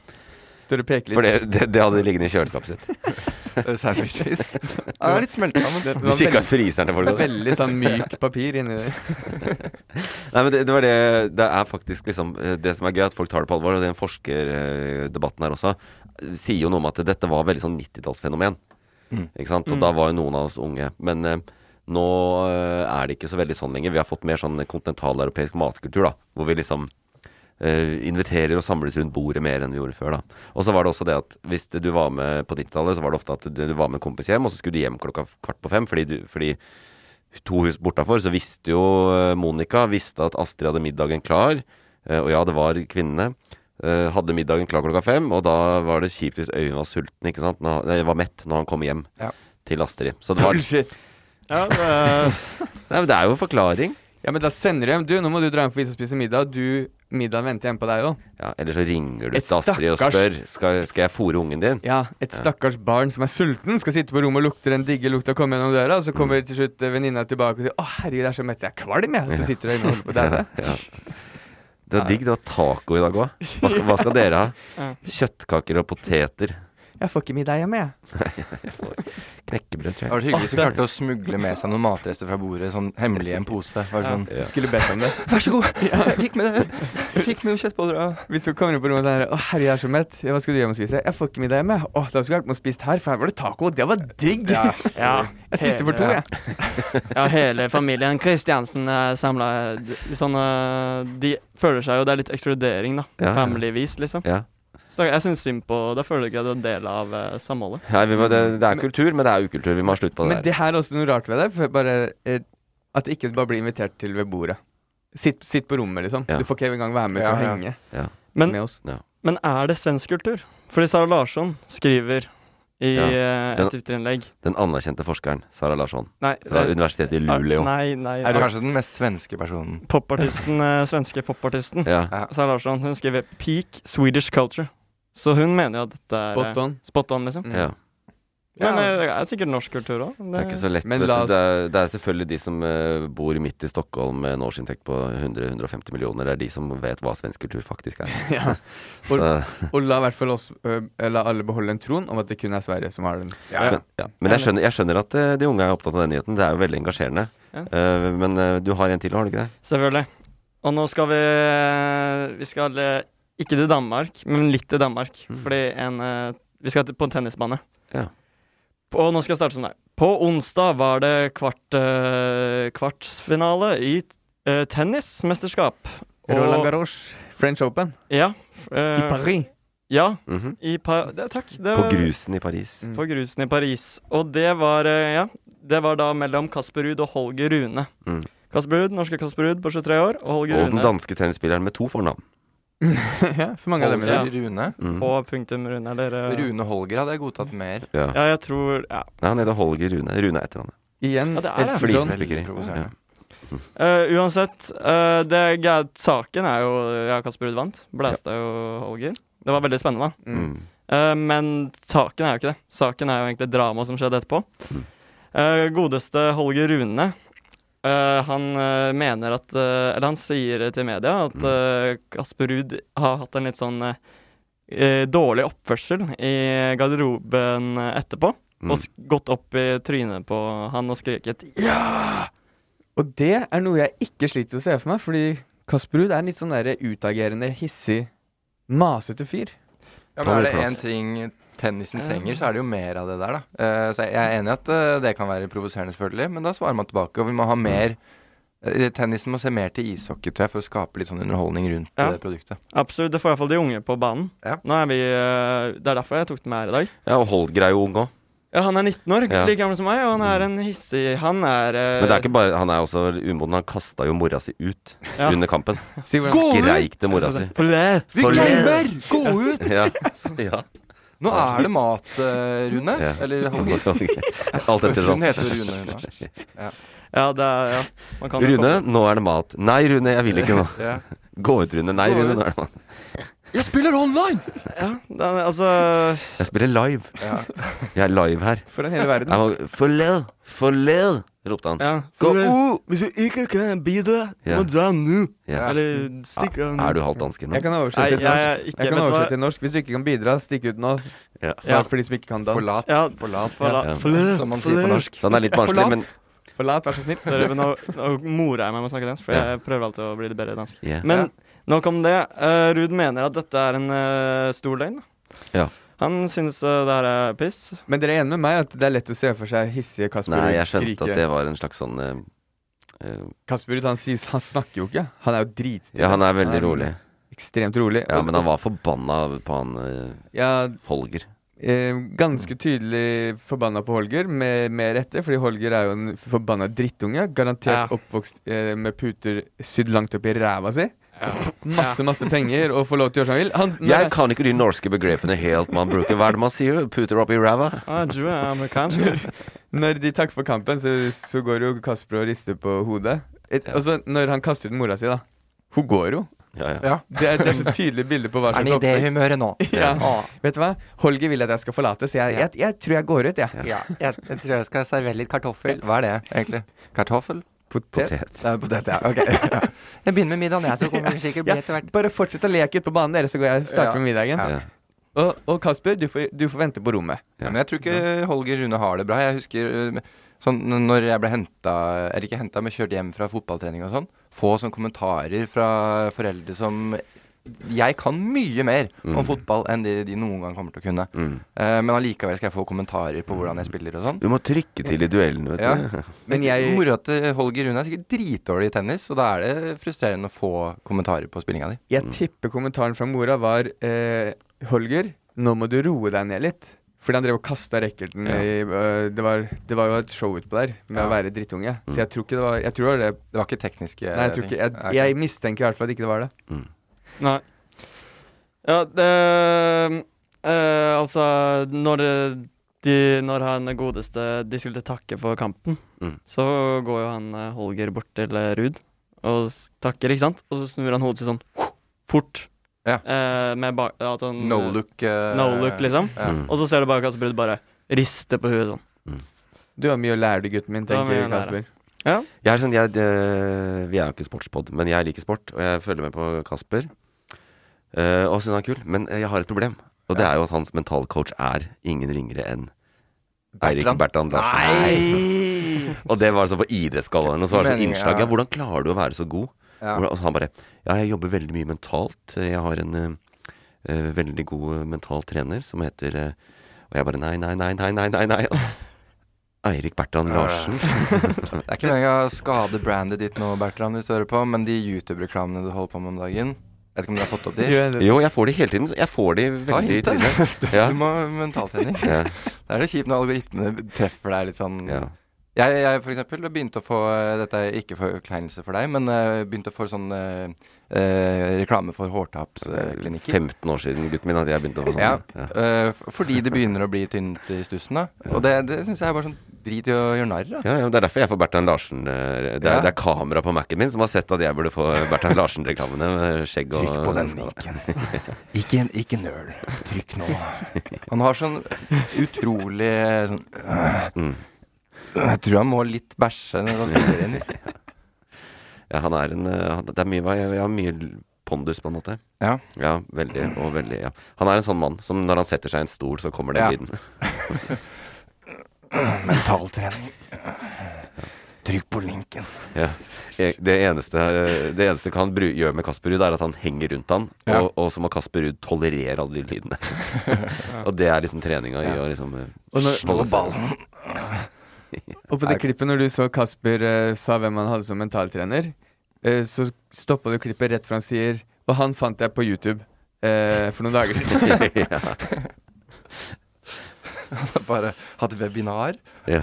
D: Står og peker litt.
C: For det, det, det hadde liggende i kjøleskapet sitt.
E: Eh, Sandwiches. Ja, det er litt smelta, men
D: Det
C: Du
D: var
C: kikka i
D: veldig,
C: fryseren til folk. da.
D: veldig sånn myk papir inni der.
C: Nei, men det, det var det Det er faktisk liksom eh, Det som er gøy, at folk tar det på alvor, og den forskerdebatten her også eh, sier jo noe om at dette var veldig sånn 90-tallsfenomen. Ikke sant? Og da var jo noen av oss unge. Men eh, nå eh, er det ikke så veldig sånn lenger. Vi har fått mer sånn kontinentaleuropeisk matkultur, da. Hvor vi liksom eh, inviterer og samles rundt bordet mer enn vi gjorde før, da. Og så var det også det at hvis du var med på 90-tallet, så var det ofte at du, du var med en kompis hjem, og så skulle du hjem klokka kvart på fem fordi, du, fordi to hus bortafor, så visste jo eh, Monica visste at Astrid hadde middagen klar. Eh, Og ja, det var kvinnene. Eh, Hadde middagen klar klokka fem, og da var det kjipt hvis Øyvind var sulten, ikke sant? Når, nei, var mett når han kom hjem
E: Ja.
C: til Astrid. Så det var Nei,
J: ja, det er,
C: men Det er jo en forklaring.
D: Ja, men da sender de hjem. Du, nå må du dra hjem for vi skal spise middag. Du, middagen venter hjemme på deg òg.
C: Ja, Eller så ringer du
D: Et
C: til Astrid og spør
D: stakkars-
C: skal, skal jeg fôre ungen din.
D: Ja, et stakkars barn som er sulten, skal sitte på rommet og lukte den digge lukta komme gjennom døra, og så kommer til slutt eh, venninna tilbake og sier 'Å, herregud, jeg er så mett, jeg er kvalm', jeg. Og så sitter du inne og holder på å daue.
C: Ja. Det var digg. Det var taco i dag òg. Hva, skal- hva skal dere ha? Kjøttkaker og poteter.
D: Jeg får ikke middag hjemme, jeg.
C: Knekkebrød,
E: det
C: tror jeg.
E: hadde vært hyggelig hvis de klarte å smugle med seg noen matrester fra bordet, sånn hemmelig i en pose. Bare sånn
C: Ja.
D: Skulle bedt om det.
E: Vær så god. Jeg fikk med, jeg fikk med noen kjøttboller. ja.
D: Hvis hun kommer inn på rommet og sier 'Å, herregud, jeg er så mett', Ja, hva skal du hjem og spise? 'Jeg får ikke middag hjemme'. Å, da skulle jeg vært med og spist her, for her var det taco, og det var digg.
J: ja.
D: Jeg spiste for to,
J: Hele-
D: jeg.
J: Ja, hele familien Kristiansen er samla her. De- Sånn, eh, de føler seg jo Det er litt ekskludering, da.
C: Ja, ja.
J: Family-vis, liksom.
C: Ja.
J: Så jeg syns synd på Da føler du ikke at du er en del av eh, samholdet.
C: Nei, vi må, det, det er kultur, men det er ukultur. Vi må ha slutt på det
D: Men
C: der.
D: det her er også noe rart ved det. For bare, eh, at det ikke bare blir invitert til ved bordet. Sitt, sitt på rommet, liksom.
C: Ja.
D: Du får ikke engang være med
E: Ja,
D: til å
E: ja.
D: henge
C: Ja.
J: Men,
D: med oss.
J: men er det svensk kultur? Fordi Sara Larsson skriver i
C: Ja.
J: eh,
C: Den-
J: et Twitter-innlegg
C: Den anerkjente forskeren Sara Larsson
J: Nei,
E: eh,
C: fra
J: det-
C: Universitetet i Luleå.
J: Nei, nei.
E: Er du kanskje den mest svenske personen?
J: Popartisten, eh, svenske popartisten
C: Ja.
J: Sara Larsson, hun skriver 'Peak Swedish culture'.
E: Så hun mener jo at dette er
D: Spot on.
E: Spot on,
D: mm.
E: liksom.
C: Ja.
E: Men eh, det er sikkert norsk kultur òg.
C: Det er ikke så lett.
D: Men
C: vet
D: la
C: du. Det, er, det er selvfølgelig de som eh, bor midt i Stockholm med en årsinntekt på 100-150 millioner. Det er de som vet hva svensk kultur faktisk er.
D: Ja.
C: Så-
D: Og, og la i hvert fall oss, ø, la alle beholde en troen om at det kun er Sverige som har den.
C: Men, ja. men jeg, skjønner, jeg skjønner at eh, de unge er opptatt av den nyheten. Det er jo veldig engasjerende.
E: Ja.
C: Eh, men eh, du har en til, har du ikke det?
E: Selvfølgelig. Og nå skal vi Vi skal eh, ikke til Danmark, men litt til Danmark. Fordi en eh, Vi skal til- på en
C: Mm.
E: tennisbane.
C: Ja.
E: Og nå skal jeg starte som deg. På onsdag var det kvart, eh, kvartsfinale i eh, tennismesterskap. Og-
D: Roland Garros, French Open.
E: Ja. eh,
D: I Paris.
E: Ja.
C: Mhm.
E: i pa det, takk. Det
C: På
E: var-
C: grusen i Paris.
D: Mm.
E: På grusen i Paris. Og det var, eh, ja, det var da mellom Kasper Ruud og Holger Rune.
C: Mm.
E: Kasper Ruud, norske Kasper Ruud på 23 år, og Holger
C: Og
E: Rune.
C: den danske tennisspilleren med to fornavn.
D: ja, så mange av dem i
E: Holger
D: dag.
K: Rune.
C: Mm.
E: Og punktum Rune, eller eh,
K: Rune Holger hadde jeg godtatt mer.
C: Ja.
E: Ja, jeg tror Ja,
C: Nei, han heter Holger Rune. Rune er etternavnet.
D: Igjen.
E: ja det er
C: Et
E: det. Sånn
C: flisspikkeri. Ja.
K: provoserende.
E: Eh, uansett, eh, det, ga- saken er jo Ja, Kasper Ruud vant. Blæste jo Holger. Det var veldig spennende.
C: Mm.
E: Eh, men saken er jo ikke det. Saken er jo egentlig dramaet som skjedde etterpå. Eh, godeste Holger Rune, eh, han eh, mener at eh, Eller han sier til media at eh, Kasper Ruud har hatt en litt sånn eh, eh, dårlig oppførsel i garderoben eh, etterpå.
C: Mm.
E: Og s- gått opp i trynet på han og skreket 'ja'!
D: Og det er noe jeg ikke sliter med å se for meg, fordi Kasper Ruud er en litt sånn der utagerende, hissig, masete fyr.
K: Ja,
C: Ta
K: men er
C: litt
K: det én
C: plass.
K: ting tennisen
E: Ja.
K: trenger, så er det jo mer av det der, da. Eh, så jeg jeg er enig i at eh, det kan være provoserende, selvfølgelig, men da svarer man tilbake. Og vi
C: Mm.
K: må ha mer eh, Tennisen må se mer til ishockey, tror jeg, for å skape litt sånn underholdning rundt
E: Ja.
K: eh, produktet.
E: Absolutt. Det får iallfall de unge på banen.
K: Ja.
E: Nå er vi, eh, det er derfor jeg tok den med her i dag.
C: ja, og Holger er jo ung òg.
E: Ja, Han er 19 år,
C: Ja. Mm.
E: like gammel som meg, og han er en hissig Han er eh,
C: Men det er ikke bare, han er også umoden. Han kasta jo mora si ut
E: Ja.
C: under kampen.
D: Si hvordan-
C: Skreik til mora si.
E: For det.
C: For-
K: Gå ut!
C: Ja. ja.
K: Nå er det mat, eh, Rune.
C: Ja.
K: Eller Holger.
C: Alt etter
K: Hun
C: sånn.
K: heter jo Rune, hun da.
E: Ja, det er ja. Man kan jo
C: Rune,
E: komme-
C: nå er det mat. Nei, Rune, jeg vil ikke nå.
K: Ja.
C: Gå ut, Rune. Nei,
K: Gå
C: Rune,
K: ut.
C: nå er det mat.
K: Jeg spiller online!
E: Det er, altså
C: Jeg spiller live.
K: Ja.
C: Jeg er live her.
D: Foran hele verden.
C: Jeg var Forled! Forled! ropte han.
E: ja.
C: Gå ut!
E: Hvis du ikke kan bidra,
C: Ja. må
E: dra nå.
C: Ja.
E: Eller stikk av
C: Er du halvt danske nå?
D: Jeg kan
E: Nei,
D: oversette til
E: jeg er
D: norsk.
E: ikke-
D: Jeg kan
E: vet du hva?
D: oversette til norsk. Hvis du ikke kan bidra, stikk ut nå.
C: Ja.
E: Ja.
D: Bare for de som ikke kan danse.
K: Forlat.
E: Ja.
K: Forlat.
E: Forlat.
C: Ja.
E: Forlat.
K: Som man sier på norsk.
C: Så han er litt barnslig,
D: Forlat.
C: men
D: Forlat, vær så snill.
E: Sorry, men nå, nå morer jeg meg med å snakke dansk, for
C: Ja.
E: jeg prøver alltid å bli litt bedre i dansk.
C: Ja.
E: Men nok om det. Eh, Ruud mener at dette er en eh, stor løgn.
C: Ja.
E: Han synes eh, det her er piss.
D: Men dere er enige med meg at det er lett å se for seg hissige Kasper
C: Nei,
D: Ruud
C: jeg skjønte at
D: skrike.
C: det var en slags sånn eh, eh,
D: Kasper Ruud han, sier- han snakker jo ikke. Han er jo dritstille.
C: Ja, han er veldig rolig.
D: Ekstremt rolig.
C: Ja,
D: Og-
C: men han var forbanna på han eh,
D: Ja,
C: Holger.
D: eh, ganske tydelig forbanna på Holger, med, med rette, fordi Holger er jo en forbanna drittunge. Garantert
E: Ja.
D: oppvokst eh, med puter sydd langt opp i ræva si. Masse, masse penger og får lov til å gjøre som han vil. Han,
C: Jeg kan ikke de norske begrepene helt, man bruker. Hva er det man sier? Puter opp i ræva?
E: Ah, Drew er amerikaner.
D: Når de takker for kampen, så, så går jo Kasper og rister på hodet. Et,
C: Ja.
D: Altså, når han kaster ut mora si, da. Hun går jo.
C: Ja, ja.
K: Ja.
D: Det er, det er så tydelig bilde på hva
K: Er
D: slags
K: han i det
D: oppvekst
K: humøret nå?
D: ja.
K: Å.
D: Vet du hva? Holger vil at jeg skal forlate, så jeg, jeg, jeg tror jeg går ut, jeg.
K: Ja, jeg, jeg tror jeg skal servere litt kartoffel. Hva er det, egentlig? Kartoffel?
D: Potet.
C: Potet.
K: Det er potet, ja. Ok. Jeg begynner med middagen, jeg, så kommer det sikkert bli etter hvert.
D: Bare fortsett å leke ute på banen, dere, så går jeg og starter
K: Ja.
D: med middagen.
K: Ja.
C: Ja.
D: Og, og Kasper, du får, du får vente på rommet.
C: Ja.
K: Men jeg tror ikke Holger Rune har det bra. Jeg husker eh, sånn n- når jeg ble henta Eller ikke henta, men kjørt hjem fra fotballtrening og sånn. Få sånne kommentarer fra foreldre som Jeg kan mye mer om
D: Mm.
K: fotball enn de, de noen gang kommer til å kunne. Eh, men allikevel skal jeg få kommentarer på hvordan jeg spiller og sånn.
C: Mm. Du må trykke til i duellen, vet du.
K: Ja.
D: Men
K: Men
D: jeg-
K: Moro at eh, Holger Rune er sikkert dritdårlig i tennis, og da er det frustrerende å få kommentarer på spillinga di.
D: Jeg tipper kommentaren fra mora var eh, Holger, nå må du roe deg ned litt. Fordi han drev og kasta racketen
C: Ja.
D: i eh, det, var, det var jo et show utpå der med
K: Ja. Mm.
D: å være drittunge. Så jeg tror ikke det var Jeg tror det var det
K: Det var ikke eh, tekniske
D: Nei, jeg, tror ikke, jeg, jeg mistenker i hvert fall at ikke det var det.
E: Nei. Ja, det eh, Altså, når eh, de, når han godeste De skulle takke for kampen,
C: Mm.
E: så går jo han eh, Holger bort til eh, Ruud og s- takker, ikke sant? Og så snur han hodet sitt sånn fort
J: Eh, med ba at han,
E: No look, eh,
J: no look, liksom.
E: ja. Mm.
J: Og så ser du bare Kasper Ruud bare riste på huet sånn.
D: Du har mye å lære, du, gutten min,
J: Du har mye
D: tenker
J: å lære.
D: Kasper.
C: Jeg er sånn, jeg, det, vi er jo ikke sportspod, men jeg liker sport, og jeg følger med på Kasper. Eh, og syns han er kul, men jeg har et problem. Og det er jo at hans mentalcoach er ingen ringere enn Eirik Bertrand Larsen. og det var sånn på Idrettsgallaen, og så var det sånn
E: Meningen,
C: innslag.
E: ja.
C: Ja, hvordan klarer du å være så god?
E: Ja.
C: Hvordan, og så han bare Ja, jeg jobber veldig mye mentalt. Jeg har en eh, eh, veldig god eh, mental trener som heter eh», Og jeg bare nei, nei, nei, nei, nei, nei. nei. Eirik Bertrand
E: Ja, ja.
C: Larsen.
E: Det er ikke meningen å skade brandet ditt nå, Bertrand, hvis du hører på, men de YouTube-reklamene du holder på med om dagen Jeg vet ikke om du har fått opp de?
C: Jo, jeg får de hele tiden. Jeg får de
E: Ta
C: veldig
E: hintet.
C: tidlig. Ja.
E: Du må ha mentaltrening.
C: Ja.
E: Da er det kjipt når algoritmene treffer deg litt sånn
C: Ja.
E: Jeg, jeg for eksempel begynte å få eh, Dette er ikke forkleinelse for deg, men eh, begynte å få sånn eh, eh, reklame for hårtapsklinikker.
C: 15 år siden gutten min hadde jeg begynt å få sånn.
E: Ja,
C: Ja.
E: eh, f- fordi det begynner å bli tynt i stussen, da. Og det, det syns jeg er bare sånn drit i å gjøre narr av.
C: Ja, ja, men Det er derfor jeg får Bertrand Larsen eh, Det er,
E: Ja.
C: det er kamera på Mac-en min som har sett at jeg burde få Bertrand Larsen-reklamene med skjegg og
E: Trykk på den linken. Ikke, en- ikke nøl. Trykk nå. Han har sånn utrolig eh, sånn øh,
C: Mm.
E: Jeg tror han må litt bæsje når han spiller inn.
C: Ja, han er en eh, han, Det er mye Jeg, jeg har mye l- pondus, på en måte.
E: Ja.
C: Ja, veldig og veldig. Ja. Han er en sånn mann som når han setter seg i en stol, så kommer den
E: Ja.
C: lyden.
E: Mentaltrening. Trykk på linken.
C: Ja. E- Det eneste, eh, det eneste han bru- gjør med Kasper Ruud, er at han henger rundt han,
E: Ja.
C: og, og så må Kasper Ruud tolerere alle de lydene. og det er liksom treninga i
D: Ja.
C: å liksom eh,
D: Og når-
C: holde seg-
D: Og på det klippet når du så Kasper eh, sa hvem han hadde som mentaltrener, eh, så stoppa du klippet rett før han sier Og han fant jeg på YouTube eh, for noen dager siden.
E: Han har bare hatt webinar.
C: Ja.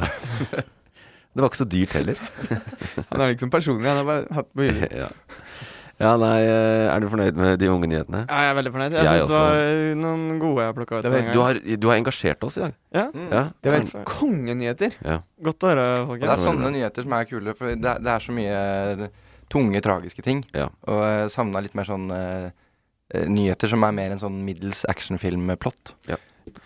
C: Det var ikke så dyrt heller.
D: han er liksom personlig, han har bare hatt på YouTube.
C: ja. ja, nei, eh, er du fornøyd med de unge nyhetene?
J: Ja, jeg er veldig fornøyd. Jeg,
C: Jeg
J: synes det
C: også.
J: var eh, noen gode jeg plukka ut.
D: Det var-
J: den gangen.
C: Du har, du har engasjert oss i dag.
J: ja.
C: Ja.
D: Det
C: kan-
D: var helt kongenyheter.
C: ja.
J: Godt å høre,
E: Og det er
J: folkens.
E: sånne nyheter som er kule, for det er, det er så mye eh, tunge, tragiske ting.
C: Ja.
E: Og jeg savna litt mer sånn eh, eh, nyheter som er mer en sånn middels actionfilm-plott.
C: Ja.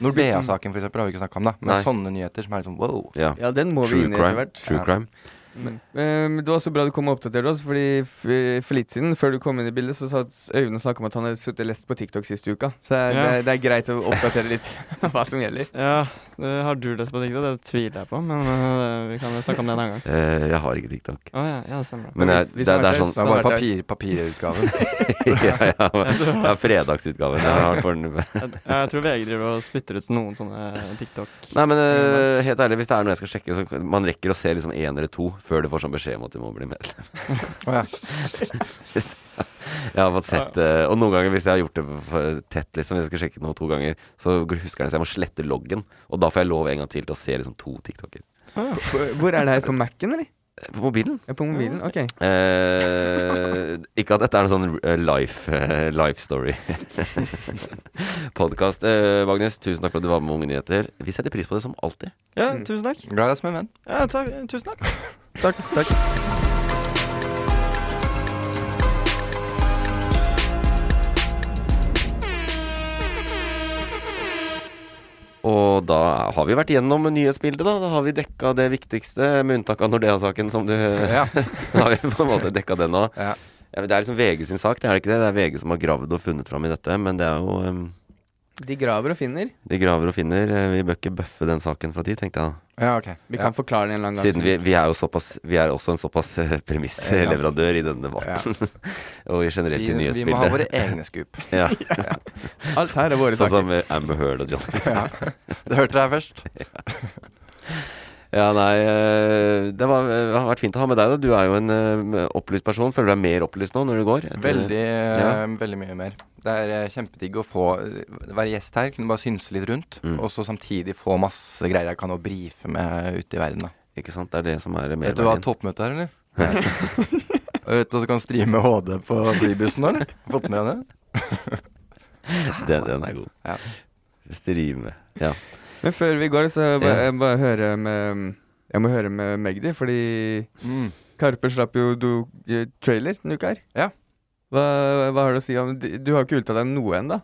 E: Nordea-saken for eksempel har vi ikke snakka om, da. Men
C: Nei.
E: sånne nyheter som er liksom wow.
C: ja.
D: Ja, den må
C: True
D: vi inn i etter
C: crime.
D: hvert.
C: True
E: Ja.
C: crime.
D: Men, eh, men det var så bra du kom og oppdaterte oss, fordi f- for litt siden, før du kom inn i bildet, så satt Øyvind og snakka om at han hadde sittet og lest på TikTok siste uka. Så det er,
J: Ja.
D: det, er- det er greit å oppdatere litt hva som gjelder.
J: Ja, det har du lest på TikTok? Det tviler jeg på, men eh, vi kan jo snakke om det en annen gang.
C: Eh, jeg har ikke TikTok.
J: Å ja, ja, det stemmer.
C: Men jeg,
D: Hvis- hvis
C: det, er- det er
D: det var
C: sånn
E: Det er bare
D: vært der.
E: papir, papirutgaven.
C: ja, ja, ja, fredagsutgaven. Jeg har for den.
J: Jeg, jeg tror VG driver og spytter ut noen sånne TikTok.
C: Nei, men eh, helt ærlig, hvis det er noe jeg skal sjekke, så man rekker å se liksom én eller to før du får sånn beskjed om at du må bli medlem.
E: Å ja.
C: Jeg har fått sett eh, Og noen ganger hvis jeg har gjort det for tett, liksom, hvis jeg skal sjekke noe to ganger, så husker jeg det, så jeg må slette loggen. Og da får jeg lov en gang til til å se liksom to TikToker.
D: Hvor- Hvor er det her? På Mac-en, eller?
C: Eh, På mobilen.
D: Ja, på mobilen? OK.
C: Eh, ikke at dette er noen sånn eh, life, eh, life story-podkast. Eh, Magnus, tusen takk for at du var med med Unge nyheter. Vi setter pris på det som alltid.
J: Ja, tusen takk.
E: Glad i deg som en venn.
J: Ja, takk. Tusen takk. Takk. takk.
C: Og da har vi vært gjennom nyhetsbildet, da. Da har vi dekka det viktigste, med unntak av Nordea-saken, som du
E: Ja.
C: Da har vi på en måte dekka det nå.
E: Ja.
C: Ja, men det er liksom VG sin sak, det er det ikke det? Det er VG som har gravd og funnet fram i dette, men det er jo ehm,
D: De graver og finner.
C: De graver og finner. Eh, Vi bør ikke bøffe den saken fra de, tenkte jeg.
E: Ja, ok.
D: Vi
E: Ja.
D: kan forklare det en eller annen gang.
C: Siden vi, vi er jo såpass Vi er også en såpass eh, premissleverandør i denne
E: Ja.
C: debatten. og i generelt
E: Vi,
C: i
E: vi må ha våre
C: nyhetsbildet.
E: egne scoop.
C: Ja.
D: Alt her er våre
C: Sånn
D: saker.
C: som eh, Amber Heard og John
E: Det hørte dere først.
C: Ja, nei eh, Det var, eh, har vært fint å ha med deg, da. Du er jo en eh, opplyst person. Føler du deg mer opplyst nå når du går? Etter-
E: Veldig,
C: Ja.
E: eh, veldig mye mer. Det er eh, kjempedigg å få eh, være gjest her, kunne bare synse litt rundt.
C: Mm.
E: Og så samtidig få masse greier jeg kan å brife med ute i verden. Da.
C: Ikke sant. Det er det som er eh,
E: Vet du hva
C: merverdien.
E: toppmøtet er, eller? Og Vet du at du kan streame HD på flybussen nå, eller? Har du Fått med deg det?
C: Den, den er god.
E: Ja.
C: Strime. Ja.
D: Men før vi går, så ba,
C: Ja.
D: jeg bare høre med Jeg må høre med Magdi, fordi Karpe slapp jo do, eh, trailer denne uka her.
E: Mm. Ja.
D: Hva- Hva, hva har du å si om Du har jo ikke uttalt deg om noe ennå.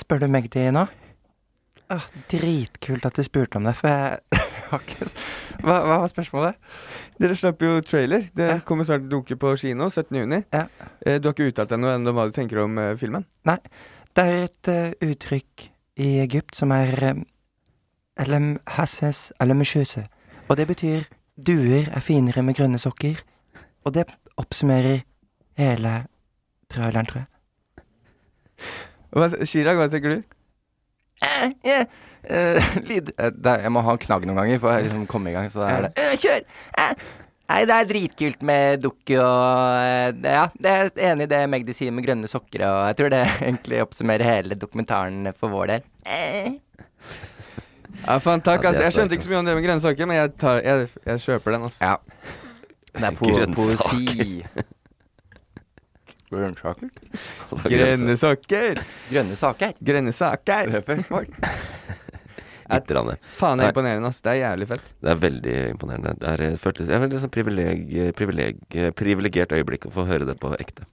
E: Spør du meg det nå? Ah, dritkult at du spurte om det, for jeg har ikke s- hva, hva var spørsmålet?
D: Dere slapp jo trailer. Det kommer snart dukke på kino 17.6.
E: Ja.
D: Eh, Du har ikke uttalt deg noe ennå om hva du tenker om eh, filmen.
E: Nei. Det er et eh, uttrykk i Egypt som er eh, Elem hasses elem shuse. Og det betyr duer er finere med grønne sokker. Og det oppsummerer hele traileren, tror jeg.
D: Hva, Chirag, hva tenker du?
E: Eh, lyd eh, det er- Jeg må ha en knagg noen ganger for å liksom komme i gang. Så da er det Eh, Kjør! Eh, Nei, det er dritkult med dukke og eh, det- Ja, jeg er enig i det Magdi sier med grønne sokker, og jeg tror det egentlig oppsummerer hele dokumentaren for vår del. Eh.
D: Ja, faen, takk,
E: Ja, det
D: altså.
E: er
D: Jeg skjønte
E: sterkt,
D: ikke så mye om det med grønnsaker, men jeg, tar, jeg, jeg kjøper den, altså.
E: Det er
D: po- poesi.
E: Grønnsaker?
D: Grønne saker!
E: Grønne saker.
D: Grønne saker!
E: Det er først folk.
C: Litt. grann.
D: Faen, det
C: Nei.
D: er imponerende, ass. Det er jævlig fett.
C: Det er veldig imponerende. Det er et føltes, jeg er veldig sånn privileg, privileg, privilegert øyeblikk å få høre det på ekte.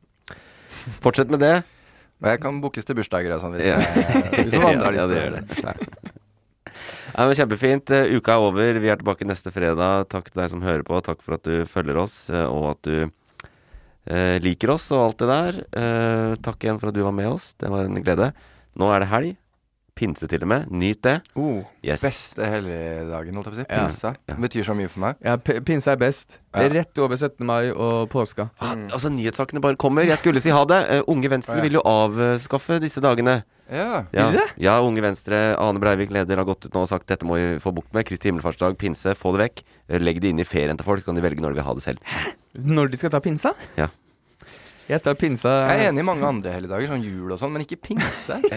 C: Fortsett med det.
E: Og jeg kan bookes til bursdager og sånn hvis,
C: Ja.
E: det- hvis noen andre har
C: Ja,
E: lyst
C: det
E: til
C: gjør det.
E: Nei.
C: Nei, men Kjempefint. Eh, Uka er over. Vi er tilbake neste fredag. Takk til deg som hører på. Takk for at du følger oss, eh, og at du eh, liker oss og alt det der. Eh, takk igjen for at du var med oss. Det var en glede. Nå er det helg. Pinse til og med. Nyt det.
D: Oh,
C: yes.
E: Beste helligdagen, holdt jeg på å si.
C: Ja.
E: Pinsa. Betyr så mye for meg.
D: Ja, p- pinse er best. Det er rett over 17. mai og påska.
C: Ah,
E: Mm.
C: altså, nyhetssakene bare kommer. Jeg skulle si ha det. Eh, Unge Venstre
D: Å, ja.
C: vil jo avskaffe disse dagene.
E: Ja.
C: Ja,
E: Vil de det?
C: ja, Unge Venstre, Ane Breivik, leder, har gått ut nå og sagt dette må vi få bukt med. Kristi himmelfartsdag, pinse, få det vekk. Eh, Legg det inn i ferien til folk, så kan de velge når de vil ha det selv.
D: Når de skal ta pinsa?
C: Ja.
D: Jeg tar pinsa
E: Jeg er enig i mange andre helligdager, sånn jul og sånn, men ikke pinse. det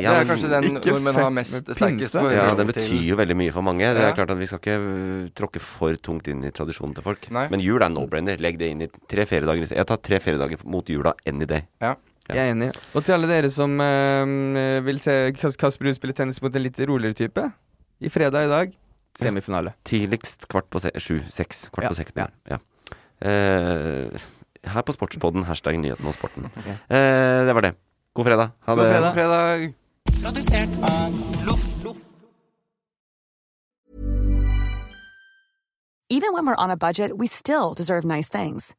C: ja,
E: er
C: men-
E: kanskje den
C: Ikke
E: nordmenn har mest
D: fuck med
E: sterkest
D: pinse.
E: forhold
C: Ja, det
E: til.
C: betyr jo veldig mye for mange. Det
E: Ja.
C: er klart at Vi skal ikke øh, tråkke for tungt inn i tradisjonen til folk.
E: Nei.
C: Men jul er no-brainer. Legg det inn i tre feriedager. i sted. Jeg tar tre feriedager mot jula any day.
D: Jeg er enig. Og til alle dere som eh, vil se Kas- Kasper Ruud spille tennis mot en litt roligere type, i fredag i dag, semifinale.
C: Tidligst kvart på se sju. Seks. Kvart
D: Ja,
C: på seks. på jul. Ja. Eh, her på Sportspodden, hashtag nyheten og sporten. Eh, det var det. God fredag. Ha det.
E: God fredag.
L: Produsert av Loff.
G: Even when we're on a budget, we still deserve nice things.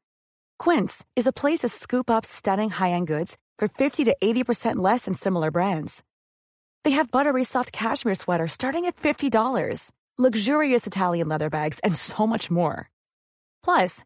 G: Quince is a place to scoop up stunning high-end goods for 50 to 80% less than similar brands. They have buttery soft cashmere sweaters starting at $50, luxurious Italian leather bags, and so much more. Plus,